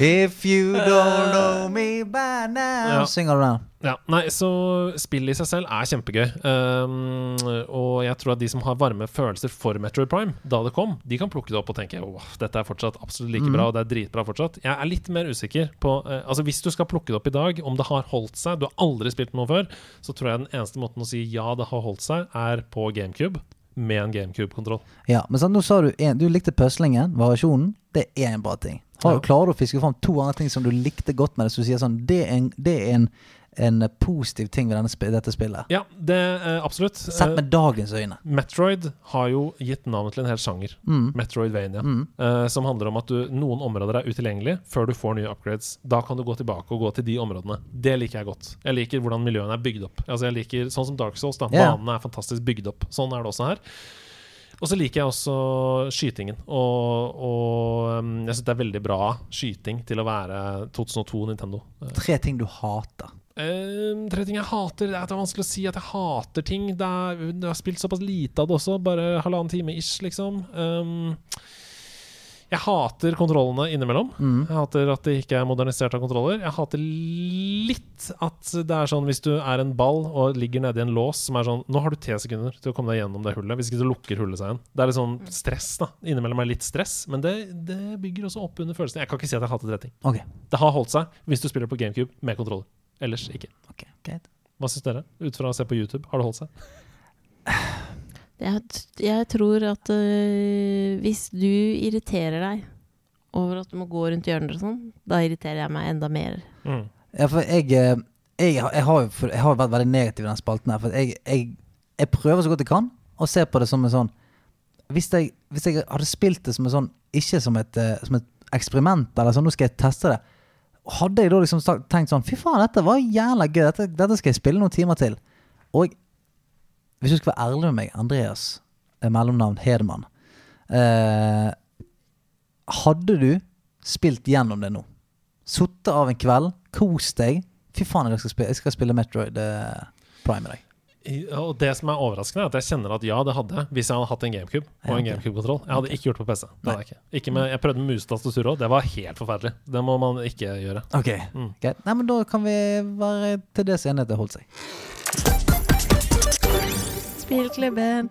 If you don't know me by now Ja. Synger du den? Ja, nei, så spillet i seg selv er kjempegøy. Um, og jeg tror at de som har varme følelser for Metroid Prime da det kom, de kan plukke det opp og tenke åh, dette er fortsatt absolutt like bra, og det er dritbra fortsatt. Jeg er litt mer usikker på eh, Altså, hvis du skal plukke det opp i dag, om det har holdt seg, du har aldri spilt noe før, så tror jeg den eneste måten å si ja, det har holdt seg, er på GameCube med en GameCube-kontroll. Ja, men sant, nå sa du en, Du likte pøslingen, variasjonen. Det er en bra ting. Har, Ja. Klarer du å fiske fram to andre ting som du likte godt med det? Så du sier sånn Det er en, det er en, en positiv ting ved denne, sp- dette spillet. Ja, det eh, absolutt. Sett Eh, med dagens øyne. Metroid har jo gitt navnet til en hel sjanger, Metroidvania, eh, som handler om at du, noen områder er utilgjengelige før du får nye upgrades. Da kan du gå tilbake og gå til de områdene. Det liker jeg godt. Jeg liker hvordan miljøene er bygd opp. Altså jeg liker, Sånn som Dark Souls, da. Ja. Banene er fantastisk bygd opp. Sånn er det også her. Og så liker jeg også skytingen. Og, og um, jeg syns det er veldig bra skyting til å være 2002 Nintendo. Eh, Tre ting du hater. Ehm, tre ting jeg hater. Det er at det er vanskelig å si at jeg hater ting. Det er, jeg har spilt såpass lite av det også, bare halvannen time ish, liksom. Ehm, jeg hater kontrollene innimellom. Jeg hater at det ikke er modernisert av kontroller. Jeg hater litt at det er sånn hvis du er en ball og ligger nedi en lås som er sånn Nå har du T sekunder til å komme deg gjennom det hullet. Hvis ikke så lukker hullet seg igjen. Det er litt sånn stress, da. Innimellom er det litt stress, men det, det bygger også opp under følelsen. Jeg kan ikke si at jeg hater tre ting. Ok, Det har holdt seg hvis du spiller på GameCube med kontroller. Ellers ikke. ok, greit. Hva syns dere? Ut fra å se på YouTube, har det holdt seg? Jeg, t- jeg tror at øh, hvis du irriterer deg over at du må gå rundt hjørner og sånn, da irriterer jeg meg enda mer. Ja, for jeg, eh, jeg, har- jeg, har, jo- for jeg har jo vært veldig negativ i den spalten her. For jeg, jeg, jeg prøver så godt jeg kan å se på det som en sånn Hvis jeg, hvis jeg hadde spilt det som en sånn ikke som et, eh, som et eksperiment, eller sånn, nå skal jeg teste det, hadde jeg da liksom sagt- tenkt sånn Fy faen, dette var jævla gøy. Dette, dette skal jeg spille noen timer til. Og hvis du skal være ærlig med meg, Andreas, eh, mellomnavn Hedemann eh, Hadde du spilt gjennom det nå? Sittet av en kveld, kost deg. Fy faen, jeg skal spille, jeg skal spille Metroid eh, Prime i dag. Og det som er overraskende, er at jeg kjenner at ja, det hadde jeg hvis jeg hadde hatt en GameCube og en GameCube-kontroll. Jeg hadde ikke gjort det på PC. Det hadde jeg ikke. Ikke med, jeg prøvde med musetastatur òg, det var helt forferdelig. Det må man ikke gjøre. Ok. Mm. Greit. Nei, men da kan vi være til dels enige at det holdt seg. Spillklubben.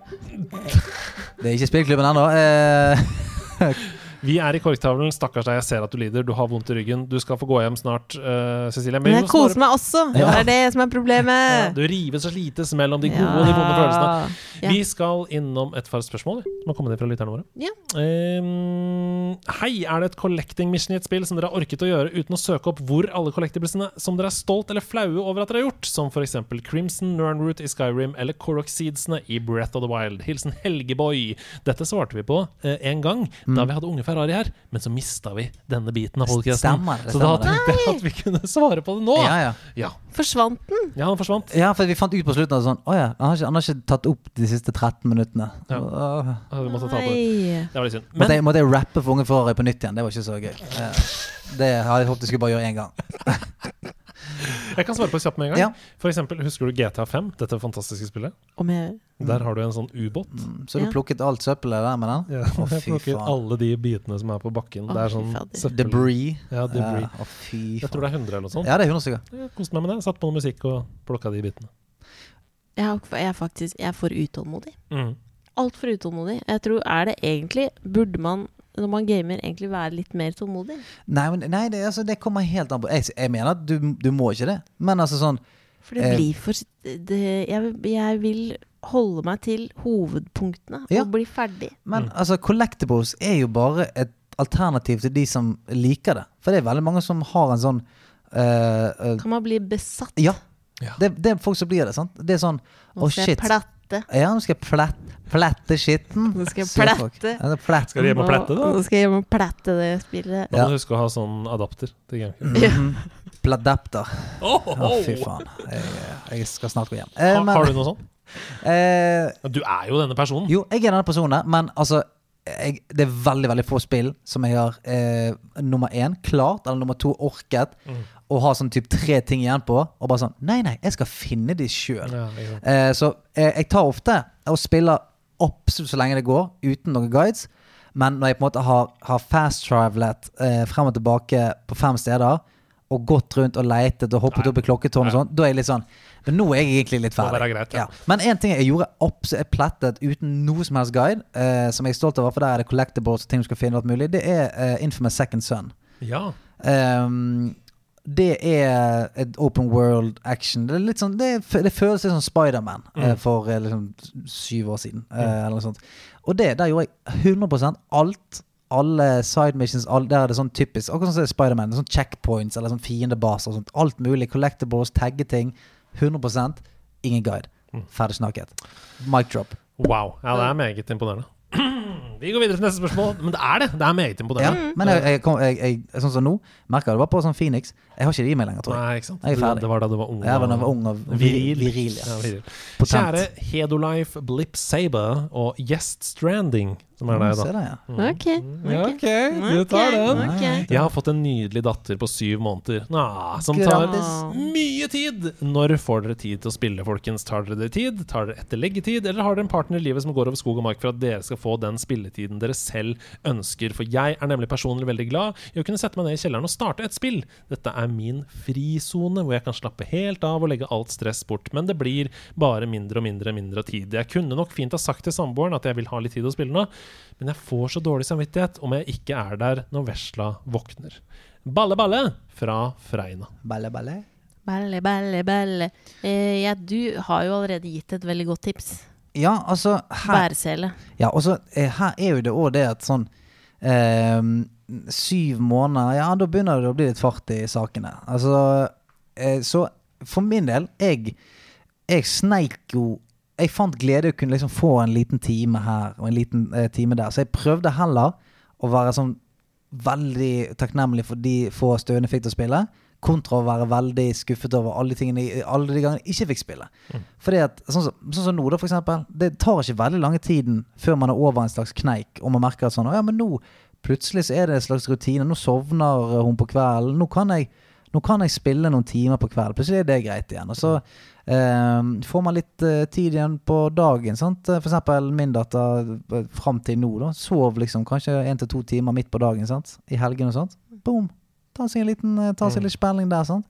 Det er ikke spillklubben ennå. Eh, Vi er i korktavlen. Stakkars deg, jeg ser at du lider. Du har vondt i ryggen. Du skal få gå hjem snart, eh, Cecilie. Men vi jeg må koser svare- meg også! Det er det som er Ja, problemet. Du rives og slites mellom de gode og de vonde følelsene. Ja. Vi skal innom et par spørsmål vi, som har kommet inn fra lytterne våre. Ja. Ehm, hei, er det et collecting mission i et spill som dere har orket å gjøre uten å søke opp hvor alle collectiblesene som dere er stolt eller flaue over at dere har gjort, som f.eks. Crimson, Nernroot i Skyrim eller Korok Mm. Seedsene i Breath of the Wild? Hilsen Helgeboy. Dette svarte vi på eh, en gang da vi hadde unge Harari her, men så mista vi denne biten av podkasten. Stemmer det. Så da Stemmer det. tenkte jeg at vi kunne svare på det nå. <laughs> Ja, ja. Ja, Forsvant den? ja han forsvant. ja, for vi fant ut på slutten at sånn, å ja, han, har ikke, han har ikke tatt opp de siste 13 minuttene. Ja. Åh. Ja, Vi måtte ta på det. Nei. Det var litt synd. måtte, Men jeg, måtte jeg rappe for Unge Ferrari på nytt igjen? Det var ikke så gøy. Eh, Det hadde jeg håpet jeg skulle bare gjøre én gang. jeg kan svare på det kjapt med en Ja. gang. For eksempel, husker du GTA5? Dette fantastiske spillet. Om jeg Mm. Der har du en sånn ubåt. Så du Ja. plukket alt søppelet der med den? Ja, <laughs> Mm. Å, jeg fy plukker faen. alle de bitene som er på bakken. Å, Det er fy sånn fader. søppel- Debris. Ja, debris. Eh, Å, fy Jeg tror faen. det er 100 eller noe sånt. Ja, det er 100 stykker. Jeg koste meg med det. Satt på noe musikk og plukka de bitene. jeg, har ikke- jeg er faktisk Jeg er for utålmodig. Mm. Altfor utålmodig. Jeg tror er det egentlig Burde man når man gamer, egentlig være litt mer tålmodig? Nei, men, nei det, altså, det kommer helt an på Jeg, jeg mener at du, du må ikke det, men altså sånn For det Eh. blir for det, jeg, jeg vil holde meg til hovedpunktene Ja. og bli Mm. ferdig. Men altså, collectibles er jo bare et alternativ til de som liker det. For det er veldig mange som har en sånn eh, eh, Kan man bli besatt? Ja. Ja. Det, det er folk som blir det, sant? Det er sånn Å, Nå skal jeg shit. platte. Ja, nå skal jeg plat, platte skitten. Nå skal jeg Sier folk. platte. Ja, det er platt. Skal de hjem og plette, da? Nå skal jeg hjem og platte det spillet. Man Ja. må huske å ha sånn adapter til GameCube. Pladapter. <laughs> Oh, Å, fy faen. Jeg, jeg skal snart gå hjem. Eh, Har, men- har du noe sånt? eh, Du er jo denne personen. Jo, jeg er denne personen, der, men altså jeg, Det er veldig veldig få spill som jeg har eh, nummer én klart, eller nummer to orket, og har sånn typ tre ting igjen på, og bare sånn Nei, nei, jeg skal finne de sjøl. Ja, ikke sant. Eh, så eh, jeg tar ofte og spiller absolutt så lenge det går, uten noen guides. Men når jeg på en måte har, har fast-travelet eh, frem og tilbake på fem steder, og gått rundt og leitet og hoppet opp i klokketårnet og sånn, da er jeg litt sånn Men nå er jeg egentlig litt Må ferdig. være greit, ja. Men én ting jeg gjorde absolutt jeg plettet uten noe som helst guide, eh, som jeg er stolt over, for der er det collectibles og ting du skal finne alt mulig, det er eh, Infamous Second Son. ja. Ehm, det er et open world action. Det, er litt sånn, det, f- det føles litt som Spiderman eh, for eh, liksom, syv år siden. eh, eller noe sånt. Og det, der gjorde jeg 100 alt. Alle side missions, all, der er det sånn typisk. Akkurat sånn som Spiderman. det er Sånn checkpoints eller sånn fiendebaser. og Sånt. Alt mulig. Collectibles, taggeting. 100 Ingen guide. Ferdig snakket. Mic drop. Wow. Ja, det er meget imponerende. <clears throat> Vi går videre til neste spørsmål. Men det er det. Det er meget Ja, imponerende. men jeg, jeg, kom, jeg, jeg, sånn som nå, merker jeg det bare på sånn Phoenix. Jeg har ikke det i meg lenger, tror jeg. Nei, ikke sant? Jeg er Du- ferdig. Det var da du var ung. Jeg var da jeg og- var ung og Viril. viril, ja. Ja, viril. Potent. Kjære Hedolife, Blip Saber og Gjest Stranding, som er deg, Mm, Se da. der, ja. Ok. ok. Mm. du tar den. Ok. Jeg har fått en nydelig datter på syv måneder, Nå, som tar Grattis. Mye tid! Når får dere tid til å spille, folkens? Tar dere det tid? Tar dere etter leggetid? Eller har dere en partner i livet som går over skog og mark for at dere skal få den spilletiden dere selv ønsker? For jeg er nemlig personlig veldig glad i å kunne sette meg ned i kjelleren og starte et spill. Dette er min frisone, hvor jeg kan slappe helt av og legge alt stress bort. Men det blir bare mindre og mindre og mindre tid. Jeg kunne nok fint ha sagt til samboeren at jeg vil ha litt tid å spille nå, men jeg får så dårlig samvittighet om jeg ikke er der når vesla våkner. Balle, balle fra Freina. Balle, balle. Belle, belle, belle. Eh, ja, du har jo allerede gitt et veldig godt tips. Ja, altså her, Bæresele. ja, og så, eh, her er jo det òg det at sånn ehm, Syv måneder Ja, da begynner det å bli litt fart i sakene. Altså eh, Så for min del, jeg, jeg sneik jo Jeg fant glede i å kunne liksom få en liten time her og en liten eh, time der. Så jeg prøvde heller å være sånn veldig takknemlig for de få støene jeg fikk til å spille, kontra å være veldig skuffet over alle de, tingene, alle de gangene jeg ikke fikk spille. Fordi at, sånn som, sånn som nå, da, for eksempel. Det tar ikke veldig lange tiden før man er over en slags kneik, og man merker at sånn, «Å ja, men nå plutselig så er det en slags rutine. Nå sovner hun på kvelden. Nå kan jeg, nå kan jeg spille noen timer på kvelden. Plutselig er det greit igjen. Og så eh, får man litt eh, tid igjen på dagen. Sant? For eksempel min datter eh, fram til nå da, sov liksom kanskje én til to timer midt på dagen sant? i helgen og sånt. Boom! Ta seg en liten eh, Mm. ta seg litt spilling der. sant?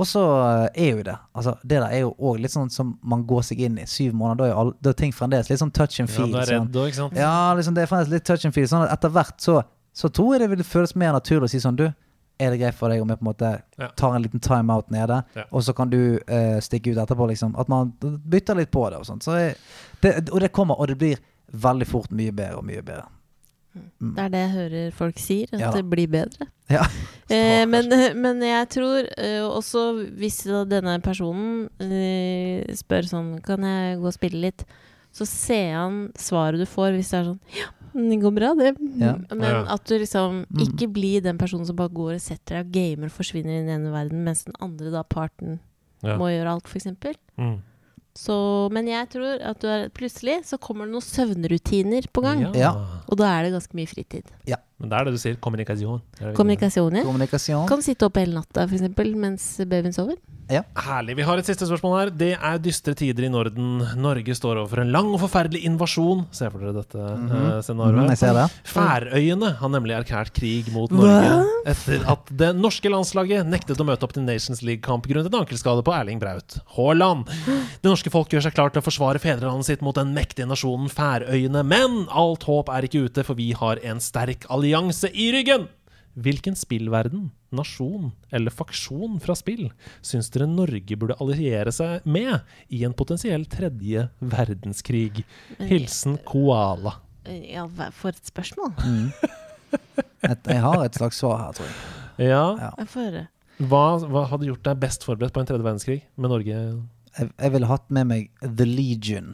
Og så eh, er jo det. Altså, det der er jo òg litt sånn som man går seg inn i. Syv måneder, da er, jo all, da er ting fremdeles litt sånn touch and Ja, feel. du er sånn. redd òg, ikke sant? Ja, liksom det er fremdeles litt touch and feel. Sånn at etter hvert så, så tror jeg det vil føles mer naturlig å si sånn Du, er det greit for deg om jeg på en måte Ja. tar en liten timeout nede, Ja. og så kan du eh, stikke ut etterpå, liksom? At man bytter litt på det og sånt. Så jeg, det, og det kommer, og det blir veldig fort mye bedre og mye bedre. Det er det jeg hører folk sier, at Ja da. det blir bedre. Ja. Eh, men, men jeg tror eh, også hvis da denne personen eh, spør sånn Kan jeg gå og spille litt? Så ser han svaret du får hvis det er sånn Ja, Det går bra, det. Ja. Mm. Men Ja. at du liksom ikke blir den personen som bare går og setter deg og gamer og forsvinner inn i den ene verden, mens den andre da parten Ja. må gjøre alt, f.eks. Mm. Så, men jeg tror at du er, plutselig så kommer det noen søvnrutiner på gang. Ja. Og da er det ganske mye fritid. Men det er det du sier. Kommunikasjon. Det er det viktige. Kommunikasjon, ja. Kommunikasjon. Kan sitte oppe hele natta for eksempel, mens babyen sover. Herlig. Vi har et siste spørsmål her. Det er dystre tider i Norden. Norge står overfor en lang og forferdelig invasjon. Se for dere dette mm scenarioet. Mhm, jeg ser det. Færøyene har nemlig erklært krig mot Norge etter at det norske landslaget nektet å møte opp til Nations League-kamp grunnet en ankelskade på Erling Braut Haaland. Det norske folk gjør seg klar til å forsvare fedrelandet sitt mot den mektige nasjonen Færøyene, men alt håp er ikke ute, for vi har en sterk allianse i ryggen! Hvilken spillverden, nasjon eller faksjon fra spill syns dere Norge burde alliere seg med i en potensiell tredje verdenskrig? Hilsen Koala. Ja, hva- for et spørsmål. Et, jeg har et slags svar her, tror jeg. Ja, Jeg får høre. Hva, hva hadde gjort deg best forberedt på en tredje verdenskrig med Norge? Jeg, jeg ville hatt med meg The Legion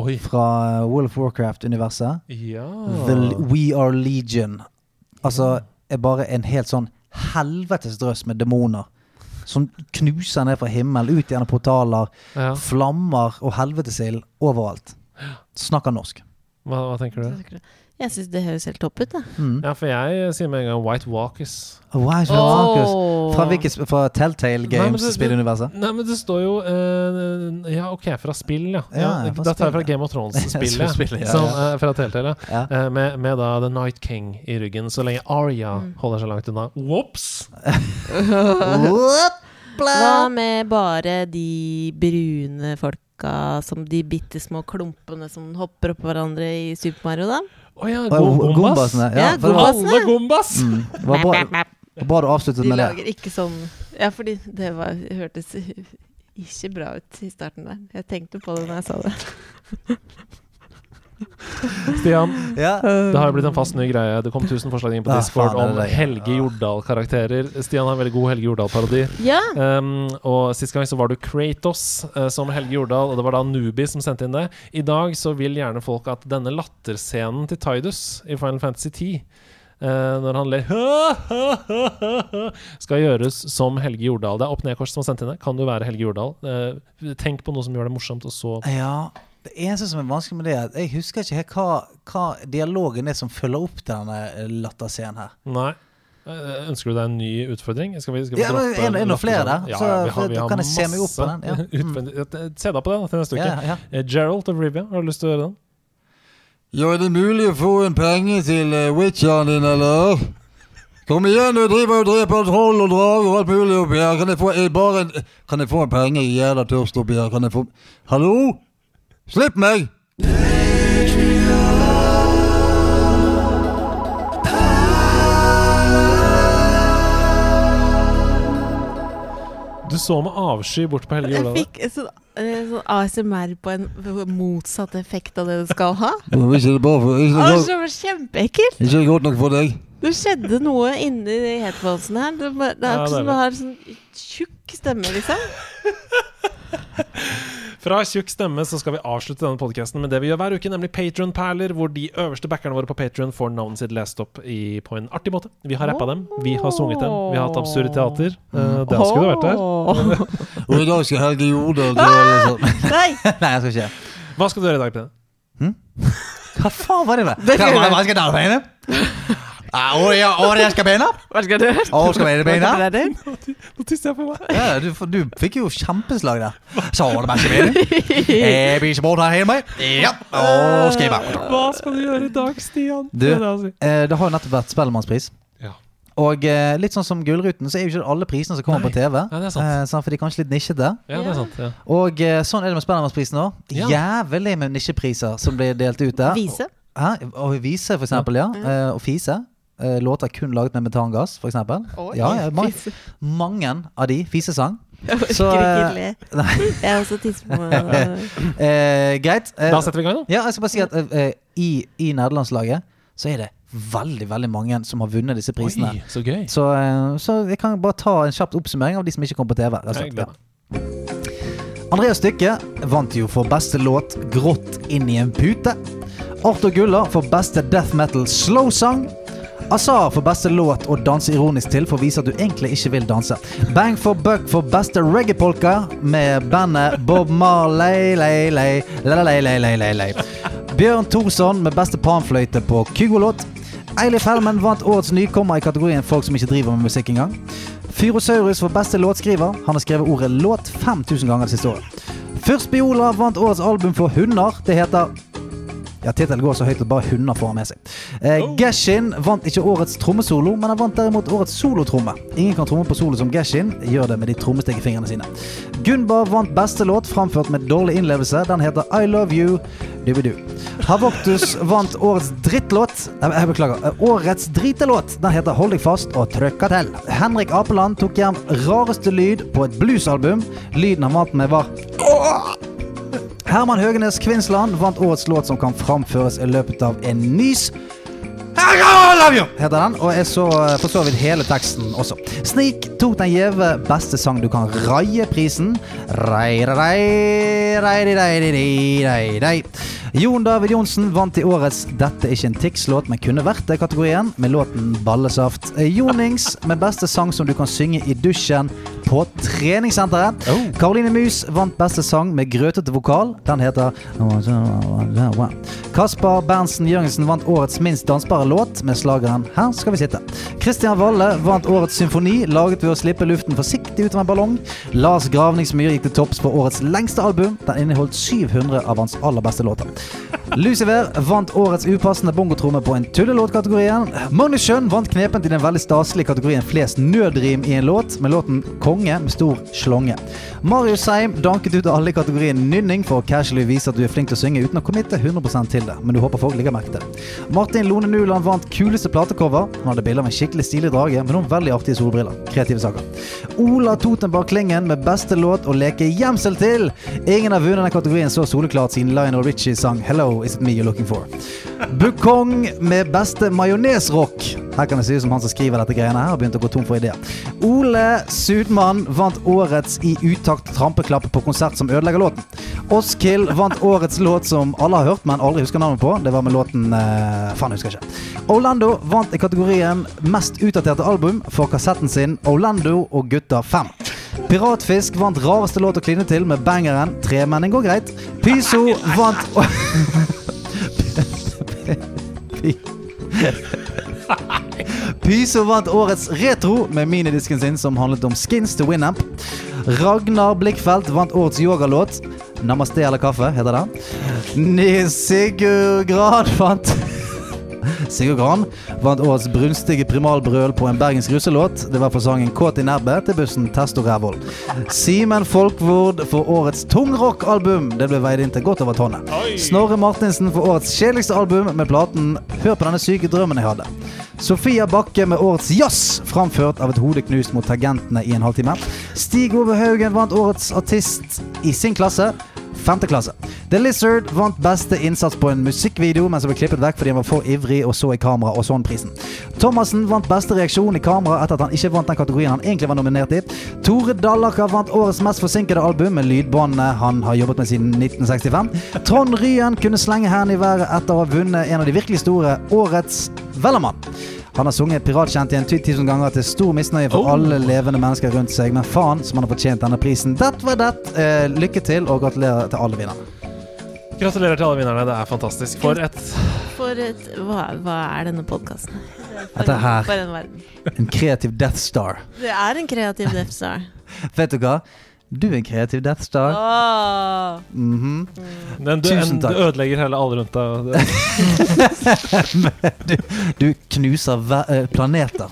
Oi. fra World of Warcraft-universet. Ja. The, we are legion. Altså er bare en helt sånn helvetes drøss med demoner. Som knuser ned fra himmelen, ut gjennom portaler. ja. Flammer og helvetesild overalt. Snakker norsk. Hva, hva tenker du? Jeg syns det høres helt topp ut, da. Mm. Ja, for jeg sier med en gang White Walkers. Wow, så Markus. Fra, hvilket, sp- fra Nei, Telltale men det- det- Games-spilluniverset? Nei, men det står jo eh, Ja, OK, fra spill, ja. ja, Ja, ja, fra da tar jeg fra spill, ja. Game of <laughs> Thrones-spillet. Fra spillet, ja, Som, ja. eh, fra Telltale, ja. Ja. Eh, med, med da The Night King i ryggen, så lenge Aria holder seg langt unna. Ops! Whoop, Hva bla. med bare de brune folka som de bitte små klumpene som hopper oppå hverandre i Super Mario, da? Å ja, Og go gombas. Gombasene. Ja, Ja, for det var, Gombasene. Alle gombas! mm, det var bra, det var bra du avsluttet De med det. lager ikke sånn Ja, fordi det var, hørtes ikke bra ut i starten der. Jeg tenkte på det når jeg sa det. Mm. Stian, Ja. Det har jo blitt en fast ny greie. Det kom 1000 forslag inn på Ah, Discord faen, om det er det. Helge Jordal-karakterer. Stian har en veldig god Helge Jordal-parodi. Ja! Um, og Sist gang så var du Kratos eh, som Helge Jordal, og det var da Nubi som sendte inn det. I dag så vil gjerne folk at denne latterscenen til Tidus i Final Fantasy 10 eh, når han ler Skal gjøres som Helge Jordal. Det er Opp Ned-kors som har sendt inn det. Kan du være Helge Jordal? Eh, tenk på noe som gjør det morsomt, og så Ja, det eneste som er vanskelig med det, er at jeg husker ikke helt hva, hva dialogen er som følger opp denne latterscenen her. Nei. Eh, Ønsker du deg en ny utfordring? Skal vi, skal vi Ja, men droppe sånn? er det- er det noen flere der? Ja, Så- ja, vi for har, vi da har kan jeg se meg opp på masse den, ja. Mm. utfordring- Se deg på den da, til neste uke. Ja, ja. Eh, Gerald of Rivia, har du lyst til å gjøre den? Gjør det mulig å få en penge til eh, witcheren din, eller? Kom igjen, du driver og dreper troll og drager og alt mulig oppi her. Kan jeg få en, bare en Kan jeg få en penge? Jeg er jævla tørst oppi her. Kan jeg få Hallo? Slipp meg! Du så med avsky bort på Helge Jeg Jordal. fikk sånn, eh, sånn ASMR på en motsatt effekt av det det skal ha. Det var Ikke bra for ikke, sånn- Altså, godt- det var kjempeekkelt! ikke godt nok for deg. Det skjedde noe inni de headphonesene her. Det, var- det er Ja, akkurat det er som du har sånn tjukk stemme, liksom. Fra tjukk stemme så skal vi avslutte denne podkasten med det vi gjør hver uke, nemlig Patron-perler, hvor de øverste backerne våre på Patron får navnet sitt lest opp i, på en artig måte. Vi har rappa dem, vi har sunget dem, vi har hatt absurd teater. Mm. Eh, det skulle det vært der. Åh. Og i dag skal Helge Jordal til å liksom Nei! Ah! <laughs> Nei, jeg skal ikke. Hva skal du gjøre i dag, Peder? Hva faen var det med? Hva var det? Hva skal dere mene? Å, ja, å, det skal mene? Hva skal du gjøre? Å, skal mene mene? Hva skal Nå tisser jeg på meg. Ja, du, du fikk jo kjempeslag der. Så var det bare skal mene? Jeg blir ikke borte her hjemme. Ja, å, skal jeg bare. Hva skal du gjøre i dag, Stian? Du, Det er det han sier. Eh, Det har jo nettopp vært Spellemannspris. Ja. Og eh, litt sånn som Gullruten, så er jo ikke alle prisene som kommer Nei. på TV. Ja, det er sant. Eh, sant, for de er kanskje litt nisjete. Ja, det er sant. Ja. Og eh, sånn er det med Spellemannsprisen òg. Ja. Jævlig med nisjepriser som blir delt ut der. Vise. Hæ? Og Vise, for eksempel. Ja. Eh, Og Fise. Eh, Låter kun laget med metangass, for eksempel. Oi, Ja, ja, ma- fise. mange av de. Fisesang. Jeg orker Så, ikke eh, le. Nei, Jeg er også tisser på meg. eh, greit. Eh, Da setter vi i gang, da. ja, jeg skal bare si at eh, eh, i, i nederlandslaget så er det veldig, veldig mange som har vunnet disse prisene. Oi, så gøy. Så, eh, så jeg kan bare ta en kjapp oppsummering av de som ikke kom på TV. rett og Jeg slett. gleder meg. Andreas Stykke vant jo for beste låt 'Grått inn i en pute'. Arthur Gulla for beste death metal slow sang. Azar for beste låt å danse ironisk til for å vise at du egentlig ikke vil danse. Bang for buck for beste reggae-polka med bandet Bob Marley lei, lei, la, la, lei, lei, lei, lei, lei. Bjørn Thorsson med beste panfløyte på Kygo-låt. Eilif Hellman vant årets nykommer i kategorien folk som ikke driver med musikk engang. Fyrosaurus for beste låtskriver. Han har skrevet ordet låt 5000 ganger det siste året. Fyrstbiola vant årets album for hunder. Det heter ja, tittelen går så høyt at bare hunder får den med seg. Eh, Geshin vant ikke årets trommesolo, men han vant derimot årets solotromme. Ingen kan tromme på solo som Geshin, gjør det med de trommestikkefingrene sine. Gunbar vant beste låt framført med dårlig innlevelse. Den heter I Love You Dubidu. Havoktus vant årets drittlåt Nei, jeg beklager. eh, Årets dritelåt. Den heter Hold deg fast og trøkka til. Henrik Apeland tok hjem rareste lyd på et bluesalbum. Lyden han vant med, var Herman Høgenes Kvinnsland vant årets låt som kan framføres i løpet av en nys. I love you! heter den, og jeg så eh, for så vidt hele teksten også. Snik tok den gjeve beste sang du kan raie-prisen. Rei, rei, rei, rei, rei, rei, rei, rei. Jon David Johnsen vant i årets 'Dette er ikke en Tix-låt, men kunne vært det'-kategorien med låten 'Ballesaft'. Eh, Jonings med beste sang som du kan synge i dusjen på treningssenteret. Karoline Mus vant beste sang med grøtete vokal. Den heter Kaspar Berntsen Jørgensen vant årets minst dansbare låt med slageren 'Her skal vi sitte'. Christian Valle vant årets symfoni, laget ved å slippe luften forsiktig ut av en ballong. Lars Gravningsmyr gikk til topps på årets lengste album. Den inneholdt 700 av hans aller beste låter. Lucifer vant årets upassende bongotromme på en tullelåtkategorien. Magnus Schjønn vant knepent i den veldig staselige kategorien flest nødrim i en låt, med låten 'Konge' med stor slonge. Marius Seim danket ut av alle i kategorien nynning for å casually vise at du er flink til å synge uten å committe 100 til det, men du håper folk legger merke til det. Martin Lone Nuland vant kuleste platecover. Hun hadde bilder av en skikkelig stilig drage med noen veldig artige solbriller. Kreative saker. Ola Totenberg Klingen med beste låt å leke gjemsel til. Ingen har vunnet den kategorien så soleklart siden Lionel Richie sang 'Hello, is it me you're looking for'. Bukong med beste majonesrock. Her kan det se ut som han som skriver dette greiene her, har begynt å gå tom for ideer. Ole Sudmann vant årets I utakt trampeklapp på konsert som ødelegger låten. Oskild vant årets låt som alle har hørt, men aldri husker navnet på. Det var med låten eh, Faen, jeg husker ikke. Orlando vant i kategorien Mest utdaterte album for kassetten sin Orlando og Gutta 5. Piratfisk vant rareste låt å kline til med bangeren Tremenning går greit. Pyso vant Pyso vant årets retro med minidisken sin som handlet om skins til Winamp. Ragnar Blikkfeldt vant årets yogalåt. Namaste eller kaffe, heter den. Ni- Sigurd Gran vant Sigurd Gran vant årets brunstige primalbrøl på en bergensk russelåt. Det var for sangen 'Kåt i nebbet' til bussen Testo Rævhold. Simen Folkvord for årets tungrockalbum. Det ble veid inn til godt over tonnet. Snorre Martinsen for årets kjedeligste album med platen 'Hør på denne syke drømmen jeg hadde'. Sofia Bakke med årets jazz, framført av et hode knust mot tangentene i en halvtime. Stig Ove Haugen vant årets artist i sin klasse. Femte klasse. The Lizard vant beste innsats på en musikkvideo, men som ble klippet vekk fordi han var for ivrig og så i kamera og sånn prisen. Thomassen vant beste reaksjon i kamera etter at han ikke vant den kategorien han egentlig var nominert i. Tore Dallaker vant årets mest forsinkede album med lydbåndene han har jobbet med siden 1965. Trond Ryen kunne slenge hendene i været etter å ha vunnet en av de virkelig store Årets Vellemann. Han har sunget Piratkjent igjen 10 000 ganger til stor misnøye for alle levende mennesker rundt seg, men faen som han har fortjent denne prisen. Det var det. Eh, lykke til, og gratulerer til alle vinnerne. Gratulerer til alle vinnerne. Det er fantastisk. For et For et, hva, hva er denne podkasten? Dette her. For en verden. En kreativ Death Star. Det er en kreativ Death Star. Vet du hva? Du er en kreativ Death Star. Åh. Mhm. den, du, Tusen en, du takk. ødelegger hele alle rundt deg. og det- Du knuser ve- eh, planeter.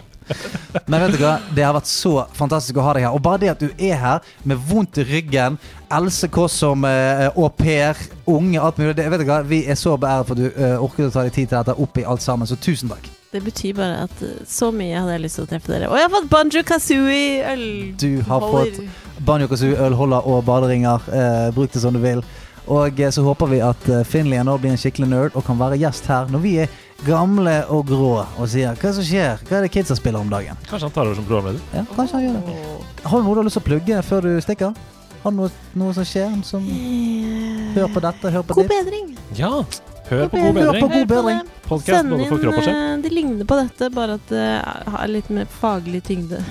Men vet du hva? det har vært så fantastisk å ha deg her. Og bare det at du er her med vondt i ryggen, Else Kåss som eh, au pair, unge, alt mulig det, vet du hva? Vi er så beæret for at du eh, orket å ta deg tid til dette opp i alt sammen, så tusen takk. Det betyr bare at eh, så mye hadde jeg lyst til å treffe dere. Og jeg har fått Banjo Kazooie øl... Du har fått Banjo Kazoo, ølholder og baderinger. Eh, bruk det som du vil. Og eh, så håper vi at eh, Finley nå blir en skikkelig nerd og kan være gjest her når vi er gamle og grå og sier 'hva som skjer', hva er det kidsa spiller om dagen? Kanskje han tar over som programleder. Ja, kanskje han gjør det. Har du noe du har lyst til å plugge før du stikker? Eh, Har du noe, noe som skjer som Hør på dette, hør på God ditt. bedring! Ja. Hør på God Hør på bedring. God bedring. Podkast Send både for kropp og inn sjel. eh, Det ligner på dette, bare at det er- har litt mer faglig tyngde.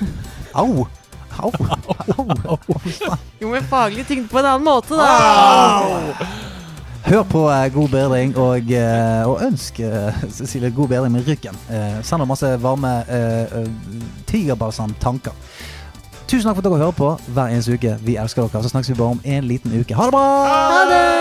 Au! Au! Au! Jo, men faglig tyngde på en annen måte, da! Hør på eh, God bedring, og, eh, og ønsk eh, Cecilie god bedring med ryggen. Eh, Send henne masse varme eh, eh, tigerbalsam-tanker. Tusen takk for at dere hører på hver eneste uke. Vi elsker dere. Så snakkes vi bare om en liten uke. Ha det bra! Ha det!